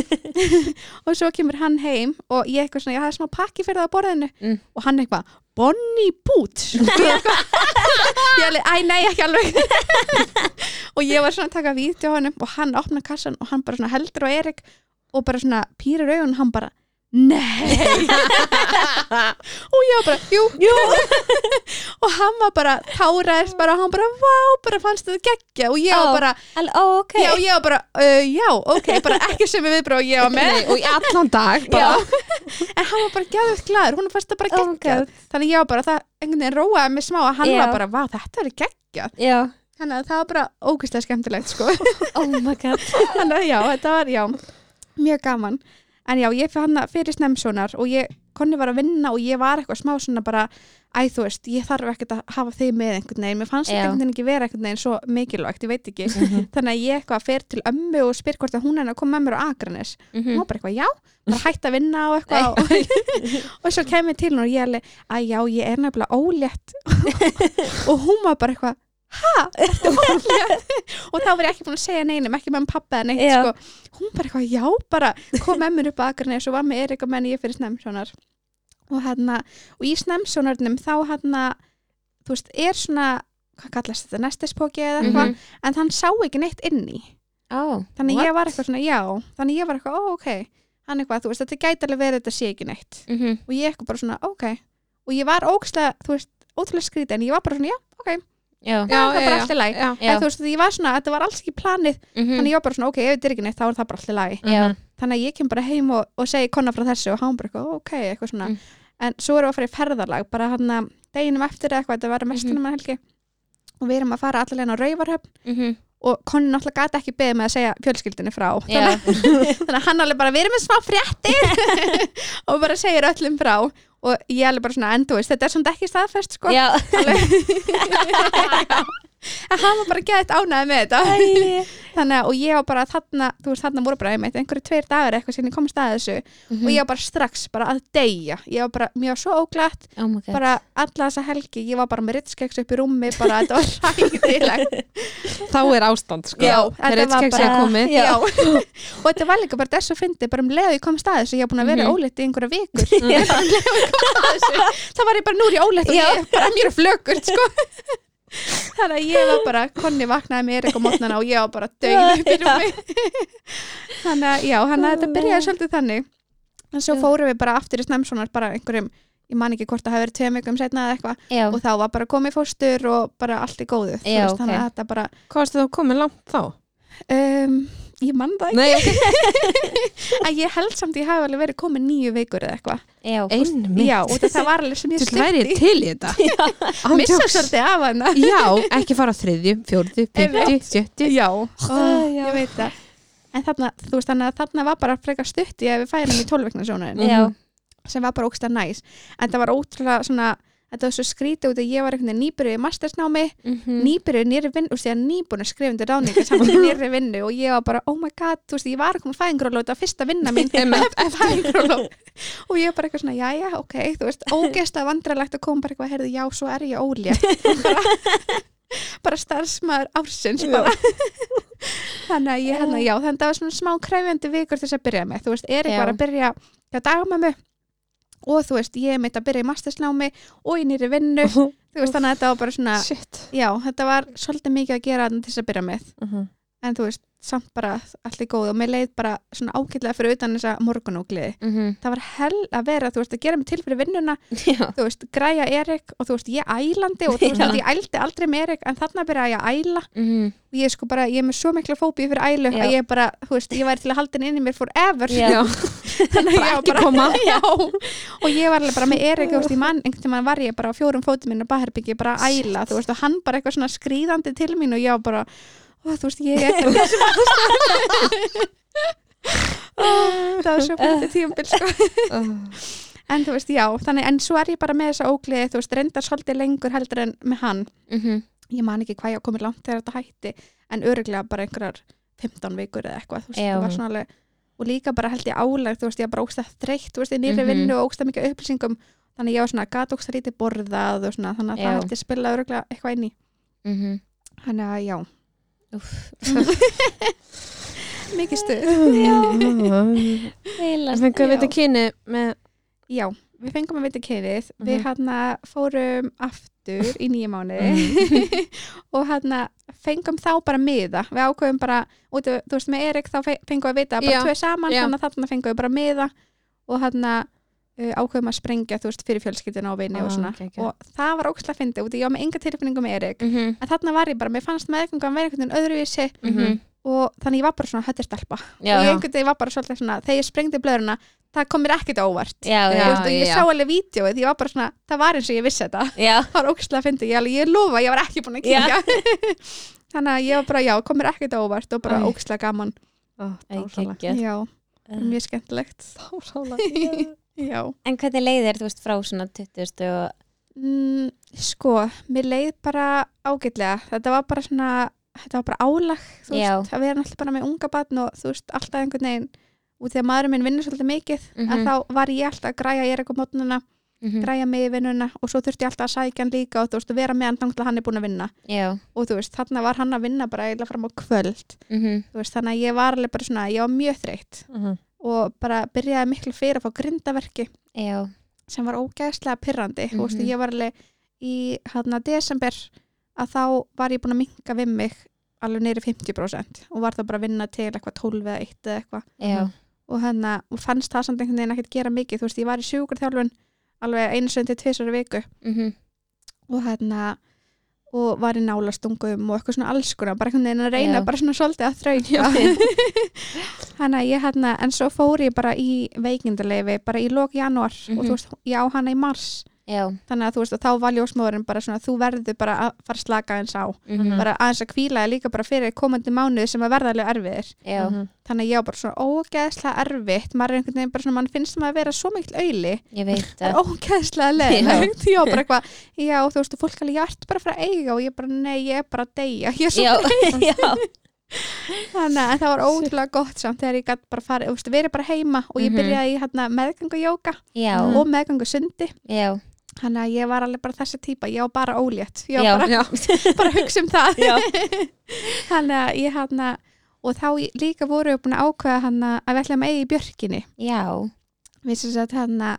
[SPEAKER 3] og svo kemur hann heim og ég eitthvað svona, ég hafði smá pakki fyrir það á borðinu
[SPEAKER 1] Mm.
[SPEAKER 3] og hann eitthvað, Bonnie Boots <laughs> ég alveg, æ nei, ekki alveg <laughs> og ég var svona að taka vídeo á honum og hann opna kassan og hann bara svona heldur á Erik og bara svona pýrir augun og hann bara, nei <laughs> og ég var bara, jú, jú <laughs> og hann var bara, táraðist bara og hann bara, vá, bara fannst þetta geggja og ég var
[SPEAKER 1] Ó,
[SPEAKER 3] bara,
[SPEAKER 1] alveg, ó, ok
[SPEAKER 3] já, ég var bara uh, já, ok, bara ekki sem við bara og ég var með,
[SPEAKER 2] Nei, og í allan dag
[SPEAKER 1] já,
[SPEAKER 2] bara,
[SPEAKER 3] en hann var bara geðuð glæður hún fannst það bara
[SPEAKER 1] Oh my
[SPEAKER 3] geggjað, þannig ég var bara það einhvern veginn róaði mig smá að hann
[SPEAKER 1] Já.
[SPEAKER 3] var bara, vá, þetta er geggjað
[SPEAKER 1] já,
[SPEAKER 3] þannig að það var bara ógeðslega skemmtilegt sko.
[SPEAKER 1] <laughs>
[SPEAKER 3] <laughs>
[SPEAKER 1] oh my god
[SPEAKER 3] þannig að já, þetta var, já mjög gaman, en já, ég fyrir hann fyrir snemsónar og ég, konni var að vinna og ég var eitthvað smá svona bara æ, þú veist, ég þarf ekkert að hafa þig með einhvern veginn, mér fannst
[SPEAKER 1] Já. Mhm.
[SPEAKER 3] þetta einhvern veginn ekki vera einhvern veginn svo mikilvægt, ég veit ekki þannig að ég eitthvað fer til ömmu og spyr hvort að hún er að koma með mér á Akranes hún
[SPEAKER 1] Mhm.
[SPEAKER 3] var bara eitthvað, já, bara hætt að vinna og <laughs> eitthvað
[SPEAKER 1] <laughs>
[SPEAKER 3] og, og svo kem ég til hún og ég alveg, að já, ég er nefnilega ólétt <laughs> og hún var bara eitthvað ha, <laughs> ertu ólétt og þá var ég ekki búin að segja neinum, ekki með um pappa eða neitt,
[SPEAKER 1] Já.
[SPEAKER 3] sko, hún bara eitthvað, já, bara kom með mér upp að Akranes og var með Erik og menn ég fyrir snemsónar og hérna, og í snemsónarnum þá hérna, þú veist, er svona hvað kallast þetta, nestispóki eða eitthvað
[SPEAKER 1] Mhm.
[SPEAKER 3] en hann sá ekki neitt inn í
[SPEAKER 1] Ó,
[SPEAKER 3] þannig
[SPEAKER 1] what?
[SPEAKER 3] ég var eitthvað svona, já þannig ég var eitthvað, ó, ok hann eitthvað, þú veist, þetta gæti alveg verið þetta sé ekki neitt
[SPEAKER 1] Mhm.
[SPEAKER 3] og ég eitthvað bara svona, ok og ég var ógæslega, þú veist, ótrúlega skrítið en ég var bara svona, já, ok,
[SPEAKER 1] já,
[SPEAKER 2] Já,
[SPEAKER 3] það var
[SPEAKER 2] já,
[SPEAKER 3] bara
[SPEAKER 2] já.
[SPEAKER 3] allt í lagi
[SPEAKER 2] já,
[SPEAKER 1] já
[SPEAKER 3] en þú veist, ég var svona, þetta var alls ekki planið
[SPEAKER 1] mhm.
[SPEAKER 3] þannig ég var bara svona, ok, ef þetta er ekki neitt, þá er það bara allt í lagi
[SPEAKER 1] já,
[SPEAKER 3] þannig að ég kem bara heim og, og segi konna frá þessu og hann bara eitthvað, ok, eitthvað svona
[SPEAKER 1] Mm.
[SPEAKER 3] en svo erum við að fara í ferðarlag, bara hann að deginum eftir eða eitthvað, þetta var mest
[SPEAKER 1] Mhm.
[SPEAKER 3] mm og við erum að fara allavega á Rauvarhöfn
[SPEAKER 1] mhm.
[SPEAKER 3] og konni náttúrulega gæti ekki beðið með að segja fjölskyldinni frá
[SPEAKER 1] já
[SPEAKER 3] þannig að hann alveg bara, við erum með smá fréttir
[SPEAKER 1] <laughs>
[SPEAKER 3] og bara segir öllum frá sko." og ég alveg bara svona, en þú veist, þetta er svona ekki staðfest sko
[SPEAKER 1] já,
[SPEAKER 3] Alveg- en hann var bara gæðið ánæði með þetta <laughs> þannig að og ég var bara þarna þú veist þarna voru bara einmitt einhverju tveir dagar eitthvað sem ég komst að þessu og
[SPEAKER 1] Mhm.
[SPEAKER 3] ég var bara strax bara að deyja ég var bara, mér var svo óglætt
[SPEAKER 1] oh my god
[SPEAKER 3] bara alla þessa helgi, ég var bara með ritskeks upp í rúmi bara þetta var <laughs> ræðilegt
[SPEAKER 2] þá er ástand sko
[SPEAKER 3] Já,
[SPEAKER 2] þegar
[SPEAKER 3] þetta var
[SPEAKER 2] eitthvað sé
[SPEAKER 1] bara-
[SPEAKER 2] að komið
[SPEAKER 1] Já.
[SPEAKER 3] <laughs> og þetta var líka bara þess að fyndi bara um leið og ég komst að þessu, ég var búin að vera
[SPEAKER 1] Mhm.
[SPEAKER 3] ólétt í einhverja vikur Ég bara um leið og ég komst að þessu, það var ég bara núri ólétt og
[SPEAKER 1] Já.
[SPEAKER 3] ég bara mér er flögur sko. <laughs> þannig að ég var bara konni vaknaði mér eitthvað mótnana og ég var bara dögð upp í rúmi <laughs> þannig að já, þannig að þetta byrjaði svolítið þannig en svo
[SPEAKER 1] Já.
[SPEAKER 3] fórum við bara aftur í snemsonar bara einhverjum, ég man ekki hvort það hafi verið tveim vikum setna eða eitthvað
[SPEAKER 1] <laughs> já,
[SPEAKER 3] og þá var bara komið fóstur og bara allt í góðu þú
[SPEAKER 1] Já,
[SPEAKER 3] veist, þannig
[SPEAKER 1] ok.
[SPEAKER 3] að þetta bara
[SPEAKER 2] hvað varstu þá komið langt þá?
[SPEAKER 3] um, ég man það
[SPEAKER 2] Nei, okay.
[SPEAKER 3] að ég held samt ég hafi alveg verið komin nýju veikur eða eitthvað
[SPEAKER 1] já,
[SPEAKER 2] einmitt,
[SPEAKER 3] já, og þetta var alveg sem ég
[SPEAKER 2] til væri
[SPEAKER 3] stutt
[SPEAKER 2] ég til í þetta
[SPEAKER 3] í
[SPEAKER 2] Án
[SPEAKER 3] missa
[SPEAKER 2] jokes.
[SPEAKER 3] svolítið af hana
[SPEAKER 2] já, ekki fara á þriðju, fjórðu, fymtu, sjöttu
[SPEAKER 3] já,
[SPEAKER 1] Ah, já.
[SPEAKER 3] ég veit það en þarna, þú veist þannig að þarna var bara frekar stutt í að við færum í tólveikna sjónaðin
[SPEAKER 1] já,
[SPEAKER 3] sem var bara ógsta næs en það var ótrúlega svona þetta var svo skrítið út að ég var einhvern veginn nýbyrjuð í mastersnámi,
[SPEAKER 1] mhm.
[SPEAKER 3] mm. nýbyrjuð nýri vinnu, þú veist ég var nýbúin að skrifa undir ráningu saman nýri vinnu og ég var bara, oh my god þú veist, ég var að koma fæðingróla og þetta var fyrsta vinna mín eftir fæðingrólof og ég var bara eitthvað svona, jæja, ok, þú veist ógeðst að vandralegt að koma bara eitthvað heyrðu, já, svo er ég ólétt bara, bara starfsmaður ársins bara <laughs> þannig að ég, hérna, já, þannig að það var svona smá kræfjandi vikur til þess að byrja með, þú veist, Erik
[SPEAKER 1] Já.
[SPEAKER 3] var að byrja hjá dagmömmu og þú veist, ég er meitt að byrja í mastersnámi og í nýri vinnu, þú veist, þannig að þetta var bara svona,
[SPEAKER 2] shit
[SPEAKER 3] já, þetta var svolítið mikið að gera þarna til þess að byrja með
[SPEAKER 2] Mhm.
[SPEAKER 3] en þú veist, samt bara allt í góð og mér leið bara svona ágætlega fyrir utan þessa morgunógliði
[SPEAKER 1] Mhm.
[SPEAKER 3] það var hell að vera, þú veist, að gera mig til fyrir vinnuna
[SPEAKER 1] <laughs> já,
[SPEAKER 3] þú veist, græja Erik og þú veist, ég ælandi og þú veist,
[SPEAKER 1] Já.
[SPEAKER 3] að ég ældi aldrei með Erik en þarna byrjaði ég að æla
[SPEAKER 1] mhm.
[SPEAKER 3] og ég er sko bara, ég er með svo mikla fóbíu fyrir ælu
[SPEAKER 1] Já.
[SPEAKER 3] að ég bara, þú veist, ég væri til að halda henni inn í mér forever
[SPEAKER 1] Já.
[SPEAKER 2] Já.
[SPEAKER 3] <laughs> þannig að ég var
[SPEAKER 2] Ekki koma.
[SPEAKER 3] já, og ég var alveg bara með Erik, þú veist, ég mann einhvern tímann var ég bara á fjórum fótum minn og baherbyggi bara að æla, þú veist, og hann bara eitthvað svona skríðandi til mín og ég var bara ó, þú veist, ég er bara það var svo fyrir tíumbil sko En þú veist, já, þannig, en svo er ég bara með þessa ógleði, þú veist, reyndar svolítið lengur heldur en með hann.
[SPEAKER 1] Mhm.
[SPEAKER 3] Ég man ekki hvað ég á komið langt þegar þetta hætti, en öruglega bara einhverjar 15 vikur eða eitthvað, þú veist,
[SPEAKER 1] Já.
[SPEAKER 3] það var svona alveg, og líka bara held ég álæg, þú veist, ég var bara ógstað þreytt, þú veist, ég nýri
[SPEAKER 1] Mhm.
[SPEAKER 3] vinnu og ógstað mikið af upplýsingum, þannig ég var svona gat ógstað lítið borðað og svona, þannig að
[SPEAKER 1] Já.
[SPEAKER 3] það held ég spila öruglega eitthvað inn í.
[SPEAKER 1] Mhm.
[SPEAKER 3] Þannig að já,
[SPEAKER 1] Úff. <laughs>
[SPEAKER 3] mikið stuð.
[SPEAKER 2] Já.
[SPEAKER 1] Heilast.
[SPEAKER 2] þannig Ah. að
[SPEAKER 3] Já.
[SPEAKER 2] við þetta kyni með
[SPEAKER 3] Já, við fengum að vita kynið, við
[SPEAKER 2] Mhm.
[SPEAKER 3] hérna fórum aftur í nýja mánu
[SPEAKER 2] Mhm.
[SPEAKER 3] <laughs> og hérna fengum þá bara miða, við ákveðum bara, út, af- þú veist með Erik þá fe- fengum við að vita bara
[SPEAKER 2] Já,
[SPEAKER 3] tvö saman,
[SPEAKER 2] já.
[SPEAKER 3] þannig að þarna fengum við bara miða og hérna uh, ákveðum að sprengja, þú veist, fyrir fjölskyldina og vinni
[SPEAKER 2] Ah,
[SPEAKER 3] og svona
[SPEAKER 2] ok, ok. Mm.
[SPEAKER 3] og það var ókslega fyndið út, af- ég var með enga tilfinningu með Erik,
[SPEAKER 1] Mhm.
[SPEAKER 3] en þarna var ég bara, mér fannst með einhvern veginn vera einhvern veginn öðruvísi
[SPEAKER 1] Mhm.
[SPEAKER 3] og þannig ég var bara svona höttistelpa
[SPEAKER 1] Já.
[SPEAKER 3] og ég einhvern veginn var bara svolítið svona, þegar ég sprengdi blöðurna, það kom mér ekkert á óvart
[SPEAKER 1] Já,
[SPEAKER 2] Já.
[SPEAKER 3] Þú
[SPEAKER 1] já,
[SPEAKER 3] veist, og ég sá alveg vídjóið, ég var bara svona það var eins og ég vissi þetta, <laughs>
[SPEAKER 1] já.
[SPEAKER 3] það var ógstlega að fyndi ég, alveg- ég lofa, ég var ekki búin að kíkja <laughs> þannig að ég var bara, já, komur ekkert á óvart og bara
[SPEAKER 1] Æ.
[SPEAKER 3] ógstlega gaman
[SPEAKER 1] Æ,
[SPEAKER 2] dásamlega
[SPEAKER 1] geggjað.
[SPEAKER 3] já,
[SPEAKER 1] Uh.
[SPEAKER 3] mjög skemmtilegt
[SPEAKER 2] dásamlega
[SPEAKER 3] já,
[SPEAKER 1] <laughs> En hvernig leiðir, þú veist, frá svona 20 og...
[SPEAKER 3] mm, sko mér leið bara ágætlega þetta var bara svona, þetta var bara álag þú
[SPEAKER 1] Já.
[SPEAKER 3] veist, að vera náttúrulega bara með unga batn og þú veist, alltaf einhvern veginn og því að maðurinn minn vinnur svolítið mikið
[SPEAKER 1] Mhm.
[SPEAKER 3] en þá var ég alltaf að græja ég er eitthvað mótnuna,
[SPEAKER 1] Mhm.
[SPEAKER 3] græja mig í vinnuna og svo þurfti ég alltaf að sækja hann líka og þú veist, vera með hann þangt að hann er búin að vinna
[SPEAKER 1] Já.
[SPEAKER 3] og þú veist, þarna var hann að vinna bara eiginlega fram á kvöld
[SPEAKER 1] Mhm.
[SPEAKER 3] þú veist, þannig að ég var alveg bara svona, ég var mjög þreytt
[SPEAKER 2] Uh-huh.
[SPEAKER 3] og bara byrjaði miklu fyrir að fá grindaverki
[SPEAKER 1] Já.
[SPEAKER 3] sem var ógæðslega pirrandi
[SPEAKER 1] Mhm.
[SPEAKER 3] og veist, ég var alveg í hana, desember að þá var ég búin að minka við mig alveg neyri 50% og var þá bara að vinna til eitthvað 12 eða 1 eða eitthvað
[SPEAKER 1] Já.
[SPEAKER 3] og, hana, og fannst það samt einhvern veginn ekkert gera mikið þú veist, ég var í sjúkurþjálfun alveg einu söndi tvisar í viku
[SPEAKER 1] Mhm.
[SPEAKER 3] og hérna og var í nálastungum og eitthvað svona alls konar, bara einhvern veginn að reyna
[SPEAKER 1] Já.
[SPEAKER 3] bara svona svolítið að þrauka <laughs> þannig að ég hérna, en svo fór ég bara í veikindaleyfi bara í lok januar og
[SPEAKER 1] Mhm.
[SPEAKER 3] þú veist, ég á hana í mars
[SPEAKER 1] já,
[SPEAKER 3] þannig að þú veist að þá var ljósmóðurinn bara svona þú verður bara að fara að slaka eins á
[SPEAKER 1] mhm,
[SPEAKER 3] bara aðeins að kvíla þig líka bara fyrir komandi mánuð sem að verða alveg erfiðir
[SPEAKER 1] já,
[SPEAKER 2] Uh-huh.
[SPEAKER 3] þannig að ég á bara svona ógeðslega erfitt maður er einhvern veginn bara svona, mann finnst maður að vera svo mikil auðli
[SPEAKER 1] ég veit
[SPEAKER 3] það
[SPEAKER 1] að
[SPEAKER 3] er ógeðslega leðilegt já, bara eitthvað, já, þú veist, fólk alveg, ég ert bara að fara að eiga og ég bara, nei, ég er bara að deyja <laughs> ég er
[SPEAKER 1] <laughs>
[SPEAKER 3] svo,
[SPEAKER 1] já, já,
[SPEAKER 3] þannig að það var ótrúlega gott samt þegar ég gætt bara að fara, þú veist, verið bara heima og ég
[SPEAKER 1] Mhm.
[SPEAKER 3] byrjaði í hérna, meðgangu jóka
[SPEAKER 1] já,
[SPEAKER 3] og meðgangu sundi
[SPEAKER 1] já
[SPEAKER 3] þannig að ég var alveg bara þessi típa, ég á bara ólétt ég á
[SPEAKER 1] Já.
[SPEAKER 3] bara,
[SPEAKER 2] Já.
[SPEAKER 1] <laughs>
[SPEAKER 3] bara að hugsa um það
[SPEAKER 1] Já.
[SPEAKER 3] þannig að ég hérna og þá ég- líka voru við búin að ákveða hana að við ætlum að eiga í björkinni
[SPEAKER 1] Já,
[SPEAKER 3] við sem sagt hérna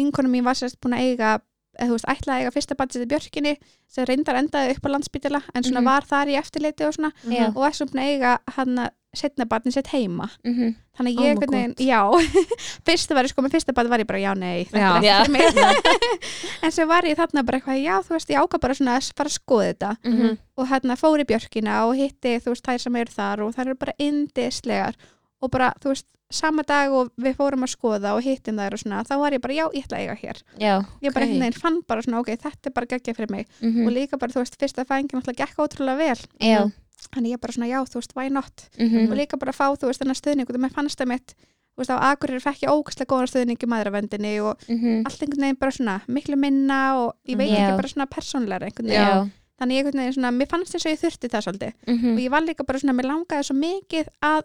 [SPEAKER 3] vinkonum mín var sérst búin að eiga eða þú veist, ætlaði að eiga fyrsta badið í björkinni sem reyndar endaði upp á landsbytila en svona
[SPEAKER 1] Mhm.
[SPEAKER 3] var þar í eftirliti og svona
[SPEAKER 2] Oh.
[SPEAKER 1] já,
[SPEAKER 3] og var svo búin að eiga hérna, hann setna badin sett heima
[SPEAKER 1] mhm,
[SPEAKER 3] þannig
[SPEAKER 2] Ó,
[SPEAKER 3] að ég,
[SPEAKER 2] my
[SPEAKER 3] oh neginn, já <laughs> fyrsta var ég sko með fyrsta badið var ég bara já nei þetta
[SPEAKER 2] Já.
[SPEAKER 3] er ekki
[SPEAKER 1] Já.
[SPEAKER 3] fyrir mig. <laughs> en svo var ég þarna bara eitthvað já þú veist ég áka bara svona að fara að skoða þetta
[SPEAKER 1] mhm,
[SPEAKER 3] og hérna fór í björkina og hitti þú veist þær sem eru þar og þær eru bara indislegar og bara þú veist sama dag og við fórum að skoða og hittum þær og svona þá var ég bara já ég ætla að eiga hér
[SPEAKER 1] já,
[SPEAKER 3] ég bara
[SPEAKER 2] Ok.
[SPEAKER 3] okay. neginn, fann bara svona ok þetta er bara geggja fyrir mig og
[SPEAKER 1] mhm,
[SPEAKER 3] líka bara þú veist fyrsta fæðingin alltaf gekk ótrúlega vel
[SPEAKER 1] já,
[SPEAKER 3] þannig ég bara svona já þú veist why not
[SPEAKER 1] mhm,
[SPEAKER 3] og líka bara fá þú veist þennan stuðning og það með fannst það mitt þú veist á Akureyri fekk ég ógæslega góðan stuðning í maðuravendinni og
[SPEAKER 1] mhm,
[SPEAKER 3] allt einhvern veginn bara svona miklu minna og ég veit
[SPEAKER 1] Mhm. Já.
[SPEAKER 3] ekki bara svona persónlega einhvern veginn
[SPEAKER 1] já,
[SPEAKER 3] þannig ég einhvern veginn svona, mér fannst þess að ég þurfti það svolítið og
[SPEAKER 1] mhm,
[SPEAKER 3] ég var líka bara svona, mér langaði svo mikið að,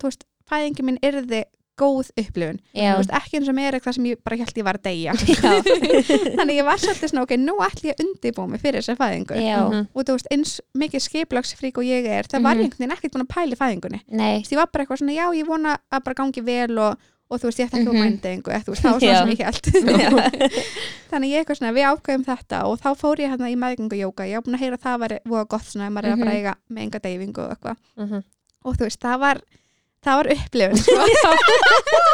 [SPEAKER 3] þú veist, fæðingi mín yrði góð upplifun,
[SPEAKER 1] já,
[SPEAKER 3] þú veist, ekki eins og mér eitthvað sem ég bara held ég var að deyja
[SPEAKER 1] <laughs> já,
[SPEAKER 3] <laughs> þannig ég var svolítið svona, ok, nú ætlum ég undibúið mig fyrir þessa fæðingu
[SPEAKER 1] já,
[SPEAKER 3] og þú veist, eins mikið skiplagsfrík og ég er það
[SPEAKER 1] Mhm.
[SPEAKER 3] var ég einhvern veginn ekkert búin að pæli fæðingunni
[SPEAKER 1] nei,
[SPEAKER 3] Þú veist, ég var bara eitthvað svona, já, ég vona að bara gangi vel og, og þú veist, ég ætla ekki
[SPEAKER 1] Mhm.
[SPEAKER 3] að mænda engu, eða þú veist, það var svona
[SPEAKER 1] Já.
[SPEAKER 3] sem ég held
[SPEAKER 1] <laughs> <laughs> já,
[SPEAKER 3] þannig ég eitthvað svona, við ákveðum þetta og þá fór ég hérna í meðgöngu jóka ég á búin að heyra að það var voða gott svona ef
[SPEAKER 1] Mhm.
[SPEAKER 3] maður er að fara að eiga með enga deyfingu og eitthvað og þú veist, það var það var upplifun
[SPEAKER 1] <laughs>
[SPEAKER 3] sko.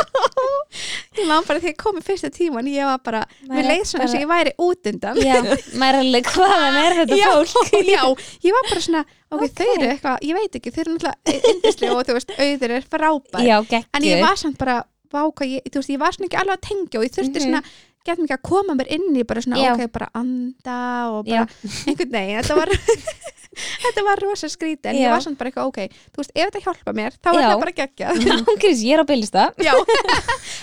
[SPEAKER 3] ég man bara þegar ég komið fyrsta tíman ég var bara,
[SPEAKER 1] Maður
[SPEAKER 3] mér
[SPEAKER 1] er
[SPEAKER 3] leið svona
[SPEAKER 1] bara-
[SPEAKER 3] sem ég væri út undan
[SPEAKER 1] já, maður er alveg hvaðan er þetta
[SPEAKER 3] <laughs> Já,
[SPEAKER 1] fólk?
[SPEAKER 3] já, ég var bara svona, ok,
[SPEAKER 1] Ok.
[SPEAKER 3] þau eru eitthvað ég veit ekki, þau eru náttúrulega yndislega og þú veist, auður er frábær
[SPEAKER 1] Já,
[SPEAKER 3] en ég
[SPEAKER 1] geggjur,
[SPEAKER 3] var samt bara váka, ég, þú veist, ég var svona ekki alveg að tengja og ég þurfti
[SPEAKER 1] Mhm.
[SPEAKER 3] svona, gett mikið að koma mér inn í bara svona,
[SPEAKER 1] Já.
[SPEAKER 3] ok, bara anda og
[SPEAKER 1] já,
[SPEAKER 3] bara einhvern veginn, þetta var <laughs> þetta var rosa skríti, en
[SPEAKER 1] Já.
[SPEAKER 3] ég var samt bara eitthvað, ok þú veist, ef þetta hjálpa mér, þá er
[SPEAKER 1] Já.
[SPEAKER 3] það bara geggja
[SPEAKER 1] ángrís, ég er á bylista
[SPEAKER 3] já,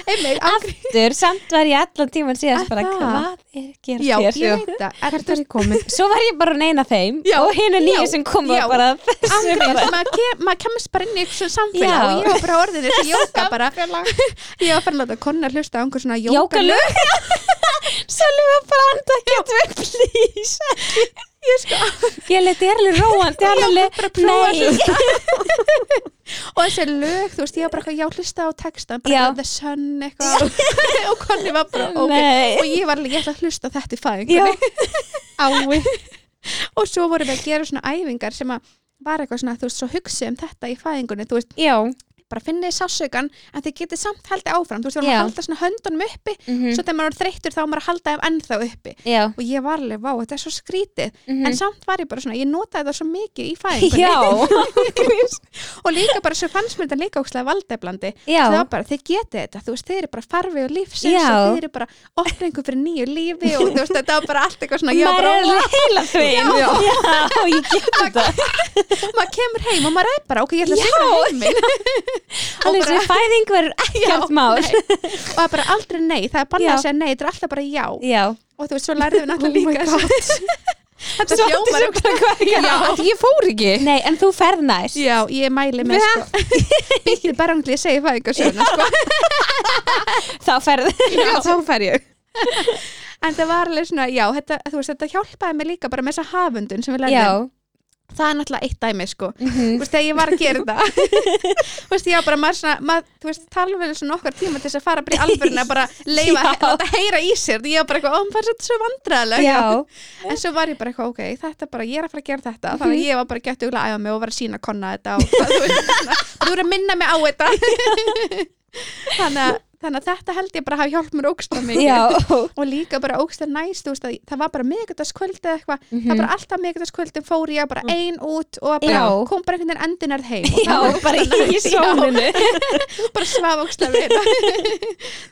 [SPEAKER 3] einmitt ángríns-
[SPEAKER 1] Aftur, samt var ég allan tíman síðast
[SPEAKER 3] Er
[SPEAKER 1] bara,
[SPEAKER 3] það?
[SPEAKER 1] hvað er gerð
[SPEAKER 3] já,
[SPEAKER 1] þér?
[SPEAKER 3] ég veit það, en
[SPEAKER 2] Hvert
[SPEAKER 3] þú
[SPEAKER 2] er
[SPEAKER 3] veist,
[SPEAKER 2] ég
[SPEAKER 3] <laughs>
[SPEAKER 2] komin?
[SPEAKER 1] Svo var ég bara að neina þeim
[SPEAKER 3] Já,
[SPEAKER 1] og hinn er nýju
[SPEAKER 3] já,
[SPEAKER 1] sem koma
[SPEAKER 3] já.
[SPEAKER 1] bara þessu
[SPEAKER 3] ángríns, maður kem- maður kemist bara inn í eitthvað samfélag
[SPEAKER 1] Já.
[SPEAKER 3] og ég var bara orðin þessi jóka bara, <laughs> ég var bara að láta konna hlusta á einhver svona jókalög
[SPEAKER 1] Jókalög <laughs> Sölvi var bara anda getur við please
[SPEAKER 3] <laughs> ég sko
[SPEAKER 1] Ég leti er alveg róandi hann alveg
[SPEAKER 3] bara að prófa
[SPEAKER 1] Nei.
[SPEAKER 3] og þessi lög, þú veist, ég var bara eitthvað, já, hlusta á textan, bara
[SPEAKER 1] Já.
[SPEAKER 3] eitthvað, the sun eitthvað, <laughs> og konni var bara, ok,
[SPEAKER 1] Nei.
[SPEAKER 3] og ég var alveg, ég ætla að hlusta á þetta í
[SPEAKER 1] Já, <laughs>
[SPEAKER 3] fæðingunni, ái og svo vorum við að gera svona æfingar sem að var eitthvað svona, þú veist, svo hugsi um þetta í fæðingunni, þú veist,
[SPEAKER 1] já
[SPEAKER 3] bara finnið sásaukan en þið getið samt haldið áfram, þú veist, við
[SPEAKER 1] Já.
[SPEAKER 3] vorum að halda svona höndunum uppi
[SPEAKER 1] mhm,
[SPEAKER 3] svo þegar maður er þreyttur þá er maður að halda þeim ennþá uppi
[SPEAKER 1] Já,
[SPEAKER 3] og ég var alveg, vá, þetta er svo skrítið
[SPEAKER 1] mhm.
[SPEAKER 3] en samt var ég bara svona, ég notaði það svo mikið í fæðingunni
[SPEAKER 1] já,
[SPEAKER 3] <laughs> og líka bara svo fannst mér þetta líka ókslega valdeflandi
[SPEAKER 1] já,
[SPEAKER 3] það var bara, þið getið þetta, þú veist, þið eru bara farfi og lífsins
[SPEAKER 1] Já.
[SPEAKER 3] og þið eru bara opna einhver fyrir nýju lífi og þú veist, þetta var bara allt eitthvað svona, ég var
[SPEAKER 1] maður
[SPEAKER 3] bara,
[SPEAKER 1] er alveg heila þeim
[SPEAKER 2] Já.
[SPEAKER 1] já, ég get þetta
[SPEAKER 3] <laughs> maður kemur heim og maður er bara, ok, ég ætla að segja heiminn og
[SPEAKER 1] <laughs> Alveg
[SPEAKER 3] bara,
[SPEAKER 1] sem fæðing
[SPEAKER 3] <laughs>
[SPEAKER 1] verður ekkert mál
[SPEAKER 3] nei. og það er bara aldrei nei, það er bara
[SPEAKER 1] Já.
[SPEAKER 3] að segja nei, þetta er alltaf bara já
[SPEAKER 1] <laughs> Já,
[SPEAKER 3] og þú veist, svo lærðum við náttúrulega
[SPEAKER 2] Oh my
[SPEAKER 3] líka <laughs> þetta hljómar
[SPEAKER 1] Svolítið sem hvað
[SPEAKER 2] Já, þetta ég fór ekki
[SPEAKER 1] Nei, en þú ferð næst
[SPEAKER 3] já, ég mæli með sko býtti bara um til ég segi það eitthvað svona sko.
[SPEAKER 1] Þá ferð
[SPEAKER 2] <laughs> Já, þá fer ég
[SPEAKER 3] en það var alveg svona, já, þetta, þú veist, þetta hjálpaði mig líka bara með þessa hafundun sem við
[SPEAKER 1] <laughs>
[SPEAKER 3] lærðum
[SPEAKER 1] Já,
[SPEAKER 3] það er náttúrulega eitt dæmi sko
[SPEAKER 1] mhm,
[SPEAKER 3] þú veist, þegar ég var að
[SPEAKER 2] <laughs>
[SPEAKER 3] gera þetta þú veist, já, bara maður svona, maður, þú veist, tala vel svona okkar tíma til þess að fara bara í alvöruna bara
[SPEAKER 2] <laughs>
[SPEAKER 3] leifa,
[SPEAKER 1] Já.
[SPEAKER 3] láta heyra í sér því ég var bara eitthvað, ó, hann fannst þetta svo vandræðileg
[SPEAKER 1] já,
[SPEAKER 3] en svo var ég bara eitthvað, ok, þetta bara, ég er að fara að gera þetta þannig
[SPEAKER 1] Mhm.
[SPEAKER 3] að ég var bara gett auðvitað að æfa mig og var að sína hérna.
[SPEAKER 1] <laughs>
[SPEAKER 3] konna þetta og hvað, þú veist, svona, þú er að minna mig á þetta þannig að þannig að þetta held ég bara að hafa hjálp mér ógstlega mikið og líka bara ógstlega næst þú veist að það var bara miðgutaskvöld eða eitthvað
[SPEAKER 1] Mhm.
[SPEAKER 3] það var bara alltaf miðgutaskvöldum fór ég bara ein út og bara
[SPEAKER 1] Já.
[SPEAKER 3] kom bara einhvern veginn endinarð heim og
[SPEAKER 1] Já,
[SPEAKER 3] það var
[SPEAKER 1] bara
[SPEAKER 3] ógeðslega
[SPEAKER 1] í
[SPEAKER 3] næs.
[SPEAKER 1] sólinu
[SPEAKER 3] Já, bara svaf ógstlega vel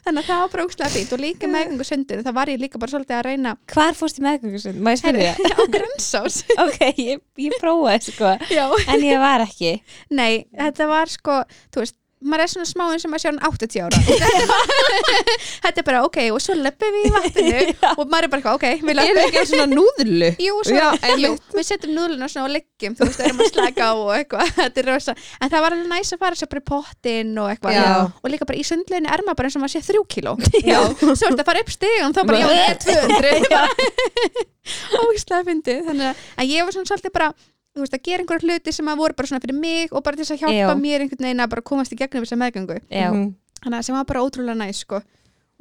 [SPEAKER 3] þannig að það var bara ógstlega fínt og líka með einhverjum sundinu það var ég líka bara svolítið að
[SPEAKER 1] <laughs>
[SPEAKER 3] reyna
[SPEAKER 1] <laughs> Hvar fórst í meðgöngusund? Má ég spyrja?
[SPEAKER 3] á grönsás
[SPEAKER 1] ok, ég, ég prófaði sko
[SPEAKER 3] já
[SPEAKER 1] En ég var ekki
[SPEAKER 3] Nei, þetta var sko, þú veist, maður er svona smá eins og maður sé hann 80 ára. þetta var- þetta er bara, ok, og svo leppum við í vatninu og maður er bara, eitthvað, ok, við
[SPEAKER 2] Er
[SPEAKER 3] leppum.
[SPEAKER 2] ekki eins og svona núðlu?
[SPEAKER 3] Jú, svo,
[SPEAKER 2] Já,
[SPEAKER 3] jú,
[SPEAKER 2] einmitt.
[SPEAKER 3] við setjum núðluna svona og leggjum, þú veist, það erum að slaka á og eitthvað, <laughs> þetta er rosa. En það var alveg næs að fara svo bara í pottinn og eitthvað.
[SPEAKER 2] Já.
[SPEAKER 3] Og líka bara í sundleginu er maður bara eins og maður sé þrjú kíló. <laughs> Já. Svo er þetta að fara upp stigum, þá bara, já, ég er <laughs> 200. bara ógislega fyndið þannig að en ég var svona svolítið bara þú veist að gera einhverja hluti sem að voru bara svona fyrir mig og bara til þess að hjálpa
[SPEAKER 1] Já.
[SPEAKER 3] mér einhvern veginn að bara komast í gegnum þessa meðgangu
[SPEAKER 1] Já,
[SPEAKER 2] Mhm.
[SPEAKER 3] þannig að sem var bara ótrúlega næs sko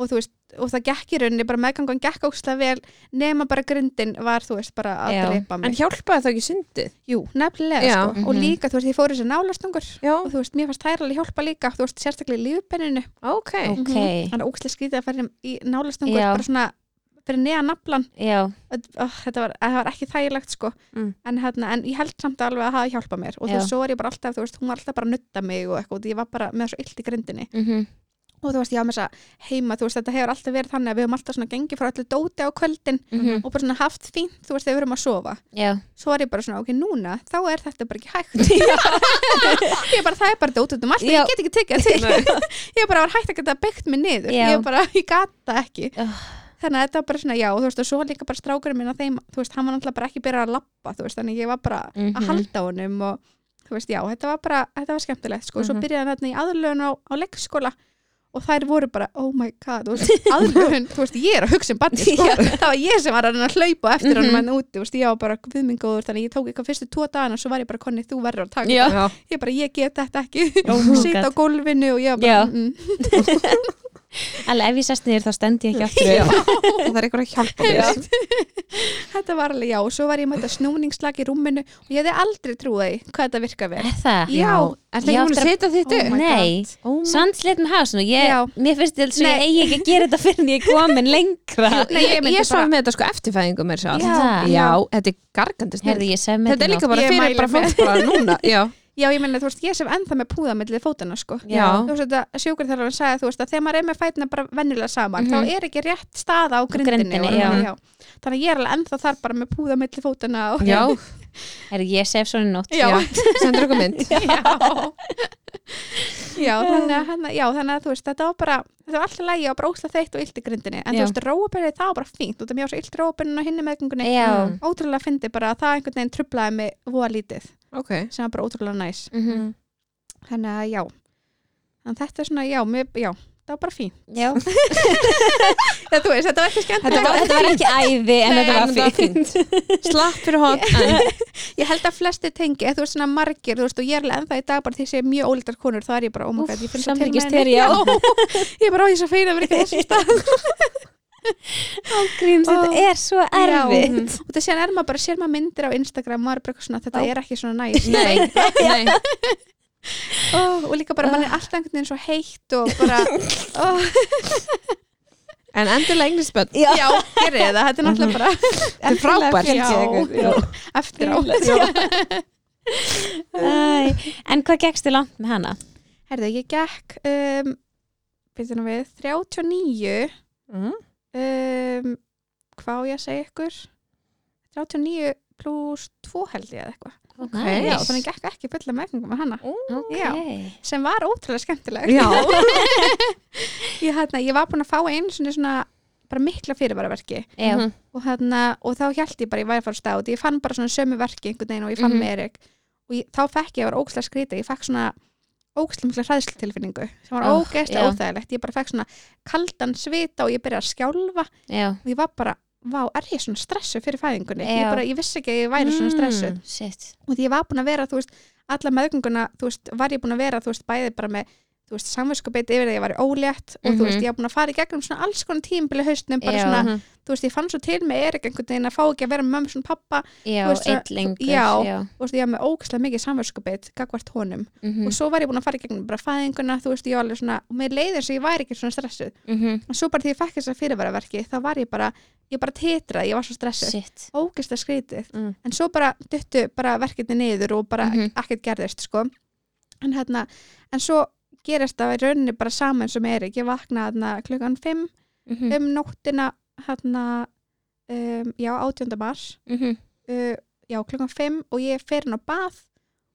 [SPEAKER 3] og þú veist og það gekk í rauninni bara meðgangun gekk ógislega vel nema bara grindin var þú veist bara að
[SPEAKER 1] Já.
[SPEAKER 3] drepa
[SPEAKER 2] En
[SPEAKER 3] mig
[SPEAKER 2] hjálpaði það ekki sundið?
[SPEAKER 3] Jú, nefnilega
[SPEAKER 2] Já.
[SPEAKER 3] sko og
[SPEAKER 1] Mhm.
[SPEAKER 3] líka þú veist ég fór þess að nálastungur
[SPEAKER 2] Já,
[SPEAKER 3] og þú veist mér fannst þær alveg hjálpa líka þú veist sérstaklega í lífbenninu
[SPEAKER 2] ok.
[SPEAKER 1] ok
[SPEAKER 3] þannig að ógislega skrítið að fara í nálastungur
[SPEAKER 1] Já.
[SPEAKER 3] bara svona fyrir neða naflan
[SPEAKER 1] Já,
[SPEAKER 3] oh, þetta var, það var ekki þægilegt sko
[SPEAKER 2] Mm.
[SPEAKER 3] en, hérna, en ég held samt alveg að hafa hjálpað mér og þú
[SPEAKER 1] Já.
[SPEAKER 3] veist, svo var ég bara alltaf, þú veist, hún var alltaf bara að nutta mig og eitthvað, og ég var bara með svo illt í grindinni
[SPEAKER 1] mhm,
[SPEAKER 3] og þú veist, ég var með þess að heima, þú veist, þetta hefur alltaf verið þannig að við höfum alltaf svona gengið frá öllu dóti á kvöldin
[SPEAKER 1] mhm,
[SPEAKER 3] og bara svona haft fínt, þú veist, þegar við höfum að sofa
[SPEAKER 1] já
[SPEAKER 3] svo var ég bara svona, ok, núna, þá er þetta bara ekki hægt <laughs> ég er bara, það er bara dót út um allt,
[SPEAKER 1] Já.
[SPEAKER 3] ég get ekki tekið
[SPEAKER 2] Nei.
[SPEAKER 3] það til <laughs> ég bara var hægt að geta byggt mig niður
[SPEAKER 1] Já.
[SPEAKER 3] ég bara, ég gata ekki
[SPEAKER 1] Ugh.
[SPEAKER 3] þannig að þetta var bara svona, já, og þú veist, og svo líka bara strákurinn minn að þeim, þú veist, hann var náttúrulega bara ekki byrjað að labba, þú veist, þannig ég var bara
[SPEAKER 1] Mhm.
[SPEAKER 3] að halda á honum og þú veist, já, þetta var bara, þetta var skemmtilegt, sko, og svo
[SPEAKER 2] Mhm.
[SPEAKER 3] byrjaði hann þarna í aðlögun á, á leikskóla og þær voru bara, oh my god, þú
[SPEAKER 1] <laughs>
[SPEAKER 3] veist, aðlögun, þú veist, ég er að hugsa um barni, sko, <laughs> það var ég sem var að reyna að hlaupa á eftir honum
[SPEAKER 1] Mhm.
[SPEAKER 3] hann úti, þú veist, ég var bara viðmingóður, þannig ég tók eitthvað fyrstu tvo dagana, svo var ég bara, konni, þú verður að taka
[SPEAKER 1] Já.
[SPEAKER 3] þetta." ég bara, ég get þetta ekki,
[SPEAKER 1] Oh my
[SPEAKER 3] <laughs> sit á
[SPEAKER 1] God.
[SPEAKER 3] gólfinu og
[SPEAKER 1] Já.
[SPEAKER 3] ég var bara, mm,
[SPEAKER 1] Alveg ef ég sest niður þá stend ég ekki aftur upp.
[SPEAKER 2] Það er eitthvað að hjálpa mér.
[SPEAKER 1] Já.
[SPEAKER 3] þetta var alveg, já, og svo var ég með þetta snúningslag í rúminu og ég hefði aldrei trúið hvað þetta virka vel
[SPEAKER 1] Er það?
[SPEAKER 3] Já.
[SPEAKER 2] Er það ekki
[SPEAKER 1] Já,
[SPEAKER 2] múin að
[SPEAKER 1] þetta-
[SPEAKER 2] setja þitt
[SPEAKER 3] Oh
[SPEAKER 2] upp?
[SPEAKER 3] my
[SPEAKER 1] Nei,
[SPEAKER 3] God.
[SPEAKER 2] Oh my-
[SPEAKER 1] sannsleitt með hás nú ég,
[SPEAKER 3] Já.
[SPEAKER 1] Mér finnst þetta sem ég
[SPEAKER 3] Nei.
[SPEAKER 1] eigi ekki að gera þetta fyrir en ég er komin lengra
[SPEAKER 3] Nei,
[SPEAKER 2] Ég, ég
[SPEAKER 3] bara-
[SPEAKER 2] svaf með þetta sko eftirfæðingu mér sér
[SPEAKER 1] Já.
[SPEAKER 2] Já, þetta er gargandi snið
[SPEAKER 1] Herði ég sem
[SPEAKER 2] Þetta er líka bara
[SPEAKER 3] Ég
[SPEAKER 2] fyrir
[SPEAKER 3] mæli
[SPEAKER 2] bara
[SPEAKER 3] með.
[SPEAKER 2] fólk bara núna Já,
[SPEAKER 3] Já, ég meina, þú veist, ég sem ennþá með púða mellið fótana, sko.
[SPEAKER 1] Já.
[SPEAKER 3] Þú veist, þetta sjúkur þegar hann sagði, þú veist, að þegar maður er með fætina bara venjulega saman,
[SPEAKER 1] Mhm.
[SPEAKER 3] þá er ekki rétt staða á grindinni.
[SPEAKER 1] grindinni,
[SPEAKER 3] og,
[SPEAKER 1] já.
[SPEAKER 3] Þannig að ég er alveg ennþá þar bara með púða mellið fótana og...
[SPEAKER 2] já,
[SPEAKER 1] Herði ég sef svona í nótt
[SPEAKER 3] Já.
[SPEAKER 2] já. sendur okkur mynd
[SPEAKER 3] Já. já, þannig að, hann, já, þannig að þú veist, þetta var bara, þetta var alltaf lægi og bara óslega þeitt og illt í grindinni. En
[SPEAKER 1] Já.
[SPEAKER 3] þú veist, róabennið það var bara fínt, og það mér var svo illt róabennið og hinni meðgöngunni.
[SPEAKER 1] Já.
[SPEAKER 2] Mm.
[SPEAKER 3] Ótrúlega fyndi bara að það einhvern veginn trublaði mig voða lítið,
[SPEAKER 2] Ok,
[SPEAKER 3] sem var bara ótrúlega næs.
[SPEAKER 1] Mhm.
[SPEAKER 3] þannig að já en þetta er svona, já, mér, já það var bara fín
[SPEAKER 1] Já.
[SPEAKER 3] <laughs> þetta, veist, þetta var ekki
[SPEAKER 1] Þetta var,
[SPEAKER 3] skemmt
[SPEAKER 1] þetta var ekki æði en
[SPEAKER 3] Nei,
[SPEAKER 1] þetta
[SPEAKER 2] en
[SPEAKER 1] var
[SPEAKER 2] þetta var
[SPEAKER 1] fínt
[SPEAKER 2] slapp fyrir hot en,
[SPEAKER 3] ég held að flesti tengi, eða þú veist svona margir þú veist, og ég er alveg ennþá í dag bara því að sé mjög ólítar konur þá er ég bara, oh my god, ég finn svo til með
[SPEAKER 1] samþykkist þér,
[SPEAKER 3] henni.
[SPEAKER 1] já.
[SPEAKER 3] Já, <laughs> ég er bara á því að feina verið þessum stað
[SPEAKER 1] Gríms,
[SPEAKER 3] Ó.
[SPEAKER 1] þetta er svo erfitt
[SPEAKER 3] og það séðan er maður bara, sér maður myndir á Instagram maður er bara eitthvað svona, þetta er ekki svona næs <laughs>
[SPEAKER 2] Nei, nei
[SPEAKER 3] oh, og líka bara, mann
[SPEAKER 2] Ah.
[SPEAKER 3] er alltaf einhvern veginn svo heitt og
[SPEAKER 2] <laughs>
[SPEAKER 3] bara, oh,
[SPEAKER 2] En endilega englisbönn
[SPEAKER 1] Já.
[SPEAKER 3] já, gerði það þetta er náttúrulega bara
[SPEAKER 2] Mhm. Þetta er frábært
[SPEAKER 3] Já. <laughs>
[SPEAKER 2] Já.
[SPEAKER 3] eftir á
[SPEAKER 1] <laughs> Æ, En hvað gekkstu langt með hana?
[SPEAKER 3] Herðu, ég gekk um, byrðu nú við 39
[SPEAKER 2] Mhm.
[SPEAKER 3] um, hvað á ég að segja ykkur 39 pluss 2 held ég eða eitthvað
[SPEAKER 1] Ok,
[SPEAKER 3] já, þannig gekk ekki fulla meðgöngum með hana Já. sem var ótrúlega skemmtileg
[SPEAKER 2] Já.
[SPEAKER 3] <laughs> ég, hérna, ég var búin að fá einu svona, svona bara mikla fyrirvaraverki
[SPEAKER 1] Já.
[SPEAKER 2] Mhm.
[SPEAKER 3] og, hérna, og þá held ég bara ég væri að fara af stað og ég fann bara svona sömu verki einhvern veginn og ég fann
[SPEAKER 1] Mhm.
[SPEAKER 3] með Erik og ég, þá fekk ég að vera ókslega skrítið ég fekk svona ókslega mikla hræðslutilfinningu sem var
[SPEAKER 1] Oh, já.
[SPEAKER 3] ógeðslega óþægilegt ég bara fekk svona kaldan svita og ég byrjaði að skjálfa
[SPEAKER 1] Já,
[SPEAKER 3] og ég var bara, vá, er ég svona stressu fyrir fæðingunni ég,
[SPEAKER 1] Já.
[SPEAKER 3] bara, ég vissi ekki að ég væri svona
[SPEAKER 2] Mm.
[SPEAKER 3] stressu
[SPEAKER 1] shit
[SPEAKER 3] og því ég var búin að vera, þú veist, alla meðgönguna, þú veist, var ég búin að vera, þú veist, bæði bara með, þú þú veist, samvinskupið yfir því að ég var ólétt og þú
[SPEAKER 1] Mhm.
[SPEAKER 3] veist, ég var búin að fara í gegnum svona alls konar tímbili haustnum, bara
[SPEAKER 1] Já.
[SPEAKER 3] svona
[SPEAKER 2] Mhm.
[SPEAKER 3] þú veist, ég fann svo til með Erik einhvern veginn að fá ekki að vera með mömmu svona pappa
[SPEAKER 1] já,
[SPEAKER 3] Þú veist,
[SPEAKER 1] eitt lengur
[SPEAKER 3] já.
[SPEAKER 1] já.
[SPEAKER 3] og þú veist, ég var með ógæslega mikið samvinskupið gagvart honum
[SPEAKER 1] mhm,
[SPEAKER 3] og svo var ég búin að fara í gegnum bara fæðinguna, þú veist, ég var alveg svona og mér leiði eins og ég væri ekki svona stressuð
[SPEAKER 1] mhm,
[SPEAKER 3] og svo bara því ég fekk þessa fyrirvaraverki, þá var ég bara ég bara titraði, ég var svo stressuð
[SPEAKER 1] shit
[SPEAKER 3] ógæslega skrítið
[SPEAKER 2] Mm.
[SPEAKER 3] en svo bara duttu bara verkefni niður og bara
[SPEAKER 1] Mhm.
[SPEAKER 3] ekkert gerðist sko. en hérna, en svo gerist það í rauninni bara saman sem Erik ég vakna hérna, klukkan 5
[SPEAKER 1] Mhm,
[SPEAKER 3] um nóttina hérna, um, já, 18. mars
[SPEAKER 1] <laughs> mhm,
[SPEAKER 3] uh, já, klukkan 5 og ég fer inn á bað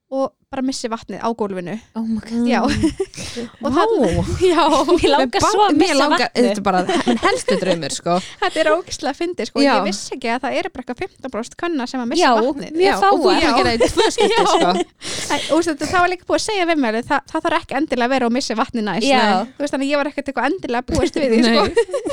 [SPEAKER 3] og bara missi vatnið á gólfinu
[SPEAKER 1] oh my
[SPEAKER 2] Mm.
[SPEAKER 1] god
[SPEAKER 3] já, <laughs>
[SPEAKER 2] og
[SPEAKER 3] Og
[SPEAKER 2] það
[SPEAKER 3] já
[SPEAKER 1] Mér langar svo að missa vatnið.
[SPEAKER 2] þetta er bara minn helstu draumur sko
[SPEAKER 3] þetta er ógislega fyndi sko,
[SPEAKER 2] Já.
[SPEAKER 3] ég vissi ekki að það eru bara eitthvað 15% kanna sem að missa
[SPEAKER 1] já,
[SPEAKER 3] vatnið
[SPEAKER 1] mjög
[SPEAKER 2] og þú ert
[SPEAKER 1] fáar
[SPEAKER 2] að gera þetta í tvö skipti
[SPEAKER 3] Já.
[SPEAKER 2] sko
[SPEAKER 3] Æ, og þú veist, það var líka búið að segja við mér það, það þarf ekki endilega að vera og missa vatni næst
[SPEAKER 1] Já.
[SPEAKER 3] Nei. þú veist, þannig að ég var ekkert eitthvað endilega að búast við því sko.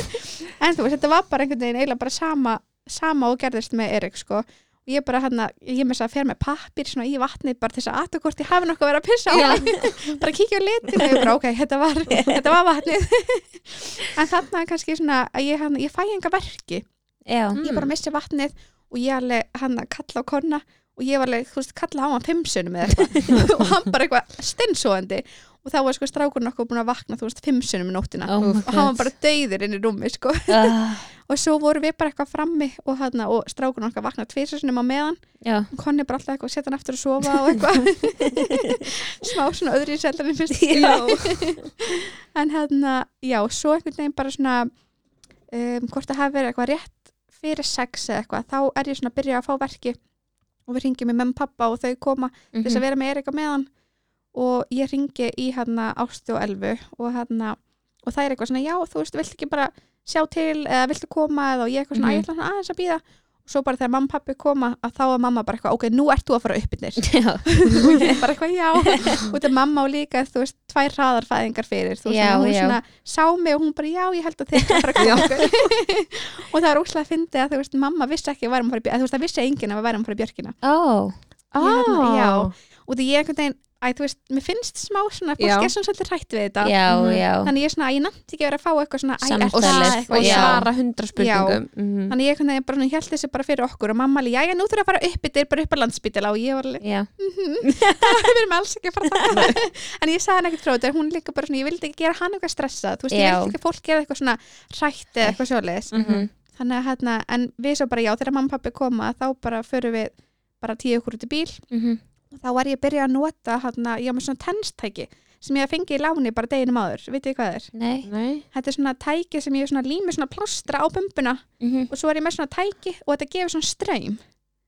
[SPEAKER 3] <laughs> en þú veist, þetta var bara einhvern veginn eiginlega bara sama, sama og gerðist með Erik sko. og ég bara hann að, ég með þess að fer með pappir svona í vatnið bara til þess að aðtukort ég hafi nokkuð að vera að pissa á
[SPEAKER 1] Já.
[SPEAKER 3] mig. <laughs> bara kíkja á litin og ég bara, ok, þetta
[SPEAKER 1] <laughs>
[SPEAKER 3] var, þetta var vatnið <laughs> en þarna er kannski svona að ég, hann, ég fæ enga verki
[SPEAKER 1] já,
[SPEAKER 3] ég bara missi vatnið og ég alveg hann að kalla á konna og ég var alveg, þú veist, kalla á hann fimmsunum eða
[SPEAKER 1] <laughs>
[SPEAKER 3] eitthvað og hann bara eitthvað stinnsóðandi og þá var sko strákurinn okkur búin að vakna, þú veist, fimmsunum í nóttina
[SPEAKER 1] oh my
[SPEAKER 3] og hann
[SPEAKER 1] god
[SPEAKER 3] var bara döiður inn í rúmi, sko
[SPEAKER 1] Ah,
[SPEAKER 3] og svo vorum við bara eitthvað frammi og, hana, og strákurinn okkar vaknaði tvisasunum á meðan
[SPEAKER 1] já,
[SPEAKER 3] og konni bara alltaf eitthvað að setja hann aftur að sofa og eitthvað <laughs> smá svona öðru í seldarinn fyrst já. <laughs> en hérna, já, svo einhvern veginn bara svona um, hvort það hafi verið eitthvað rétt fyrir sex eða eitthvað, þá er ég svona að byrja að fá verki og við ringjum í memn pappa og þau koma til þess að
[SPEAKER 1] mhm,
[SPEAKER 3] vera með Erika meðan og ég ringi í hérna Ástu og Elfu og hérna og það er eitthvað svona, já, þú veist, viltu ekki bara sjá til eða viltu koma eða og ég eitthvað svona,
[SPEAKER 1] Mhm.
[SPEAKER 3] mm -hmm. ætla svona aðeins að býða og svo bara þegar mamma og pappi koma að þá er mamma bara eitthvað, ok, nú ert þú að fara
[SPEAKER 1] <laughs>
[SPEAKER 3] upp innir
[SPEAKER 1] já
[SPEAKER 3] og ég bara eitthvað, já og þetta er mamma og líka, þú veist, tvær hraðarfæðingar fyrir, þú veist,
[SPEAKER 1] Já,
[SPEAKER 3] þannig að hún
[SPEAKER 1] já.
[SPEAKER 3] svona sá mig og hún bara, já, ég held að þeir bara koma okkur." <laughs> og það var óslega að fyndi að þú veist, mamma vissi ekki að við værum að fara í Björ- eða, þú veist, það vissi enginn að við værum að fara í björkina
[SPEAKER 1] ó,
[SPEAKER 3] hérna, já.
[SPEAKER 2] Á.
[SPEAKER 3] og því ég einhvern veginn, að þú veist, mér finnst smá svona,
[SPEAKER 2] Já.
[SPEAKER 3] fólk er svona svolítið hrætt við þetta
[SPEAKER 1] já,
[SPEAKER 2] Mhm.
[SPEAKER 1] já
[SPEAKER 3] þannig ég er svona, ég nætti ekki að vera að fá eitthvað svona æ, er
[SPEAKER 2] og,
[SPEAKER 1] Samtalið,
[SPEAKER 3] það
[SPEAKER 2] s-
[SPEAKER 1] sko,
[SPEAKER 3] eitthvað
[SPEAKER 2] og
[SPEAKER 1] já.
[SPEAKER 3] svona?
[SPEAKER 2] svara hundra spurningum Mhm.
[SPEAKER 3] þannig ég einhvern veginn bara svona held þessu bara fyrir okkur og mamma alveg, já, já, nú þurfum að fara upp yfir bara upp á landsbytila og ég var alveg,
[SPEAKER 1] já,
[SPEAKER 3] við erum alls ekki að fara
[SPEAKER 1] <laughs>
[SPEAKER 3] það en ég sagði henni ekkert frá þetta, hún líka bara svona ég vildi ekki gera hann eitthvað stressað, þú veist, ég
[SPEAKER 1] Já.
[SPEAKER 3] vildi ekki að fólk gera eitthvað svona hrætt eða eitthvað svoleiðis
[SPEAKER 1] mhm,
[SPEAKER 3] þannig að hérna, en við svo bara já, þegar mamma og pappi koma, þá bara förum við bara tíu okkur út í bíl
[SPEAKER 1] mhm,
[SPEAKER 3] og þá var ég að byrja að nota hérna, ég var með svona tennstæki sem ég fengi í láni bara deginum áður, vitið þið hvað það er
[SPEAKER 1] nei
[SPEAKER 2] Nei.
[SPEAKER 3] þetta er svona tæki sem ég svona lími svona plástra á bumbuna
[SPEAKER 1] mhm,
[SPEAKER 3] og svo er ég með svona tæki og þetta gefur svona ströym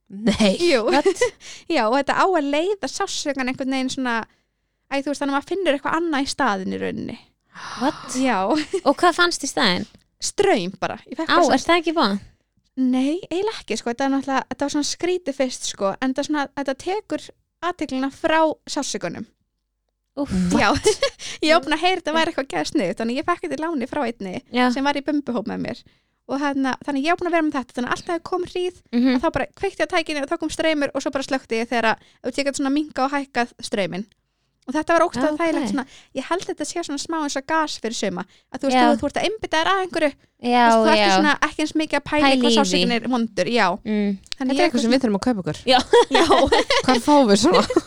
[SPEAKER 2] Nei.
[SPEAKER 3] Jú,
[SPEAKER 1] what,
[SPEAKER 3] <laughs> já, og þetta á að leiða sásökan einhvern veginn svona Æ, þú veist, þannig að maður finnur eitthvað annað í staðin í rauninni.
[SPEAKER 1] what
[SPEAKER 3] Já,
[SPEAKER 1] og hvað fannst í staðin?
[SPEAKER 3] ströym bara. Ég fekk
[SPEAKER 1] á,
[SPEAKER 3] bara svona-
[SPEAKER 1] er það ekki bá?
[SPEAKER 3] Nei, eiginlega ekki, sko, þetta er náttúrulega, þetta var svona skrítið fyrst, sko, en þetta, svona, þetta tekur aðteklina frá sásökunum.
[SPEAKER 1] Úff.
[SPEAKER 3] Já, <laughs> ég opna að heyra þetta væri eitthvað gæða sniðut, þannig ég fekk þetta í láni frá einni
[SPEAKER 1] já,
[SPEAKER 3] sem var í bumbuhóp með mér og hana, þannig ég opna að vera með þetta, þannig að alltaf þegar kom hríð,
[SPEAKER 1] mhm,
[SPEAKER 3] að þá bara kveikti á tækinu og þá kom streymur og svo bara slökti ég þegar að ef ég gæti svona minga og hækkað streymin. Og þetta var ógstæð
[SPEAKER 1] Ok.
[SPEAKER 3] þægilegt svona, ég held þetta sé svona smá eins og gas fyrir suma, að þú veist,
[SPEAKER 1] Já.
[SPEAKER 3] þú, þú ert að einbytta þér að einhverju,
[SPEAKER 1] já,
[SPEAKER 3] þú veist, þú ert
[SPEAKER 1] já
[SPEAKER 3] svona ekki eins mikið að pæla
[SPEAKER 1] Pæla
[SPEAKER 3] í
[SPEAKER 1] í
[SPEAKER 3] hvað
[SPEAKER 1] því.
[SPEAKER 3] sásökin er vondur, já.
[SPEAKER 1] Mm.
[SPEAKER 2] þetta er eitthvað sem við þurfum að kaupa ykkur
[SPEAKER 3] <laughs> Já,
[SPEAKER 2] hvað fáum við svona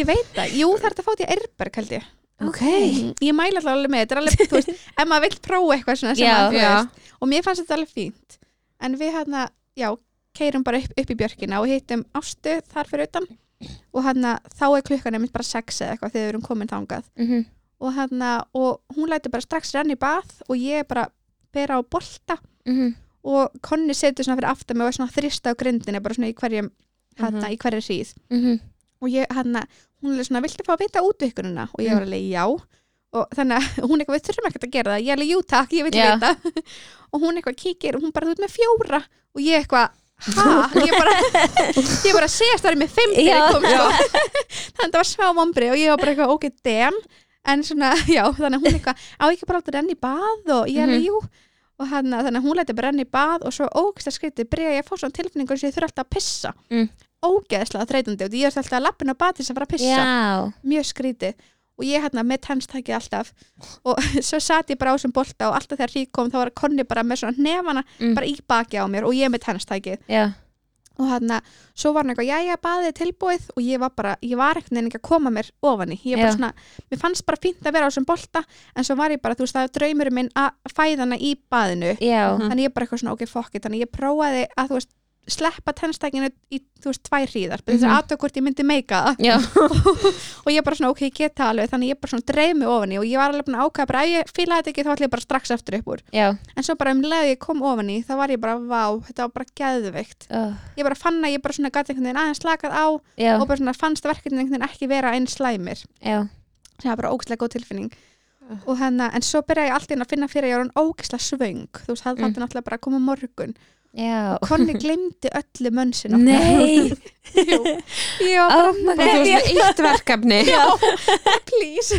[SPEAKER 3] ég veit það. Jú, það er þetta að fá því erberg, held ég.
[SPEAKER 2] ok
[SPEAKER 3] Mm, Ég mæla alltaf alveg með þetta. er Alveg, þú veist, ef maður vill prófa eitthvað svona sem
[SPEAKER 1] Já.
[SPEAKER 3] maður, þú
[SPEAKER 2] Já.
[SPEAKER 3] veist. Og mér fannst þetta alveg fínt. En við hérna, já, keirum bara upp, upp í björkina og hittum ástu þar fyrir utan. Og hérna, þá er klukkan einmitt bara sex eða eitthvað þegar við erum komin þangað.
[SPEAKER 1] mhm,
[SPEAKER 3] Og hérna, og hún lætur bara strax renna í bað og ég bara bera á bolta
[SPEAKER 1] mhm,
[SPEAKER 3] og konni setur svona fyrir aftan mig og er svona að þrista á grindinni bara svona í hverjum, hérna, í hverju hríð.
[SPEAKER 1] mhm,
[SPEAKER 3] og ég, hana, hún er svona, viltu fá að vita útvikkununa? Og ég var alveg, já. Og þannig að hún eitthvað, við þurfum ekkert að gera það. Ég alveg, jú takk, ég vil
[SPEAKER 1] Já.
[SPEAKER 3] vita. og hún eitthvað kíkir og hún bara, þú ert með fjóra. Og ég eitthvað, hæ?
[SPEAKER 1] <laughs>
[SPEAKER 3] Ég bara, ég bara segist það er með fimm þegar
[SPEAKER 1] Já.
[SPEAKER 3] ég kom. Sko. <laughs> þannig að það var smá vombri og ég var bara eitthvað, ok, damn. En svona, <laughs> já, þannig að hún eitthvað, á ég ekki bara alltaf renni í bað og ég
[SPEAKER 1] Mhm.
[SPEAKER 3] alveg, jú. Og hana, þannig að hún leti bara renni í bað og svo ógst að skriti bregja ég að fá svona tilfinningur sem ég þurfa alltaf að pissa
[SPEAKER 1] Mm.
[SPEAKER 3] ógeðslega þreytandi og ég er alltaf að lappin á bati sem fara að pissa
[SPEAKER 1] já
[SPEAKER 3] mjög skrítið og og ég hérna með tennstækið alltaf og <laughs> svo sat ég bara á sem bolta og alltaf þegar hrík kom þá var konni bara með svona nefana
[SPEAKER 1] Mm.
[SPEAKER 3] bara í baki á mér og ég með tennstækið
[SPEAKER 1] já,
[SPEAKER 3] og hérna, svo var hann eitthvað, jæja, baðið er tilbúið og ég var bara, ég var ekkert neina ekki að koma mér ofan í, ég bara
[SPEAKER 1] Já.
[SPEAKER 3] svona, mér fannst bara fínt að vera á þessum bolta, en svo var ég bara, þú veist, það er draumurinn minn að fæða hana í baðinu,
[SPEAKER 1] já,
[SPEAKER 2] Mhm.
[SPEAKER 3] þannig ég bara eitthvað svona, ok, fuck it, þannig ég prófaði að, þú veist, sleppa tennstækinu í, þú veist, tvær hríðar, bara þess að
[SPEAKER 1] Mhm.
[SPEAKER 3] aðtöku hvort ég myndi meika það
[SPEAKER 1] já,
[SPEAKER 3] og ég bara svona, ok, ég get það alveg, þannig ég bara svona dreif mig ofan í og ég var alveg búin að ákveða bara, ef ég fílaði þetta ekki, þá ætla ég bara strax aftur upp úr,
[SPEAKER 1] já,
[SPEAKER 3] en svo bara um leið og ég kom ofan í, þá var ég bara, vá, þetta var bara geðveikt
[SPEAKER 1] oh,
[SPEAKER 3] ég bara fann að ég bara svona gæti einhvern veginn aðeins slakað á
[SPEAKER 1] já,
[SPEAKER 3] og bara svona fannst verkefnin einhvern veginn ekki vera einn slæmir
[SPEAKER 1] já,
[SPEAKER 3] sem var bara ógislega góð tilfinning og hennar, en svo byrjaði ég alltaf að finna fyrir að ég var hann ógislega svöng, þú veist,
[SPEAKER 1] Mm.
[SPEAKER 3] það mm. náttúrulega bara að koma á morgun
[SPEAKER 1] já.
[SPEAKER 3] Konni glemdi öllu mönsin
[SPEAKER 1] Nei,
[SPEAKER 3] <laughs> Jú, ég var bara,
[SPEAKER 1] oh my god,
[SPEAKER 2] Þú veist með eitt verkefni
[SPEAKER 3] please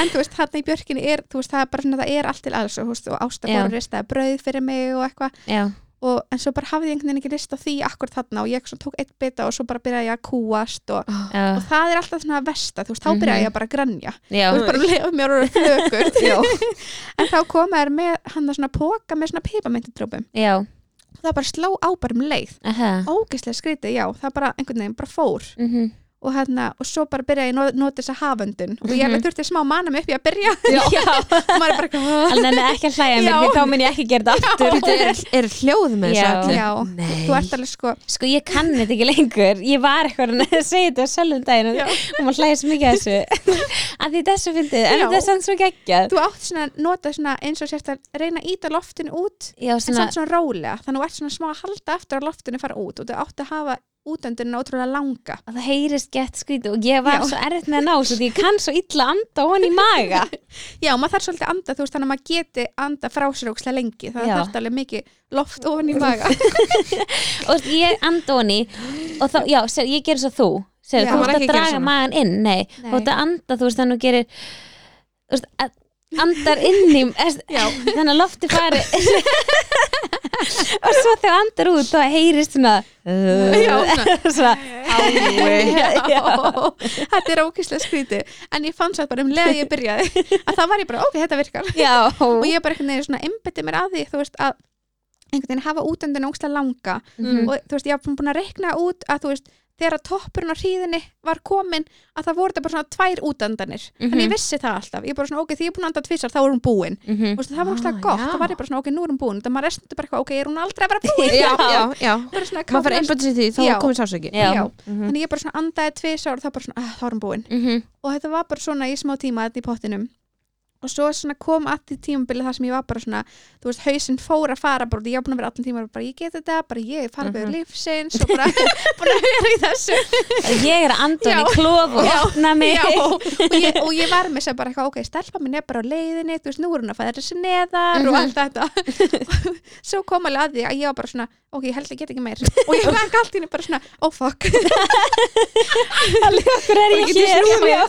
[SPEAKER 3] en þú veist, hann í björkinni er þú veist, það er bara svona, það er allt til alls og, þú veist, og ásta
[SPEAKER 1] Já.
[SPEAKER 3] fór að ristaði brauð fyrir mig og eitthvað
[SPEAKER 1] já,
[SPEAKER 3] og, en svo bara hafði ég einhvern veginn ekki rist á því akkur þarna og ég svona tók eitt bita og svo bara byrjaði ég að kúast og
[SPEAKER 1] já,
[SPEAKER 3] og það er alltaf svona að versta, þú veist, þá byrja ég bara að grænja
[SPEAKER 1] Mhm. já,
[SPEAKER 3] þú veist, bara lefa mér og þökur
[SPEAKER 1] <laughs> Já.
[SPEAKER 3] <laughs> en þá koma þær með hann að svona póka með svona pipamyndindrópum
[SPEAKER 1] já,
[SPEAKER 3] og það bara sló á bara um leið
[SPEAKER 1] aha,
[SPEAKER 3] ógeðslega skrítið, já, það bara einhvern veginn bara fór
[SPEAKER 1] mhm,
[SPEAKER 3] og hérna, og svo bara byrja ég að nota þessa haföndun og ég
[SPEAKER 1] Mhm.
[SPEAKER 3] alveg þurfti smá að mana mig upp í að byrja <laughs>
[SPEAKER 1] já,
[SPEAKER 3] og maður er bara,
[SPEAKER 1] hann er ekki að hlæja mér,
[SPEAKER 3] Já.
[SPEAKER 1] því þá mun ég ekki gera þetta aftur.
[SPEAKER 2] Þetta er, er hljóð með
[SPEAKER 1] Já.
[SPEAKER 2] þessu öllu
[SPEAKER 3] já,
[SPEAKER 2] Nei.
[SPEAKER 3] þú ert alveg sko
[SPEAKER 1] Sko ég kann þetta ekki lengur Ég var eitthvað að segja þetta sjálfum daginn
[SPEAKER 3] Já.
[SPEAKER 1] og maður hlæði svo mikið að
[SPEAKER 3] <laughs>
[SPEAKER 1] þessu að því þessu fyndið, en
[SPEAKER 3] Já.
[SPEAKER 1] þetta er sann svo geggjað
[SPEAKER 3] þú átt svona að nota svona eins og sérst að reyna að íta loftinu út
[SPEAKER 1] Já,
[SPEAKER 3] en
[SPEAKER 1] svona,
[SPEAKER 3] samt svona rólega, þannig að þú ert svona smá að halda eftir að loftinu fara út og þú átt að hafa útöndunina ótrúlega langa
[SPEAKER 1] að það heyrist gett skrítið og ég var
[SPEAKER 3] Já.
[SPEAKER 1] svo erfitt með að ná svo því ég kann svo illa anda hon í maga
[SPEAKER 3] <laughs> Já, maður þarf svolítið að anda, þú veist, þannig að maður geti anda frá sér ókslega lengi, þannig
[SPEAKER 1] Já.
[SPEAKER 3] að þarf alveg mikið loft
[SPEAKER 1] <laughs>
[SPEAKER 3] ofan í maga.
[SPEAKER 1] og ég anda hon í og þá, já, seg, ég ger svo þú
[SPEAKER 3] Já.
[SPEAKER 1] Segðu,
[SPEAKER 3] Þú
[SPEAKER 1] þú
[SPEAKER 2] mátt
[SPEAKER 1] ert
[SPEAKER 2] ekki
[SPEAKER 1] að
[SPEAKER 2] gera
[SPEAKER 1] draga
[SPEAKER 2] svona.
[SPEAKER 1] magan inn, nei,
[SPEAKER 3] Nei.
[SPEAKER 1] þú ert að anda þú veist þannig að þú gerir þú veist, að, andar inn í er, þannig að lofti fari og svo þegar andar út þá heyrist svona
[SPEAKER 3] Já,
[SPEAKER 1] svona
[SPEAKER 3] <laughs> Já.
[SPEAKER 1] Já.
[SPEAKER 3] Þetta er ókýrslega skrítið, en ég fann satt bara um leið að ég byrjaði, <laughs> að það var ég bara, ok, þetta virkar.
[SPEAKER 1] Já,
[SPEAKER 3] Og ég bara einhvern veginn svona einbytti mér að því, þú veist, að einhvern veginn hafa útöndunina ókslega langa
[SPEAKER 2] Mm.
[SPEAKER 1] Mhm.
[SPEAKER 3] og þú veist, ég hafði búin að rekna út að þú veist, þegar að toppurinn á hríðinni var komin, að það voru þetta bara svona tvær útöndanir. Mm
[SPEAKER 2] Mhm.
[SPEAKER 3] En ég vissi það alltaf, ég bara svona, ok, því ég er búin að anda tvissar, þá er hún búin.
[SPEAKER 1] Mhm.
[SPEAKER 3] Þú veist, það var
[SPEAKER 2] Ah,
[SPEAKER 3] náttúrulega gott,
[SPEAKER 2] já.
[SPEAKER 3] það var ég bara svona, ok, nú er hún búin það maður restundi bara eitthvað, ok, er hún aldrei að vera búin
[SPEAKER 2] <laughs> Já, já, já
[SPEAKER 3] Bara svona
[SPEAKER 2] Maður fyrir
[SPEAKER 3] káfast-
[SPEAKER 2] einbættis í því, þá
[SPEAKER 3] Já.
[SPEAKER 2] komið sásöki
[SPEAKER 1] Já.
[SPEAKER 3] Já.
[SPEAKER 2] Mhm.
[SPEAKER 3] þannig ég bara svona andaði tvis ára það bara svona, ah, þá er hún búin
[SPEAKER 1] Mhm.
[SPEAKER 3] og þetta var bara svona í smá tíma þetta í pottinum og svo svona kom að því tímabili þar sem ég var bara svona, þú veist, hausinn fór að fara bara, út í- ég var búin að vera allan tíma bara, ég get þetta, bara ég fara mm
[SPEAKER 2] Mhm.
[SPEAKER 3] lífsins og bara búin að vera í þessu
[SPEAKER 1] Ég er að anda hann í
[SPEAKER 3] Já.
[SPEAKER 1] klof og opna mig
[SPEAKER 3] Já, og ég, og ég var með þess að bara eitthvað, ok, stelpa minn er bara á leiðinni, þú veist, nú er hún að fæða þessi neðar og allt þetta. <laughs> Svo kom alveg að því að ég var bara svona, ok, ég held að ég get ekki meir. Og ég hlaka allt í henni bara svona, oh fuck.
[SPEAKER 1] Akkur er ég hér Já.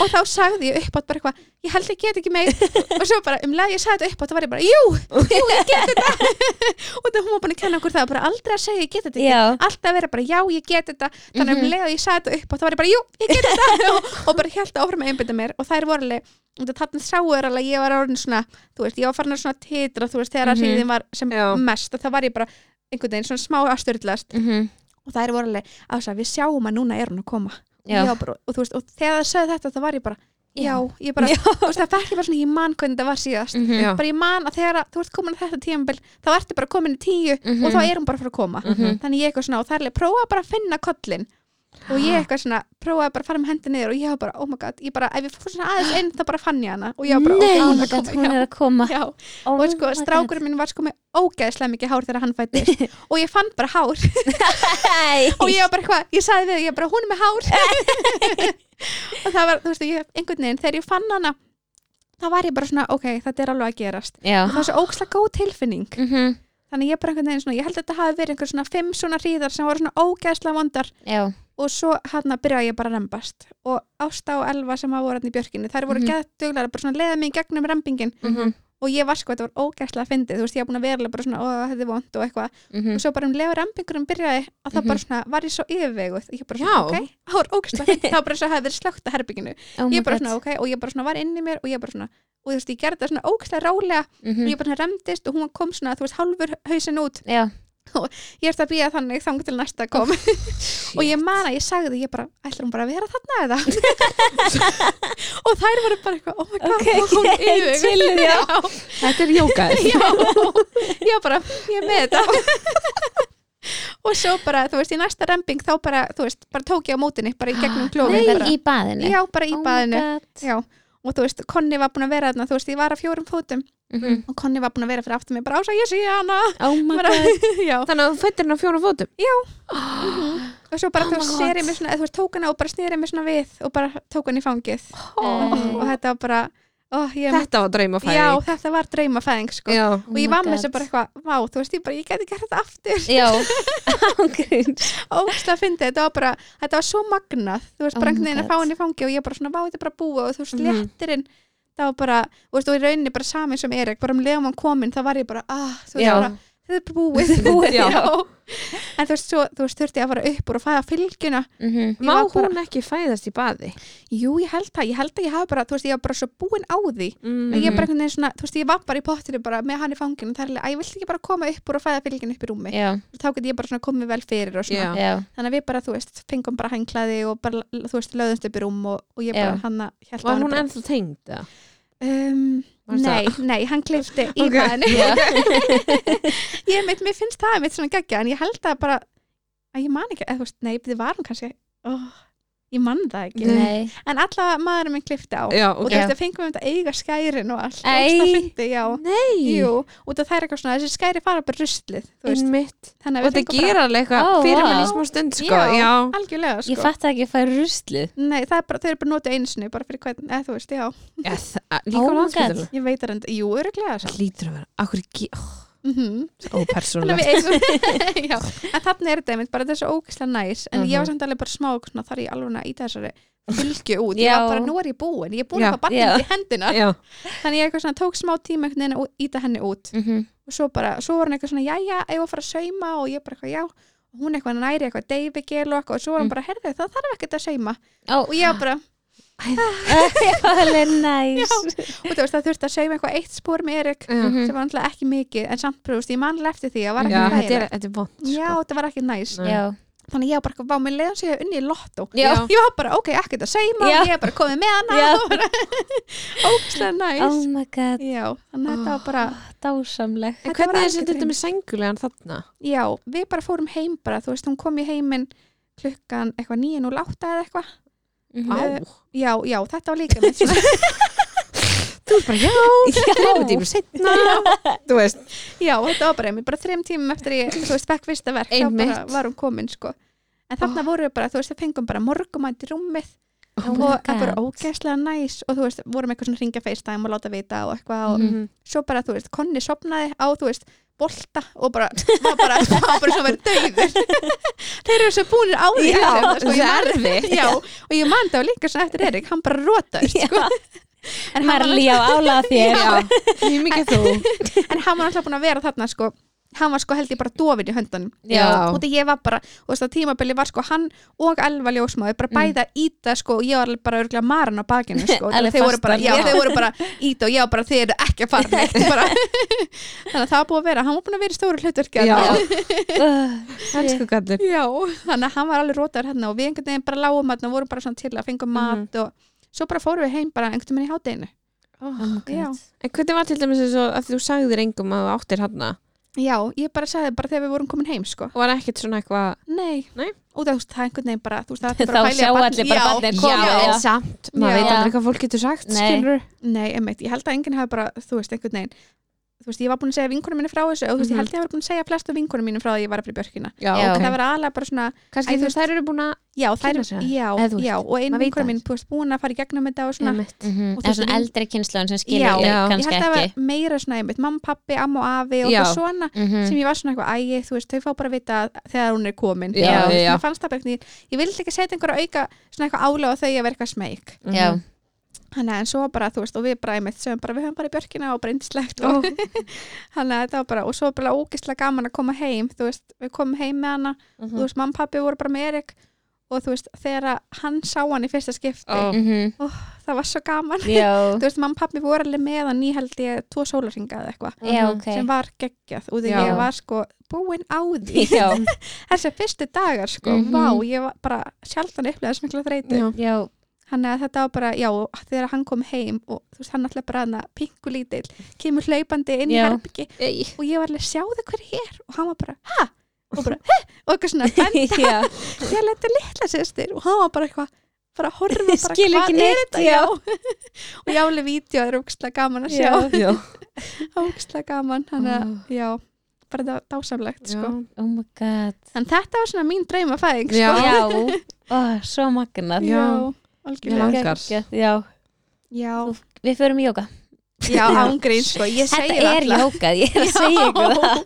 [SPEAKER 3] og þá sagði ég uppátt bara eitthvað, ég held að ég get ekki meir. Og svo bara, um leið og ég sagði þetta uppátt, þá var ég bara, jú, jú, ég get þetta. <laughs> og það hún var búin að kenna okkur það, bara aldrei að segja ég get þetta ekki.
[SPEAKER 1] Já.
[SPEAKER 3] Alltaf vera bara, já, ég get þetta. Þannig um
[SPEAKER 1] Mhm.
[SPEAKER 3] leið og ég sagði þetta uppátt, þá var ég bara, jú, ég get þetta. <laughs> og, og bara held áfram að einbytta mér og þær voru alveg og þetta þarna sáu er alveg að ég var orðin svona þú veist, ég var farin að svona titra, þú veist, þegar að
[SPEAKER 1] Mhm.
[SPEAKER 3] hríðin var sem
[SPEAKER 2] Já.
[SPEAKER 3] mest og það var ég bara einhvern veginn svona smá að styrlast
[SPEAKER 1] Mhm.
[SPEAKER 3] og það er voru alveg að þess að við sjáum að núna er hún að koma Og
[SPEAKER 1] Já.
[SPEAKER 3] ég var bara, og þú veist, og þegar það sagði þetta það var ég bara, já,
[SPEAKER 1] Já.
[SPEAKER 3] ég bara þú veist, það fekk ég bara svona, ég man hvernig þetta var síðast
[SPEAKER 1] Mhm.
[SPEAKER 2] Já.
[SPEAKER 3] bara ég man að þegar að, þú ert komin á þetta tímabil þá ertu bara komin í tíu
[SPEAKER 1] Mhm.
[SPEAKER 3] og þá er hún bara að fara að koma
[SPEAKER 1] Mhm.
[SPEAKER 3] þannig ég eitthvað svona, og það er alveg, prófa bara að finna kollin og ég eitthvað svona, prófaði bara að fara með hendi niður og ég var bara, oh my god, ég bara ef ég fór svona aðeins inn, þá bara fann ég hana og ég var bara,
[SPEAKER 1] Nei,
[SPEAKER 3] ok,
[SPEAKER 1] oh
[SPEAKER 3] hún
[SPEAKER 1] my
[SPEAKER 3] er
[SPEAKER 1] god,
[SPEAKER 3] að
[SPEAKER 1] hún
[SPEAKER 3] koma,
[SPEAKER 1] er að koma
[SPEAKER 3] já, já
[SPEAKER 1] Oh
[SPEAKER 3] og sko,
[SPEAKER 1] my God.
[SPEAKER 3] strákurinn minn var sko með ógeðslega mikið hár þegar hann fættist
[SPEAKER 1] <laughs>
[SPEAKER 3] og ég fann bara hár og
[SPEAKER 1] Æ.
[SPEAKER 3] ég var bara eitthvað, ég sagði við, þau, ég bara, hún er með hár og það var, þú veist, ég, einhvern veginn, þegar ég fann hana þá var ég bara svona, ok, þetta er alveg að gerast
[SPEAKER 1] Já
[SPEAKER 3] og það var svo ógeðslega góð tilfinning
[SPEAKER 1] Mhm.
[SPEAKER 3] þannig ég bara einhvern veginn svona, ég held að þetta hafi verið einhver svona fimm svona hríðar sem voru svona ógeðslega vondar
[SPEAKER 1] Já,
[SPEAKER 3] og svo hann byrjaði ég bara að rembast og Ásta og Elva sem hafa voru hann hérna í björkinni, þær voru mm
[SPEAKER 1] Mhm.
[SPEAKER 3] bara svona leiða mig í gegnum rembingin
[SPEAKER 1] Mhm.
[SPEAKER 3] og og ég var sko, þetta var ógæslega fyndið, þú veist, ég var búin að vera alveg bara svona, ó, þetta er vond og eitthvað og svo bara um lefa rambingurinn byrjaði að það
[SPEAKER 1] Mhm.
[SPEAKER 3] bara svona, var ég svo yfirveguð ég bara
[SPEAKER 2] Já.
[SPEAKER 3] svona, ok, það var ógæslega fyndið það var bara svo að hafa verið slögt að herbygginu
[SPEAKER 1] oh my
[SPEAKER 3] ég bara
[SPEAKER 1] God.
[SPEAKER 3] svona, ok, og ég bara svona var inni í mér og ég bara svona, og þú veist, ég gerði það svona ógæslega rálega og
[SPEAKER 1] Mhm.
[SPEAKER 3] ég bara svona remdist og hún kom svona, þú veist, halvur hausin út
[SPEAKER 1] Já.
[SPEAKER 3] ég er það að býja þannig þangu til næsta
[SPEAKER 1] Oh,
[SPEAKER 3] kom <laughs> og ég man að ég sagði, ég bara, ætlar hún bara að vera þarna
[SPEAKER 1] <laughs>
[SPEAKER 3] eða <laughs> og þær voru bara eitthvað, oh my god
[SPEAKER 1] Ok, <laughs>
[SPEAKER 3] og hún
[SPEAKER 1] ok,
[SPEAKER 3] yfirveguð.
[SPEAKER 1] chilluð, já.
[SPEAKER 3] <laughs> Já.
[SPEAKER 2] Þetta er jókaðið
[SPEAKER 3] Já, já bara, ég er með þetta og svo bara, þú veist, í næsta remping þá bara, þú veist, bara tók ég á mótinni bara í gegnum klófið bara,
[SPEAKER 1] <gasps> Nei, í baðinu
[SPEAKER 3] já, bara í
[SPEAKER 1] Oh my
[SPEAKER 3] baðinu
[SPEAKER 1] God.
[SPEAKER 3] já, og þú veist, Konni var búin að vera þarna þú veist, ég var að fjórum fótum
[SPEAKER 1] Mhm.
[SPEAKER 3] og Konni var búin að vera fyrir aftur mig, bara ása, ég sé hana
[SPEAKER 1] Oh my
[SPEAKER 3] Bara-
[SPEAKER 1] god
[SPEAKER 3] <laughs> já, Mhm.
[SPEAKER 2] Þannig að þú fættir hennar fjórum fótum
[SPEAKER 1] <gasps>
[SPEAKER 3] og svo bara,
[SPEAKER 1] Oh
[SPEAKER 3] þú
[SPEAKER 1] my
[SPEAKER 3] veist,
[SPEAKER 1] God.
[SPEAKER 3] serið mig svona eða þú veist, tók hana og bara snerið mig svona við og bara tók hana í fangið
[SPEAKER 1] Nei.
[SPEAKER 3] og þetta var bara, ó, ég
[SPEAKER 2] Þetta var draumafæðing
[SPEAKER 3] já, þetta var dreymafæðing, sko
[SPEAKER 2] Já.
[SPEAKER 1] Oh
[SPEAKER 3] og ég
[SPEAKER 1] my
[SPEAKER 3] var með
[SPEAKER 1] God.
[SPEAKER 3] þessu bara eitthvað, vá, þú veist, ég bara, ég geti gert þetta aftur
[SPEAKER 1] <laughs>
[SPEAKER 3] <laughs>
[SPEAKER 1] Já, ángríns
[SPEAKER 3] ógstlega fyndið, þetta var bara þetta var svo magnað, þú veist,
[SPEAKER 1] Oh
[SPEAKER 3] bara
[SPEAKER 1] my
[SPEAKER 3] einhvern veginn að
[SPEAKER 1] God.
[SPEAKER 3] fá henni í fangi og ég bara svona, vá, þetta er bara búið og þú veist,
[SPEAKER 2] Mhm.
[SPEAKER 3] léttirinn það var bara, þú veist, og í rauninni bara samin sem Erik, bara um leiðum hann komin, þá var ég bara ah, þú veist,
[SPEAKER 2] Já.
[SPEAKER 3] bara, þetta er bara búið, <laughs> búið
[SPEAKER 2] Já.
[SPEAKER 3] en þú veist, svo, þú veist, þurfti ég að fara upp úr og fæða fylgjuna,
[SPEAKER 1] Mhm.
[SPEAKER 2] Má
[SPEAKER 3] var bara-
[SPEAKER 2] hún ekki fæðast í baði?
[SPEAKER 3] jú, ég held það ég held að ég hafi bara, þú veist, ég var bara svo búin á því
[SPEAKER 2] Mm.
[SPEAKER 1] Mhm.
[SPEAKER 3] og ég bara einhvern veginn svona, þú veist, ég var bara í pottinu bara með hann í fanginu, það er alveg, að ég vildi ekki bara koma upp úr og fæða fylgjuna upp í rúmi,
[SPEAKER 1] Já,
[SPEAKER 3] þá get ég bara svona komið vel fyrir og svona,
[SPEAKER 2] Já.
[SPEAKER 1] já,
[SPEAKER 3] þannig að við bara, þú veist, fengum bara henglaði og bara, þú veist, löðumst upp í rúm og, og ég bara
[SPEAKER 1] Já.
[SPEAKER 3] hann að held
[SPEAKER 2] Var
[SPEAKER 3] að
[SPEAKER 2] hún
[SPEAKER 3] bara,
[SPEAKER 2] ennþá tengd? eða?
[SPEAKER 3] um,
[SPEAKER 2] Var það-
[SPEAKER 3] nei, nei, hann klifti
[SPEAKER 2] Ok.
[SPEAKER 3] í okay. maðinu <laughs>
[SPEAKER 1] já.
[SPEAKER 3] ég meitt, mér finnst það mitt svona geggja en ég held að bara, að ég man ekki eða þú veist, nei, þið var hún kannski oh, ég man það ekki,
[SPEAKER 1] Nei
[SPEAKER 3] en allavega maðurinn minn klifti á
[SPEAKER 2] Já,
[SPEAKER 3] og
[SPEAKER 2] ok
[SPEAKER 3] þú veist, það fengum við þetta eiga skærin og allt,
[SPEAKER 1] Æ.
[SPEAKER 3] ógsta fyndi, já
[SPEAKER 2] Nei,
[SPEAKER 3] Jú, út af það er eitthvað svona, þessi skæri fara bara ruslið, þú veist,
[SPEAKER 2] einmitt Mm, Og
[SPEAKER 3] þannig að við
[SPEAKER 2] þetta
[SPEAKER 3] fengum bara
[SPEAKER 2] gera alveg eitthvað
[SPEAKER 1] Ó,
[SPEAKER 2] fyrir
[SPEAKER 1] vá.
[SPEAKER 2] mann í smá stund sko
[SPEAKER 3] Já.
[SPEAKER 2] Já,
[SPEAKER 3] algjörlega,
[SPEAKER 1] Ég
[SPEAKER 3] sko
[SPEAKER 1] fatt ekki að færa ruslið
[SPEAKER 3] Nei, það er bara, þau eru bara notið einu sinni, bara fyrir hvern, eða þú veist, já
[SPEAKER 2] Já, það-
[SPEAKER 1] Oh
[SPEAKER 2] Líka á
[SPEAKER 1] my
[SPEAKER 2] landsbytuna
[SPEAKER 1] God.
[SPEAKER 3] Ég veit það reynda, jú, öruglega
[SPEAKER 2] Það hlýtur að vera, akkur ekki
[SPEAKER 3] mm -hmm. Þannig að
[SPEAKER 2] Ópersónulegt
[SPEAKER 3] við eigum <laughs> Já, en þannig er þetta einmitt bara þetta er svo ógislega næs en ég var
[SPEAKER 2] Mhm.
[SPEAKER 3] samt alveg bara smá svona, þar er ég alveg að íta þessari fylgju út ég
[SPEAKER 1] Já.
[SPEAKER 3] var bara, nú er ég búin, ég er búin
[SPEAKER 2] Já,
[SPEAKER 3] að fá
[SPEAKER 1] já.
[SPEAKER 3] barnið í hendina
[SPEAKER 2] Já,
[SPEAKER 3] þannig ég eitthvað svona tók smá tíma einhvern veginn að íta henni út og svo bara, svo var hann eitthvað svona, jæja, eigum við að fara að sauma og ég bara eitthvað, já og hún eitthvað næri eitthvað deyfi gel og eitthvað og svo var hann
[SPEAKER 1] Mm.
[SPEAKER 3] bara, herðu, það þarf ekkert að sauma
[SPEAKER 1] Ó,
[SPEAKER 3] og ég var bara,
[SPEAKER 1] <laughs> það er næs
[SPEAKER 3] og þú veist, það þurfti að sauma eitthvað eitt spór með Erik
[SPEAKER 2] já
[SPEAKER 1] Mhm.
[SPEAKER 3] sem var náttúrulega ekki mikið, en samt brúst, ég manlega eftir því, það var ekki
[SPEAKER 2] Já, þetta
[SPEAKER 3] þægilegt.
[SPEAKER 2] er, þetta er vond
[SPEAKER 3] Já,
[SPEAKER 2] sko.
[SPEAKER 3] þetta var ekki næs
[SPEAKER 2] Nei.
[SPEAKER 1] Já,
[SPEAKER 3] Þannig ég var bara, vá, mér leiðan sig að unni í lottó
[SPEAKER 1] já,
[SPEAKER 2] Já.
[SPEAKER 3] Ég var bara, ok, ekkert að seima
[SPEAKER 1] Já.
[SPEAKER 3] Ég er bara komið með hana
[SPEAKER 1] Já.
[SPEAKER 3] <laughs> og bara, Ókslega næs
[SPEAKER 1] oh my god
[SPEAKER 3] Já, þannig að þetta var bara
[SPEAKER 2] Ah.
[SPEAKER 1] Dásamleg
[SPEAKER 2] En
[SPEAKER 3] Þetta
[SPEAKER 2] hvernig
[SPEAKER 3] var
[SPEAKER 2] er þetta
[SPEAKER 3] algjör
[SPEAKER 2] þetta með sængulegan þarna?
[SPEAKER 3] Já, við bara fórum heim bara, þú veist, hún kom í heiminn klukkan eitthvað 9.08 eða eitthvað
[SPEAKER 2] Á,
[SPEAKER 3] Eh, Já, já, þetta var
[SPEAKER 2] <laughs>
[SPEAKER 3] líka mitt sko. svona
[SPEAKER 2] þú er bara <laughs> já, þreymur tímur setna Þú veist,
[SPEAKER 3] Já, þetta var bara einmitt, bara þreim tímum eftir ég, þú veist, fekk fyrsta verk þá bara
[SPEAKER 2] Einmitt.
[SPEAKER 3] var hún komin, sko En þarna
[SPEAKER 2] Ó.
[SPEAKER 3] voru við bara, þú veist, það fengum bara morgumætt í rúmið
[SPEAKER 1] Oh my
[SPEAKER 3] og það bara
[SPEAKER 1] God.
[SPEAKER 3] ógeðslega næs og þú veist, vorum eitthvað svona ringja FaceTime og láta vita og eitthvað og
[SPEAKER 2] Mhm.
[SPEAKER 3] svo bara, þú veist, konni sopnaði á, þú veist, bolta og bara, var bara, <laughs> var bara svo verið döður <laughs> þeir eru svo búinir á því
[SPEAKER 2] Já,
[SPEAKER 3] eftir þetta, sko, ég
[SPEAKER 2] það er
[SPEAKER 3] man-
[SPEAKER 2] erfitt.
[SPEAKER 3] já, og ég man það líka svona eftir Erik, hann bara rótaðist
[SPEAKER 1] Já.
[SPEAKER 3] sko. en, hann var,
[SPEAKER 1] Marlí á ála þér
[SPEAKER 2] Já, mjög mikið þú
[SPEAKER 3] en hann var alltaf búin að vera þarna sko, hann var sko held ég bara dofin í höndanum
[SPEAKER 1] Já.
[SPEAKER 3] og þegar ég var bara, og þess að tímabili var sko hann og Elva ljósmáði, bara bæða mm. íta sko, og ég var alveg bara örgulega maran á bakinu sko,
[SPEAKER 1] Alveg
[SPEAKER 3] þeir voru, bara,
[SPEAKER 1] fastar,
[SPEAKER 3] já,
[SPEAKER 1] já.
[SPEAKER 3] þeir voru bara íta og ég var bara, þeir eru ekki að fara neitt bara. þannig að það var búið að vera, hann var búin að vera í stóru hlutverki
[SPEAKER 2] Já,
[SPEAKER 3] þarna.
[SPEAKER 2] hansku gallur
[SPEAKER 3] já, þannig að hann var alveg rótaður hérna og við einhvern veginn bara lágum hann og vorum bara svona til að fengum mat og svo bara fórum við heim bara einhvern veginn í hátdeinu
[SPEAKER 1] Oh
[SPEAKER 3] já.
[SPEAKER 2] En hvernig var til dæmis eins og að þú sagðir engum að þú áttir hanna
[SPEAKER 3] já, ég bara sagði bara þegar við vorum komin heim sko,
[SPEAKER 2] og var ekkert svona eitthvað
[SPEAKER 3] nei,
[SPEAKER 2] Nei.
[SPEAKER 3] og það, þú veist, það er einhvern veginn bara, þú
[SPEAKER 1] <laughs>
[SPEAKER 3] veist, það er bara
[SPEAKER 1] Þá
[SPEAKER 3] að pæla í
[SPEAKER 1] sjá
[SPEAKER 3] að barn-
[SPEAKER 1] allir bara
[SPEAKER 3] Já,
[SPEAKER 1] barnið
[SPEAKER 2] Já,
[SPEAKER 1] komið
[SPEAKER 2] en samt, maður
[SPEAKER 3] Já.
[SPEAKER 2] veit aldrei hvað fólk getur sagt
[SPEAKER 1] Nei.
[SPEAKER 2] skilur
[SPEAKER 3] Nei, einmitt, ég held að enginn hafi bara, þú veist, einhvern veginn þú veist, ég var búin að segja vinkunum mínu frá þessu og þú veist, ég
[SPEAKER 2] Mhm.
[SPEAKER 3] held ég hafi búin að segja flestu vinkunum mínu frá því ég var að fyrir björkina
[SPEAKER 2] Já,
[SPEAKER 1] Já.
[SPEAKER 3] en
[SPEAKER 2] ok
[SPEAKER 3] það var aðalega bara svona,
[SPEAKER 2] Kannski
[SPEAKER 3] Æ,
[SPEAKER 2] þú
[SPEAKER 3] þú
[SPEAKER 2] veist, þær eru búin að
[SPEAKER 3] já, þær,
[SPEAKER 2] Kynna sig.
[SPEAKER 3] já,
[SPEAKER 2] Eða þú veist,
[SPEAKER 3] já og einn
[SPEAKER 2] maður veit
[SPEAKER 3] vinkunum
[SPEAKER 2] það
[SPEAKER 3] mín, þú veist, búin að fara í gegnum þetta og svona,
[SPEAKER 2] Einmitt.
[SPEAKER 1] Mhm,
[SPEAKER 3] Og
[SPEAKER 1] Það er
[SPEAKER 3] þú
[SPEAKER 1] svona
[SPEAKER 3] veist,
[SPEAKER 1] eldri kynslaðun sem
[SPEAKER 3] Já.
[SPEAKER 1] skilur þig
[SPEAKER 2] Já.
[SPEAKER 3] ég
[SPEAKER 1] kannski
[SPEAKER 3] held að það
[SPEAKER 1] ekki
[SPEAKER 3] var meira svona einmitt, mamma, pappi, amma og afi og
[SPEAKER 2] Já.
[SPEAKER 3] eitthvað svona
[SPEAKER 1] Mhm.
[SPEAKER 3] sem ég var svona eitthvað ægi, þú veist, þau fá bara að vita að þegar hún er komin
[SPEAKER 2] Já,
[SPEAKER 3] Þú veist,
[SPEAKER 2] já.
[SPEAKER 3] mér fannst það bara, einhvern veginn- ég vildi ekki setja einhverja auka svona eitthvað álega á þau að vera eitthvað smeyk
[SPEAKER 1] Já,
[SPEAKER 3] Þannig að en svo bara, þú veist, og við bara einmitt sem bara, við höfum bara í björkina og brindislegt og <laughs> þannig að þetta var bara, og svo var bara ógislega gaman að koma heim, þú veist, við komum heim með hana,
[SPEAKER 1] Mhm.
[SPEAKER 3] þú veist, mamma og pappi voru bara með Erik og þú veist, þegar að hann sá hann í fyrsta skipti,
[SPEAKER 2] Ó.
[SPEAKER 1] Mhm.
[SPEAKER 3] það var svo gaman.
[SPEAKER 1] Já,
[SPEAKER 3] Þú veist, mamma og pappi voru alveg með hann í held ég tvo sólarringa eða eitthvað
[SPEAKER 1] já, ok
[SPEAKER 3] sem var geggjað og
[SPEAKER 2] Já.
[SPEAKER 3] þegar ég var sko búin á
[SPEAKER 1] <laughs>
[SPEAKER 3] því <laughs>
[SPEAKER 1] Já,
[SPEAKER 3] þessi fyrstu dagar sko,
[SPEAKER 1] Mhm.
[SPEAKER 3] vá, ég var bara sjaldan upplega þess mikla þreyti
[SPEAKER 2] Já.
[SPEAKER 1] já,
[SPEAKER 3] Þannig að þetta var bara, já, þegar hann kom heim og þú veist, hann alltaf bara hann að pingu lítill, kemur hlaupandi inn í
[SPEAKER 1] Já.
[SPEAKER 3] herbyggi
[SPEAKER 2] Ei.
[SPEAKER 3] og ég var alveg, sjáðu hver ég er og hann var bara, ha? Og bara, hæ? Og
[SPEAKER 1] <laughs>
[SPEAKER 3] eitthvað svona, benda,
[SPEAKER 1] já
[SPEAKER 3] ég leti litla sýstir og hann var bara eitthvað, bara að horfa bara,
[SPEAKER 1] Skil ekki
[SPEAKER 3] "Hvað er
[SPEAKER 1] neitt,
[SPEAKER 3] þetta?"
[SPEAKER 1] já.
[SPEAKER 3] já. <laughs> og ég álega vídeo, það er ógstlega gaman að sjá,
[SPEAKER 1] Já.
[SPEAKER 2] Já.
[SPEAKER 3] <laughs> ógstlega gaman, hann að, já, bara það var dásamlegt, sko.
[SPEAKER 1] Oh my god
[SPEAKER 3] En þetta var svona mín drauma fæðing,
[SPEAKER 2] Já.
[SPEAKER 3] sko.
[SPEAKER 1] Já, ó, svo magnað
[SPEAKER 2] Já. Ég
[SPEAKER 3] algjörlega.
[SPEAKER 2] langar.
[SPEAKER 1] Geggjað, Já,
[SPEAKER 3] Já,
[SPEAKER 1] Þú- við förum í jóka
[SPEAKER 3] já, ángrín, sko, ég segi
[SPEAKER 1] Þetta er jóka, ég er að segja ykkur það
[SPEAKER 3] Já.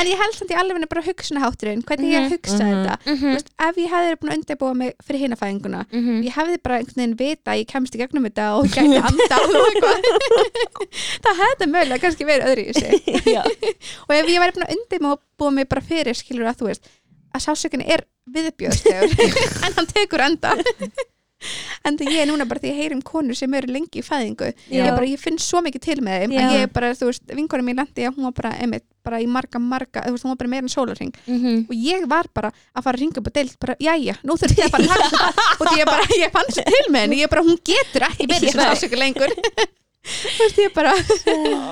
[SPEAKER 3] en ég held samt í alveg bara hugsunahátturinn hvernig ég
[SPEAKER 1] Mhm.
[SPEAKER 3] hugsa
[SPEAKER 2] Mhm.
[SPEAKER 3] þetta Þú
[SPEAKER 1] Mhm,
[SPEAKER 3] veist, ef ég hefði búin að undirbúa mig fyrir hinafæðinguna
[SPEAKER 1] mhm.
[SPEAKER 3] ég hefði bara einhvern veginn vita að ég kemst í gegnum þetta og gæti anda og
[SPEAKER 1] <laughs>
[SPEAKER 3] eitthvað það hefði mögulega kannski verið öðru í sig
[SPEAKER 1] Já,
[SPEAKER 3] og ef ég væri búin að undirbúa mig bara fyrir skilur að þú veist að sásökunni er viðbjóðslegur <laughs> en hann tekur enda en það ég er núna bara því að ég heyri um konur sem eru lengi í fæðingu ég,
[SPEAKER 1] Já.
[SPEAKER 3] bara, ég finn svo mikið til með þeim
[SPEAKER 1] Já.
[SPEAKER 3] að ég er bara, þú veist, vinkonum mín landi hún var bara, einmitt, bara í marga, marga þú veist, hún var bara meira en sólarring
[SPEAKER 1] mhm
[SPEAKER 3] og ég var bara að fara að ringa upp og deilt bara, jæja, nú þurfti ég að fara að taka
[SPEAKER 1] <laughs>
[SPEAKER 3] þetta barn. og því ég bara, ég fann svo til með henni ég bara, hún getur ekki verið svona
[SPEAKER 1] Nei.
[SPEAKER 3] ásöku lengur <laughs> þú veist, ég bara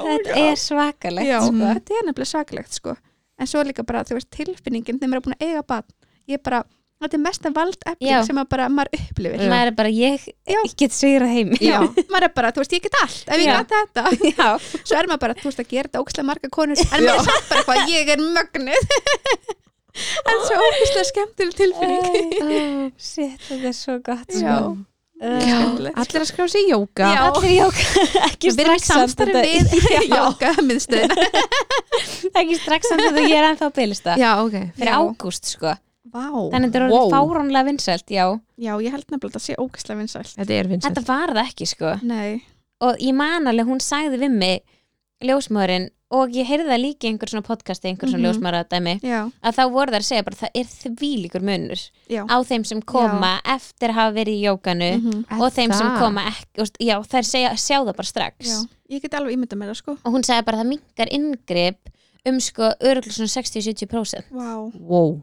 [SPEAKER 1] Þetta er svakalegt
[SPEAKER 3] já, Mm.
[SPEAKER 1] sko.
[SPEAKER 3] þetta er nefnilega svakalegt sko en svo líka bara, þú veist, tilfinningin þegar maður er búin að eiga barn, ég bara þetta er mesta vald
[SPEAKER 1] Já.
[SPEAKER 3] efling sem að bara maður upplifir
[SPEAKER 1] Maður er bara, ég,
[SPEAKER 3] Já.
[SPEAKER 1] ég get sigrað heimi
[SPEAKER 3] Já, maður er bara, þú veist, ég get allt ef ég
[SPEAKER 1] Já.
[SPEAKER 3] get þetta,
[SPEAKER 1] Já,
[SPEAKER 3] svo er maður bara, þú veist, að gera þetta ókslega marga konur, en maður er samt bara eitthvað, ég er mögnuð <laughs> en svo ókslega skemmtileg tilfinning
[SPEAKER 1] Æ,
[SPEAKER 3] <laughs>
[SPEAKER 1] Shit, þetta er svo gott
[SPEAKER 3] Já.
[SPEAKER 1] sko. Uh,
[SPEAKER 2] Já.
[SPEAKER 3] Skemmtilegt,
[SPEAKER 2] Allir að skrá sig í jóka
[SPEAKER 3] Já.
[SPEAKER 1] Allir í jóka <laughs> Ekki
[SPEAKER 3] Við erum í
[SPEAKER 1] strax samt
[SPEAKER 3] samstarfi
[SPEAKER 1] þetta-
[SPEAKER 3] við
[SPEAKER 1] <laughs>
[SPEAKER 3] <laughs>
[SPEAKER 1] Já,
[SPEAKER 3] Jóka miðstöðina.
[SPEAKER 1] Ekki strax samt þetta ég er ennþá að bylista
[SPEAKER 2] Já, ok
[SPEAKER 1] Fyrir
[SPEAKER 3] Já.
[SPEAKER 1] ágúst sko
[SPEAKER 3] Vá.
[SPEAKER 1] Þannig þetta er orðið
[SPEAKER 2] Wow.
[SPEAKER 1] fáránlega vinsælt, já
[SPEAKER 3] Já, ég held nefnilega að það sé ógæslega vinsælt.
[SPEAKER 2] Þetta er vinsælt
[SPEAKER 1] Þetta var það ekki sko
[SPEAKER 3] Nei.
[SPEAKER 1] Og ég man alveg, hún sagði við mig ljósmaðurinn og ég heyrði það líka í einhver svona podcasti, einhver svona mm
[SPEAKER 3] Mhm. Já,
[SPEAKER 1] að þá voru þær að segja bara það er þvílíkur munur
[SPEAKER 3] já.
[SPEAKER 1] á þeim sem koma eftir að hafa verið í jókanu
[SPEAKER 3] Mhm.
[SPEAKER 1] og þeim sem
[SPEAKER 2] Það.
[SPEAKER 1] koma ekki úst, já, þær segja, sjá það bara strax
[SPEAKER 3] Já. Ég get alveg ímynda með það, sko.
[SPEAKER 1] og hún sagði bara það mingar inngrip um sko öruglega svona 60-70%
[SPEAKER 3] Vá.
[SPEAKER 2] Wow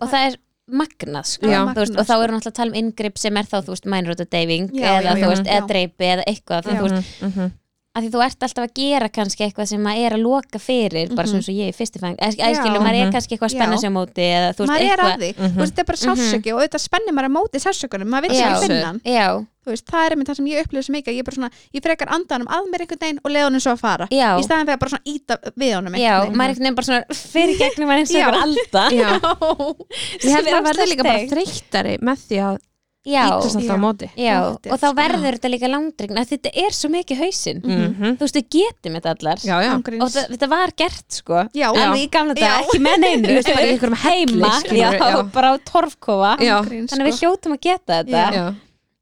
[SPEAKER 1] og það er magnað sko
[SPEAKER 3] Það er
[SPEAKER 1] Þú veist,
[SPEAKER 3] magnað,
[SPEAKER 1] og þá
[SPEAKER 3] sko.
[SPEAKER 1] erum við alltaf að tala um inngrip sem er þá þú veist mænróta deyfing
[SPEAKER 3] Já,
[SPEAKER 1] eða
[SPEAKER 3] já,
[SPEAKER 1] þú
[SPEAKER 2] já,
[SPEAKER 1] veist
[SPEAKER 3] já.
[SPEAKER 1] eða dreipi eða eitthvað
[SPEAKER 3] Já.
[SPEAKER 1] þannig, þú veist,
[SPEAKER 2] Mhm.
[SPEAKER 1] að því þú ert alltaf að gera kannski eitthvað sem maður er að loka fyrir bara
[SPEAKER 3] Mhm.
[SPEAKER 1] svona eins og ég í fyrstu fæng eða
[SPEAKER 3] Já.
[SPEAKER 1] skilur maður er
[SPEAKER 2] Mhm.
[SPEAKER 1] kannski eitthvað að spenna
[SPEAKER 3] Já.
[SPEAKER 1] sig á móti eða þú veist
[SPEAKER 3] Maður er
[SPEAKER 1] eitthvað
[SPEAKER 3] að því.
[SPEAKER 2] Mhm.
[SPEAKER 3] Þú veist, þetta er bara sálsöki og auðvitað spennir maður að móti sálsökunum. Maður veit
[SPEAKER 1] Já.
[SPEAKER 3] sem finnan.
[SPEAKER 1] já,
[SPEAKER 3] Þú veist, það er einmitt það sem ég upplifði svo mikið. að Ég er bara svona, ég frekar andanum að mér einhvern veginn og leða honum svo að fara.
[SPEAKER 1] já,
[SPEAKER 3] Í staðan fyrir að bara svona íta við honum
[SPEAKER 1] já,
[SPEAKER 3] einhvern
[SPEAKER 1] maður er eitthvað bara svona fyrir gegnum maður eins og
[SPEAKER 3] Já.
[SPEAKER 1] eitthvað alltaf
[SPEAKER 2] <laughs> Já. <laughs> Ég held
[SPEAKER 1] <laughs> Sem er
[SPEAKER 2] að verða
[SPEAKER 1] ógeðslega
[SPEAKER 2] líka bara
[SPEAKER 1] steikt.
[SPEAKER 2] þreyttari með því að
[SPEAKER 1] já,
[SPEAKER 2] ítast alltaf á
[SPEAKER 3] Já.
[SPEAKER 2] móti
[SPEAKER 1] já,
[SPEAKER 3] Óttist,
[SPEAKER 1] og þá
[SPEAKER 3] já.
[SPEAKER 1] verður þetta líka langdregna þetta er svo mikið hausinn
[SPEAKER 2] Mhm.
[SPEAKER 1] þú veist, við getum þetta allar
[SPEAKER 2] Já, já
[SPEAKER 3] Ángríns.
[SPEAKER 1] og þa- þetta var gert sko
[SPEAKER 3] Já.
[SPEAKER 1] alveg í gamla dag,
[SPEAKER 3] Já.
[SPEAKER 1] ekki með neinu
[SPEAKER 2] Þú veist, bara í einhverjum helli,
[SPEAKER 1] heima,
[SPEAKER 2] skilurðu,
[SPEAKER 1] já,
[SPEAKER 2] já.
[SPEAKER 1] bara á torfkofa
[SPEAKER 2] Já.
[SPEAKER 3] Ángríns,
[SPEAKER 1] þannig að við
[SPEAKER 3] sko.
[SPEAKER 1] hljótum að geta þetta
[SPEAKER 3] Já.
[SPEAKER 2] Já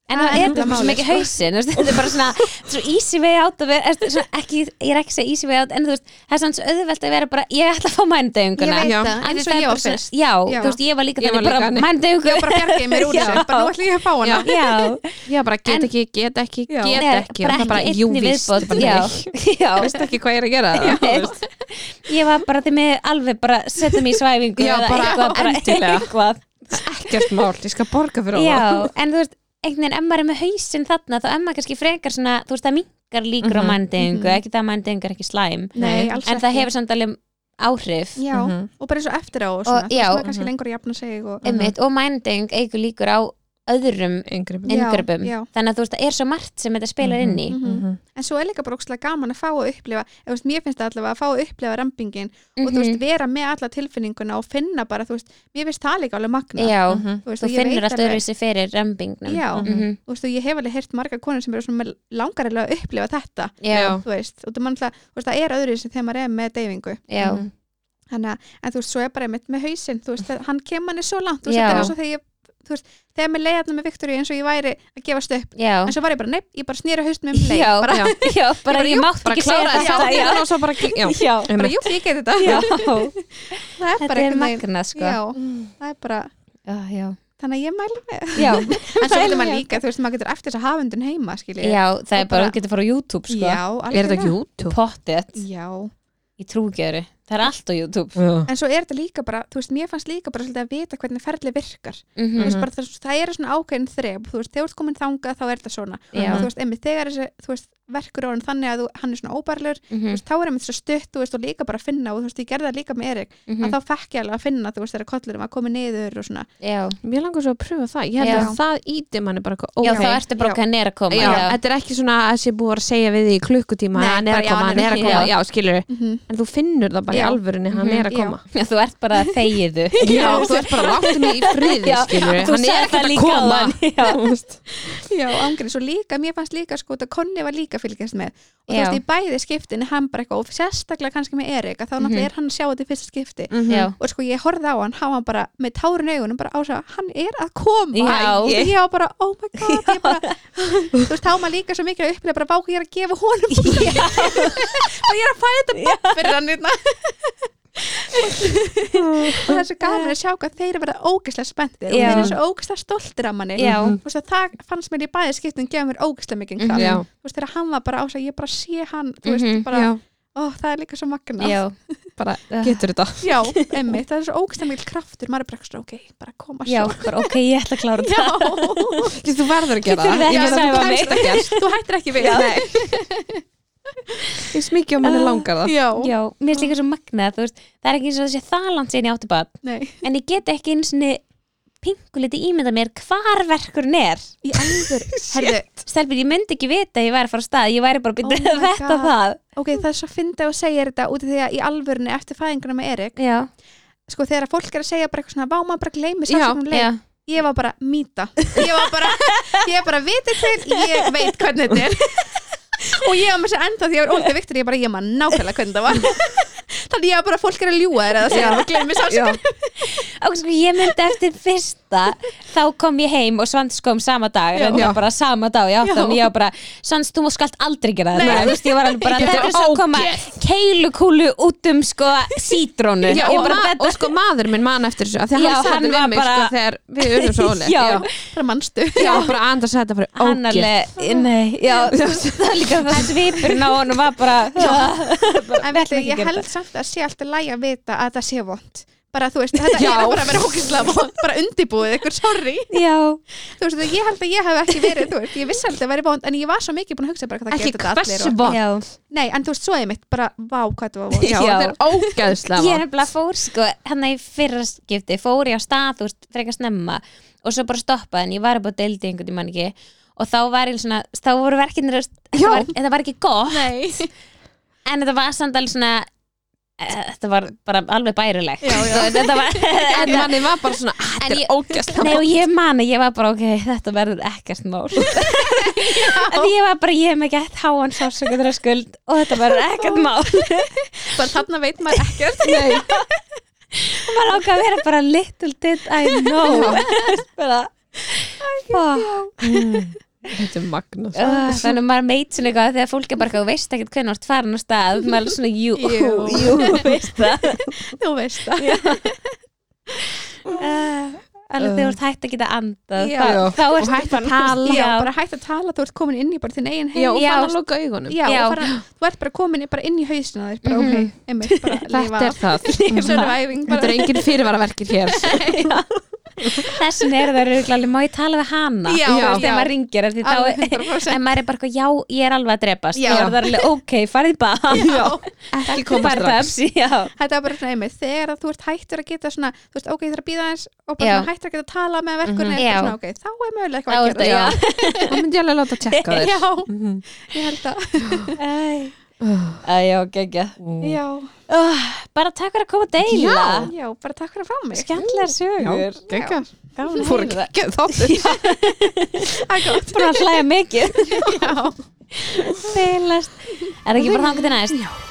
[SPEAKER 1] en það
[SPEAKER 3] Það er
[SPEAKER 1] er þetta
[SPEAKER 3] nefnilega
[SPEAKER 1] svo
[SPEAKER 3] málið,
[SPEAKER 1] mikið
[SPEAKER 3] sko.
[SPEAKER 1] hausinn þú veist, þetta er bara svona, svo easy way out að vera, er, svona, ekki, ég er ekki að segja easy way out en þú veist, það er svona svo auðvelt að vera bara ég ætla að fá
[SPEAKER 3] Ég
[SPEAKER 1] mændegunguna
[SPEAKER 3] veit
[SPEAKER 2] Já.
[SPEAKER 3] það, eins og ég var fyrst.
[SPEAKER 1] já,
[SPEAKER 3] Já.
[SPEAKER 1] þú veist, ég var líka
[SPEAKER 2] Ég var
[SPEAKER 1] þannig
[SPEAKER 2] líka
[SPEAKER 1] bara
[SPEAKER 2] þannig.
[SPEAKER 3] Ég
[SPEAKER 1] mændegunguna
[SPEAKER 3] bara bjargaði mér úr
[SPEAKER 1] Já.
[SPEAKER 3] þessu. Bara nú ætlum ég að fá hana.
[SPEAKER 1] já,
[SPEAKER 2] Já, bara get
[SPEAKER 1] En-
[SPEAKER 2] ekki, get ekki,
[SPEAKER 3] Já.
[SPEAKER 2] get
[SPEAKER 1] Nei,
[SPEAKER 2] ekki og það bara
[SPEAKER 1] ekki
[SPEAKER 2] jú
[SPEAKER 1] einni
[SPEAKER 2] víst
[SPEAKER 1] viðbót,
[SPEAKER 2] bara,
[SPEAKER 1] já,
[SPEAKER 2] nei. Ég
[SPEAKER 1] já.
[SPEAKER 2] veist ekki hvað ég er að gera
[SPEAKER 3] <laughs>
[SPEAKER 1] Já. ég var bara þeim með alveg bara setja mig í svæfingu
[SPEAKER 2] Já,
[SPEAKER 1] eða
[SPEAKER 2] bara
[SPEAKER 1] eitthvað, bara
[SPEAKER 2] endilega.
[SPEAKER 1] <laughs> eitthvað.
[SPEAKER 2] Ekkert mál, ég skal borga fyrir
[SPEAKER 1] já,
[SPEAKER 2] það
[SPEAKER 1] en þú veist, einhvern veginn ef maður er með hausinn þarna, þá ef maður kannski frekar svona, þú veist, það mingar líkur á
[SPEAKER 2] Mhm,
[SPEAKER 1] mændegungu,
[SPEAKER 3] mhm.
[SPEAKER 1] ekki það að mændegungu er ekki slæm
[SPEAKER 3] Nei, alls
[SPEAKER 1] en það
[SPEAKER 3] ekki.
[SPEAKER 1] hefur samt alveg áhrif
[SPEAKER 3] Já,
[SPEAKER 2] Mhm.
[SPEAKER 3] og bara eins og eftir á og svona,
[SPEAKER 1] Og-
[SPEAKER 3] þú
[SPEAKER 1] já.
[SPEAKER 3] veist maður kannski
[SPEAKER 2] Mhm.
[SPEAKER 3] lengur að jafna sig og
[SPEAKER 1] einmitt, og mændeng eigur líkur á öðrum
[SPEAKER 2] Yngri
[SPEAKER 3] Mhm. Já,
[SPEAKER 1] inngripum
[SPEAKER 3] já.
[SPEAKER 1] þannig að þú veist það er svo margt sem þetta spilar inn í
[SPEAKER 3] Mhm. en svo er líka bara ókslega gaman að fá að upplifa eða, þú veist, mér finnst það allavega að fá að upplifa rempingin og þú
[SPEAKER 1] Mhm.
[SPEAKER 3] veist, vera með alla tilfinninguna og finna bara, þú veist, mér finnst það líka alveg magna
[SPEAKER 1] já,
[SPEAKER 2] Mhm.
[SPEAKER 3] þú
[SPEAKER 1] þú
[SPEAKER 3] veist, og ég
[SPEAKER 1] finnur
[SPEAKER 3] veit
[SPEAKER 1] að
[SPEAKER 3] alveg-
[SPEAKER 1] störu þessi fyrir rembingnum
[SPEAKER 3] Já,
[SPEAKER 1] Mhm.
[SPEAKER 3] þú veist, og ég hef alveg heyrt marga konur sem eru svona með langarilega að upplifa þetta
[SPEAKER 1] já,
[SPEAKER 3] þú veist, og þú mann alltaf, þú veist, það er öðru sem þegar maður er með deyfingu
[SPEAKER 1] já,
[SPEAKER 2] Mhm.
[SPEAKER 3] Hanna, en þú veist, svo er bara einmitt með hausinn, þú veist, að hann kemur manni svo langt, þú veist,
[SPEAKER 1] Já.
[SPEAKER 3] þetta er eins og þegar ég þú veist, þegar mér leiði allir með Viktoríu eins og ég væri að gefast upp
[SPEAKER 1] já,
[SPEAKER 3] en svo var ég bara, nei, ég bara snýra haustum um leið
[SPEAKER 1] já,
[SPEAKER 3] bara,
[SPEAKER 1] <laughs> já, já, bara
[SPEAKER 3] bara,
[SPEAKER 1] ég
[SPEAKER 3] jú,
[SPEAKER 1] mátt
[SPEAKER 2] bara
[SPEAKER 1] ekki segja
[SPEAKER 2] klára
[SPEAKER 3] þetta,
[SPEAKER 1] þetta
[SPEAKER 2] þess
[SPEAKER 1] já,
[SPEAKER 2] að og svo bara já,
[SPEAKER 1] já,
[SPEAKER 2] <laughs>
[SPEAKER 3] bara jú, ég geti þetta
[SPEAKER 1] <laughs> já.
[SPEAKER 3] <laughs> það er
[SPEAKER 1] þetta
[SPEAKER 3] bara
[SPEAKER 1] er
[SPEAKER 3] einhvern veginn
[SPEAKER 1] magna sko
[SPEAKER 3] já, það er bara,
[SPEAKER 1] já, já,
[SPEAKER 3] þannig að ég mæli með
[SPEAKER 1] já,
[SPEAKER 3] en <laughs> svo
[SPEAKER 1] Það er
[SPEAKER 3] getur maður
[SPEAKER 1] mjög
[SPEAKER 3] líka, þú veist, maður getur eftir þess að hafa undan heima skilji,
[SPEAKER 1] já það
[SPEAKER 3] Og
[SPEAKER 1] er bara,
[SPEAKER 3] bara-
[SPEAKER 1] þú getur að fara á YouTube sko,
[SPEAKER 3] já
[SPEAKER 2] er þetta
[SPEAKER 3] algjörlega.
[SPEAKER 2] YouTube?
[SPEAKER 1] pottet,
[SPEAKER 3] já,
[SPEAKER 1] ég trúi ekki öðru það er allt á YouTube
[SPEAKER 2] Já.
[SPEAKER 3] en svo er þetta líka bara, þú veist, mér fannst líka bara svolítið að vita hvernig ferli virkar
[SPEAKER 1] mm
[SPEAKER 3] mm -hmm. bara, það, það er svona ákveðin þrep þú veist, þegar þú ert komin þangað þá er þetta svona
[SPEAKER 1] Já.
[SPEAKER 3] og þú veist, einmitt þegar þessi, þú veist, verkur á hann þannig að þú, hann er svona óbærlur
[SPEAKER 1] Mhm.
[SPEAKER 3] þú veist, þá er einmitt svo stutt, þú veist, og líka bara að finna og þú veist, ég gerði það líka með Erik
[SPEAKER 1] Mhm.
[SPEAKER 3] að þá fekk ég alveg að finna, þú veist, þegar kollurum að koma niður og svona,
[SPEAKER 1] já,
[SPEAKER 2] Mér langar svo að pröfa það, ég held
[SPEAKER 1] Já.
[SPEAKER 2] að það íti manni bara eitthvað,
[SPEAKER 1] já,
[SPEAKER 2] ok,
[SPEAKER 1] þá ertu bara
[SPEAKER 3] Já.
[SPEAKER 1] hann er að koma
[SPEAKER 2] já, þetta er ekki svona að sé búið að segja við því í klukkutíma,
[SPEAKER 3] Nei,
[SPEAKER 2] hann er
[SPEAKER 3] bara,
[SPEAKER 2] að
[SPEAKER 3] já,
[SPEAKER 2] koma,
[SPEAKER 3] hann
[SPEAKER 2] hann
[SPEAKER 3] er
[SPEAKER 2] er að
[SPEAKER 1] ekki-
[SPEAKER 2] koma,
[SPEAKER 1] já.
[SPEAKER 2] já, skilur
[SPEAKER 3] mm -hmm.
[SPEAKER 2] en þú finnur það bara í
[SPEAKER 3] Já.
[SPEAKER 2] alvörunni, hann
[SPEAKER 1] Mhm.
[SPEAKER 2] er að
[SPEAKER 3] Já.
[SPEAKER 2] koma
[SPEAKER 1] Já, þú ert bara að þegiðu <laughs>
[SPEAKER 2] já, þú ert bara láttu mig í friði,
[SPEAKER 1] Já,
[SPEAKER 2] skilur
[SPEAKER 1] þú
[SPEAKER 2] hann
[SPEAKER 1] sagðir
[SPEAKER 2] er ekki
[SPEAKER 1] það
[SPEAKER 2] að
[SPEAKER 1] líka
[SPEAKER 2] koma
[SPEAKER 1] <laughs> áðan,
[SPEAKER 2] Þú veist.
[SPEAKER 3] já, ángriðs og líka, mér fannst líka sko, þetta konni var líka að fylgjast með og þú
[SPEAKER 1] Já.
[SPEAKER 3] veist, í bæði skiptin er hann bara eitthvað og sérstaklega kannski með Erik, að þá
[SPEAKER 1] Mhm.
[SPEAKER 3] náttúrulega er hann að sjá þetta í fyrsta skipti
[SPEAKER 1] já,
[SPEAKER 3] og sko ég horfði á hann, hann var bara með tárun augunum bara á svo, hann er að koma
[SPEAKER 1] Já.
[SPEAKER 3] Þú veist, ég var bara, oh my god ég
[SPEAKER 1] <laughs>
[SPEAKER 3] bara, þú veist, þá maður líka svo mikið að upplega bara vá, hvað ég er að gefa honum og ég er að fæða þetta bort fyrir hann
[SPEAKER 1] <laughs>
[SPEAKER 3] hérna og það er svo gaman að sjá hvað þeir eru verið ógeðslega spenntir og
[SPEAKER 1] Já.
[SPEAKER 3] þeir eru svo ógeðslega stoltir af manni
[SPEAKER 1] Já.
[SPEAKER 3] Þú veist, að það fannst mér í bæði skiptum gefa mér ógeðslega mikið kraft.
[SPEAKER 2] Já.
[SPEAKER 3] Þú veist, þegar hann var bara á svo, ég bara sé hann þú veist,
[SPEAKER 1] Mhm.
[SPEAKER 3] bara,
[SPEAKER 2] Já,
[SPEAKER 3] ó, það er líka svo magna
[SPEAKER 1] já
[SPEAKER 2] bara getur þetta
[SPEAKER 3] Já, emmitt, það er svo ógæslega mikil kraftur maður er bara eitthvað, ok, bara koma
[SPEAKER 1] Já,
[SPEAKER 3] svo
[SPEAKER 1] bara ok, ég ætla að klára þetta
[SPEAKER 3] <laughs> Já,
[SPEAKER 2] Ekki, þú verður að gera
[SPEAKER 1] Getur
[SPEAKER 2] það,
[SPEAKER 1] það ekki
[SPEAKER 2] ég
[SPEAKER 1] að
[SPEAKER 2] meina, þú
[SPEAKER 1] sæfa mig?
[SPEAKER 2] kemst ekki að-
[SPEAKER 3] þú hættir ekki við
[SPEAKER 1] Já.
[SPEAKER 3] Nei.
[SPEAKER 2] ég smikið á manni langar það
[SPEAKER 3] Já,
[SPEAKER 1] Já, mér finnst líka svo magnað, þú veist Það er ekki eins og þessi þalant sinni átti bad
[SPEAKER 3] Nei.
[SPEAKER 1] En ég get ekki eins og pinguliti ímynda mér hvar verkurinn er
[SPEAKER 3] Í alvör, herðu
[SPEAKER 1] Stelbjörn, ég myndi ekki vita að ég væri að fara á stað Ég væri bara að byrja
[SPEAKER 3] Oh my
[SPEAKER 1] þetta
[SPEAKER 3] God.
[SPEAKER 1] það
[SPEAKER 3] Ok, það er svo fyndið að segja þetta út af því að í alvörunni eftir fæðinguna með Erik
[SPEAKER 1] Já,
[SPEAKER 3] sko þegar að fólk er að segja bara eitthvað svona vá maður bara
[SPEAKER 2] Já,
[SPEAKER 3] gleymi sannsakum leik
[SPEAKER 1] já,
[SPEAKER 3] ég var bara mýta ég var bara, ég bara vitið til ég veit hvernig þetta er og ég var með sér enda því að ég var óldið viktur ég bara, ég maður nákvæmlega hvernig það var <laughs> þannig ég var bara, fólk er að ljúa þér eða segja, gleymi
[SPEAKER 2] Já.
[SPEAKER 3] sannsakum
[SPEAKER 1] og sko ég myndi eftir fyrsta þá kom ég heim og Svans kom sama dag
[SPEAKER 3] Já.
[SPEAKER 1] reyndar
[SPEAKER 2] Já.
[SPEAKER 1] bara sama dag í áttan
[SPEAKER 3] Já.
[SPEAKER 1] ég var bara, Svans þú má skalt aldrei gera
[SPEAKER 3] Nei.
[SPEAKER 1] þetta Þú veist, ég var alveg bara,
[SPEAKER 2] Þetta
[SPEAKER 1] þetta
[SPEAKER 2] er
[SPEAKER 1] er svo að koma
[SPEAKER 2] ógeð.
[SPEAKER 1] keilukúlu út um sko sítrónu
[SPEAKER 2] Já,
[SPEAKER 1] Ég
[SPEAKER 2] og,
[SPEAKER 1] bara,
[SPEAKER 2] ma
[SPEAKER 1] þetta-
[SPEAKER 2] og sko maður minn man eftir þessu af því að
[SPEAKER 1] Já,
[SPEAKER 2] hann sagði
[SPEAKER 1] hann
[SPEAKER 2] þetta
[SPEAKER 1] var
[SPEAKER 2] við mig
[SPEAKER 1] bara-
[SPEAKER 2] sko, þegar við urðum
[SPEAKER 1] <laughs>
[SPEAKER 2] svo ólega
[SPEAKER 1] Já.
[SPEAKER 3] <laughs> bara manstu
[SPEAKER 2] já, bara andar sagði þetta fyrir
[SPEAKER 1] hann
[SPEAKER 2] ógeð
[SPEAKER 1] alveg, nei já, <laughs> það var líka það svipurinn á honum var bara, <laughs>
[SPEAKER 3] en
[SPEAKER 1] Við ætlum
[SPEAKER 3] við,
[SPEAKER 1] ekki
[SPEAKER 3] ég
[SPEAKER 1] að gera
[SPEAKER 3] held samt að sé alltaf læg að vita að það sé vond bara
[SPEAKER 2] <laughs>
[SPEAKER 3] þú veist, þetta
[SPEAKER 2] Já.
[SPEAKER 3] er bara að vera ógæslega vond bara undibúið ykkur, sorry
[SPEAKER 1] já
[SPEAKER 3] þú veist, ég held að ég hef ekki verið, þú veist, ég vissi alltaf að vera vond en ég var svo mikið búin að hugsa bara hvað það
[SPEAKER 2] ekki
[SPEAKER 3] getur þetta allir
[SPEAKER 2] hversu
[SPEAKER 3] og...
[SPEAKER 2] vond
[SPEAKER 1] já,
[SPEAKER 3] nei, en þú veist, svo er mitt, bara, vá, hvað þetta
[SPEAKER 2] <laughs>
[SPEAKER 3] var vond
[SPEAKER 2] já, þetta er ógeðslega
[SPEAKER 1] ég er
[SPEAKER 2] vond
[SPEAKER 1] nefnilega fór sko hann í fyrra skipti, fór ég á stað þú veist, frekar snemma og svo bara stoppaði en ég var bara að deildi einhvern tímann ekki og þá var ég svona, þá voru verkinir þetta var, þetta var ekki gott
[SPEAKER 3] nei,
[SPEAKER 1] en þetta var samt alveg svona eh, þetta var bara alveg bærilegt
[SPEAKER 3] Já, já.
[SPEAKER 1] Þú veist, <laughs> þetta var
[SPEAKER 2] en
[SPEAKER 1] en,
[SPEAKER 2] manni var bara svona, "Ah,
[SPEAKER 1] En
[SPEAKER 2] þetta
[SPEAKER 1] ég-
[SPEAKER 2] er ógeðslega
[SPEAKER 1] Nei
[SPEAKER 2] vond
[SPEAKER 1] og ég mani, ég var bara ok, þetta verður ekkert mál En ég var bara, ég hef mig gett háan sársökuðra skuld og þetta verður ekkert <laughs> mál
[SPEAKER 3] bara þarna veit maður ekkert
[SPEAKER 2] Nei,
[SPEAKER 1] og maður ákvað að vera bara little did I know <laughs> bara Fuck. Mm.
[SPEAKER 2] þetta er magnus
[SPEAKER 1] Ah, þannig að maður meit svona eitthvað þegar fólk er bara eitthvað, þú veist ekkert hvernig þú ert farin á stað maður er svona, jú, jú,
[SPEAKER 3] Jú.
[SPEAKER 1] veist það <laughs>
[SPEAKER 3] þú veist það
[SPEAKER 1] uh, alveg þegar þú ert hægt að geta andað
[SPEAKER 3] Já.
[SPEAKER 1] þá, þá
[SPEAKER 2] og
[SPEAKER 1] ertu
[SPEAKER 2] hætti að
[SPEAKER 1] bara-
[SPEAKER 2] tala
[SPEAKER 1] Já.
[SPEAKER 3] já, bara hætt að tala, þú ert komin inn í bara þinn eigin heim
[SPEAKER 2] já, og
[SPEAKER 1] Já.
[SPEAKER 2] fann að loka augunum
[SPEAKER 3] já,
[SPEAKER 1] Já.
[SPEAKER 3] og bara, þú ert bara komin í- bara inn í hausina þér bara,
[SPEAKER 1] Mhm.
[SPEAKER 3] ok, einmitt, bara
[SPEAKER 2] þetta er
[SPEAKER 1] <laughs>
[SPEAKER 2] það
[SPEAKER 3] lifa surviving,
[SPEAKER 2] þetta
[SPEAKER 3] bara,
[SPEAKER 2] er engin fyrirvaraverkir hér
[SPEAKER 1] þessin er það rúglega, má ég tala við hana
[SPEAKER 3] Já,
[SPEAKER 1] Þú veist,
[SPEAKER 3] já.
[SPEAKER 1] þegar maður ringir eftir þá
[SPEAKER 3] alveg 100%
[SPEAKER 1] en maður er bara eitthvað, já, ég er alveg að drepast
[SPEAKER 3] Já.
[SPEAKER 1] þá er það alveg, ok, farið í bað
[SPEAKER 3] já,
[SPEAKER 2] ekki koma
[SPEAKER 1] Bara
[SPEAKER 2] strax
[SPEAKER 1] Pepsi, já.
[SPEAKER 3] þetta er bara svona einmitt þegar að þú ert hættur að geta svona þú veist, ok, ég þarf að býða eins og bara
[SPEAKER 1] Já.
[SPEAKER 3] svona hættur að geta að tala með verkunni
[SPEAKER 1] Mhm.
[SPEAKER 3] mm
[SPEAKER 1] Já.
[SPEAKER 3] svona, ok, þá er
[SPEAKER 1] Þá
[SPEAKER 3] mögulega eitthvað
[SPEAKER 1] er
[SPEAKER 3] að gera
[SPEAKER 1] þetta, já.
[SPEAKER 3] <laughs>
[SPEAKER 2] þá myndi ég alveg láta að
[SPEAKER 1] <laughs>
[SPEAKER 2] tjekka þér
[SPEAKER 3] já,
[SPEAKER 2] Mhm.
[SPEAKER 3] ég held að
[SPEAKER 1] Æ, <laughs> Æ, já, geggja
[SPEAKER 3] já,
[SPEAKER 1] oh, bara takk fyrir að koma að deila
[SPEAKER 3] já, bara takk fyrir að fá mig
[SPEAKER 1] skemmtilega
[SPEAKER 2] Já,
[SPEAKER 1] sögur
[SPEAKER 2] geggjað.
[SPEAKER 1] Gaman að
[SPEAKER 2] fór
[SPEAKER 1] heyra.
[SPEAKER 2] að gegja þáttur
[SPEAKER 3] <laughs> Æ, gott.
[SPEAKER 1] bara að hlæja mikið
[SPEAKER 3] já
[SPEAKER 1] Feilast. er ekki bara þangur til næst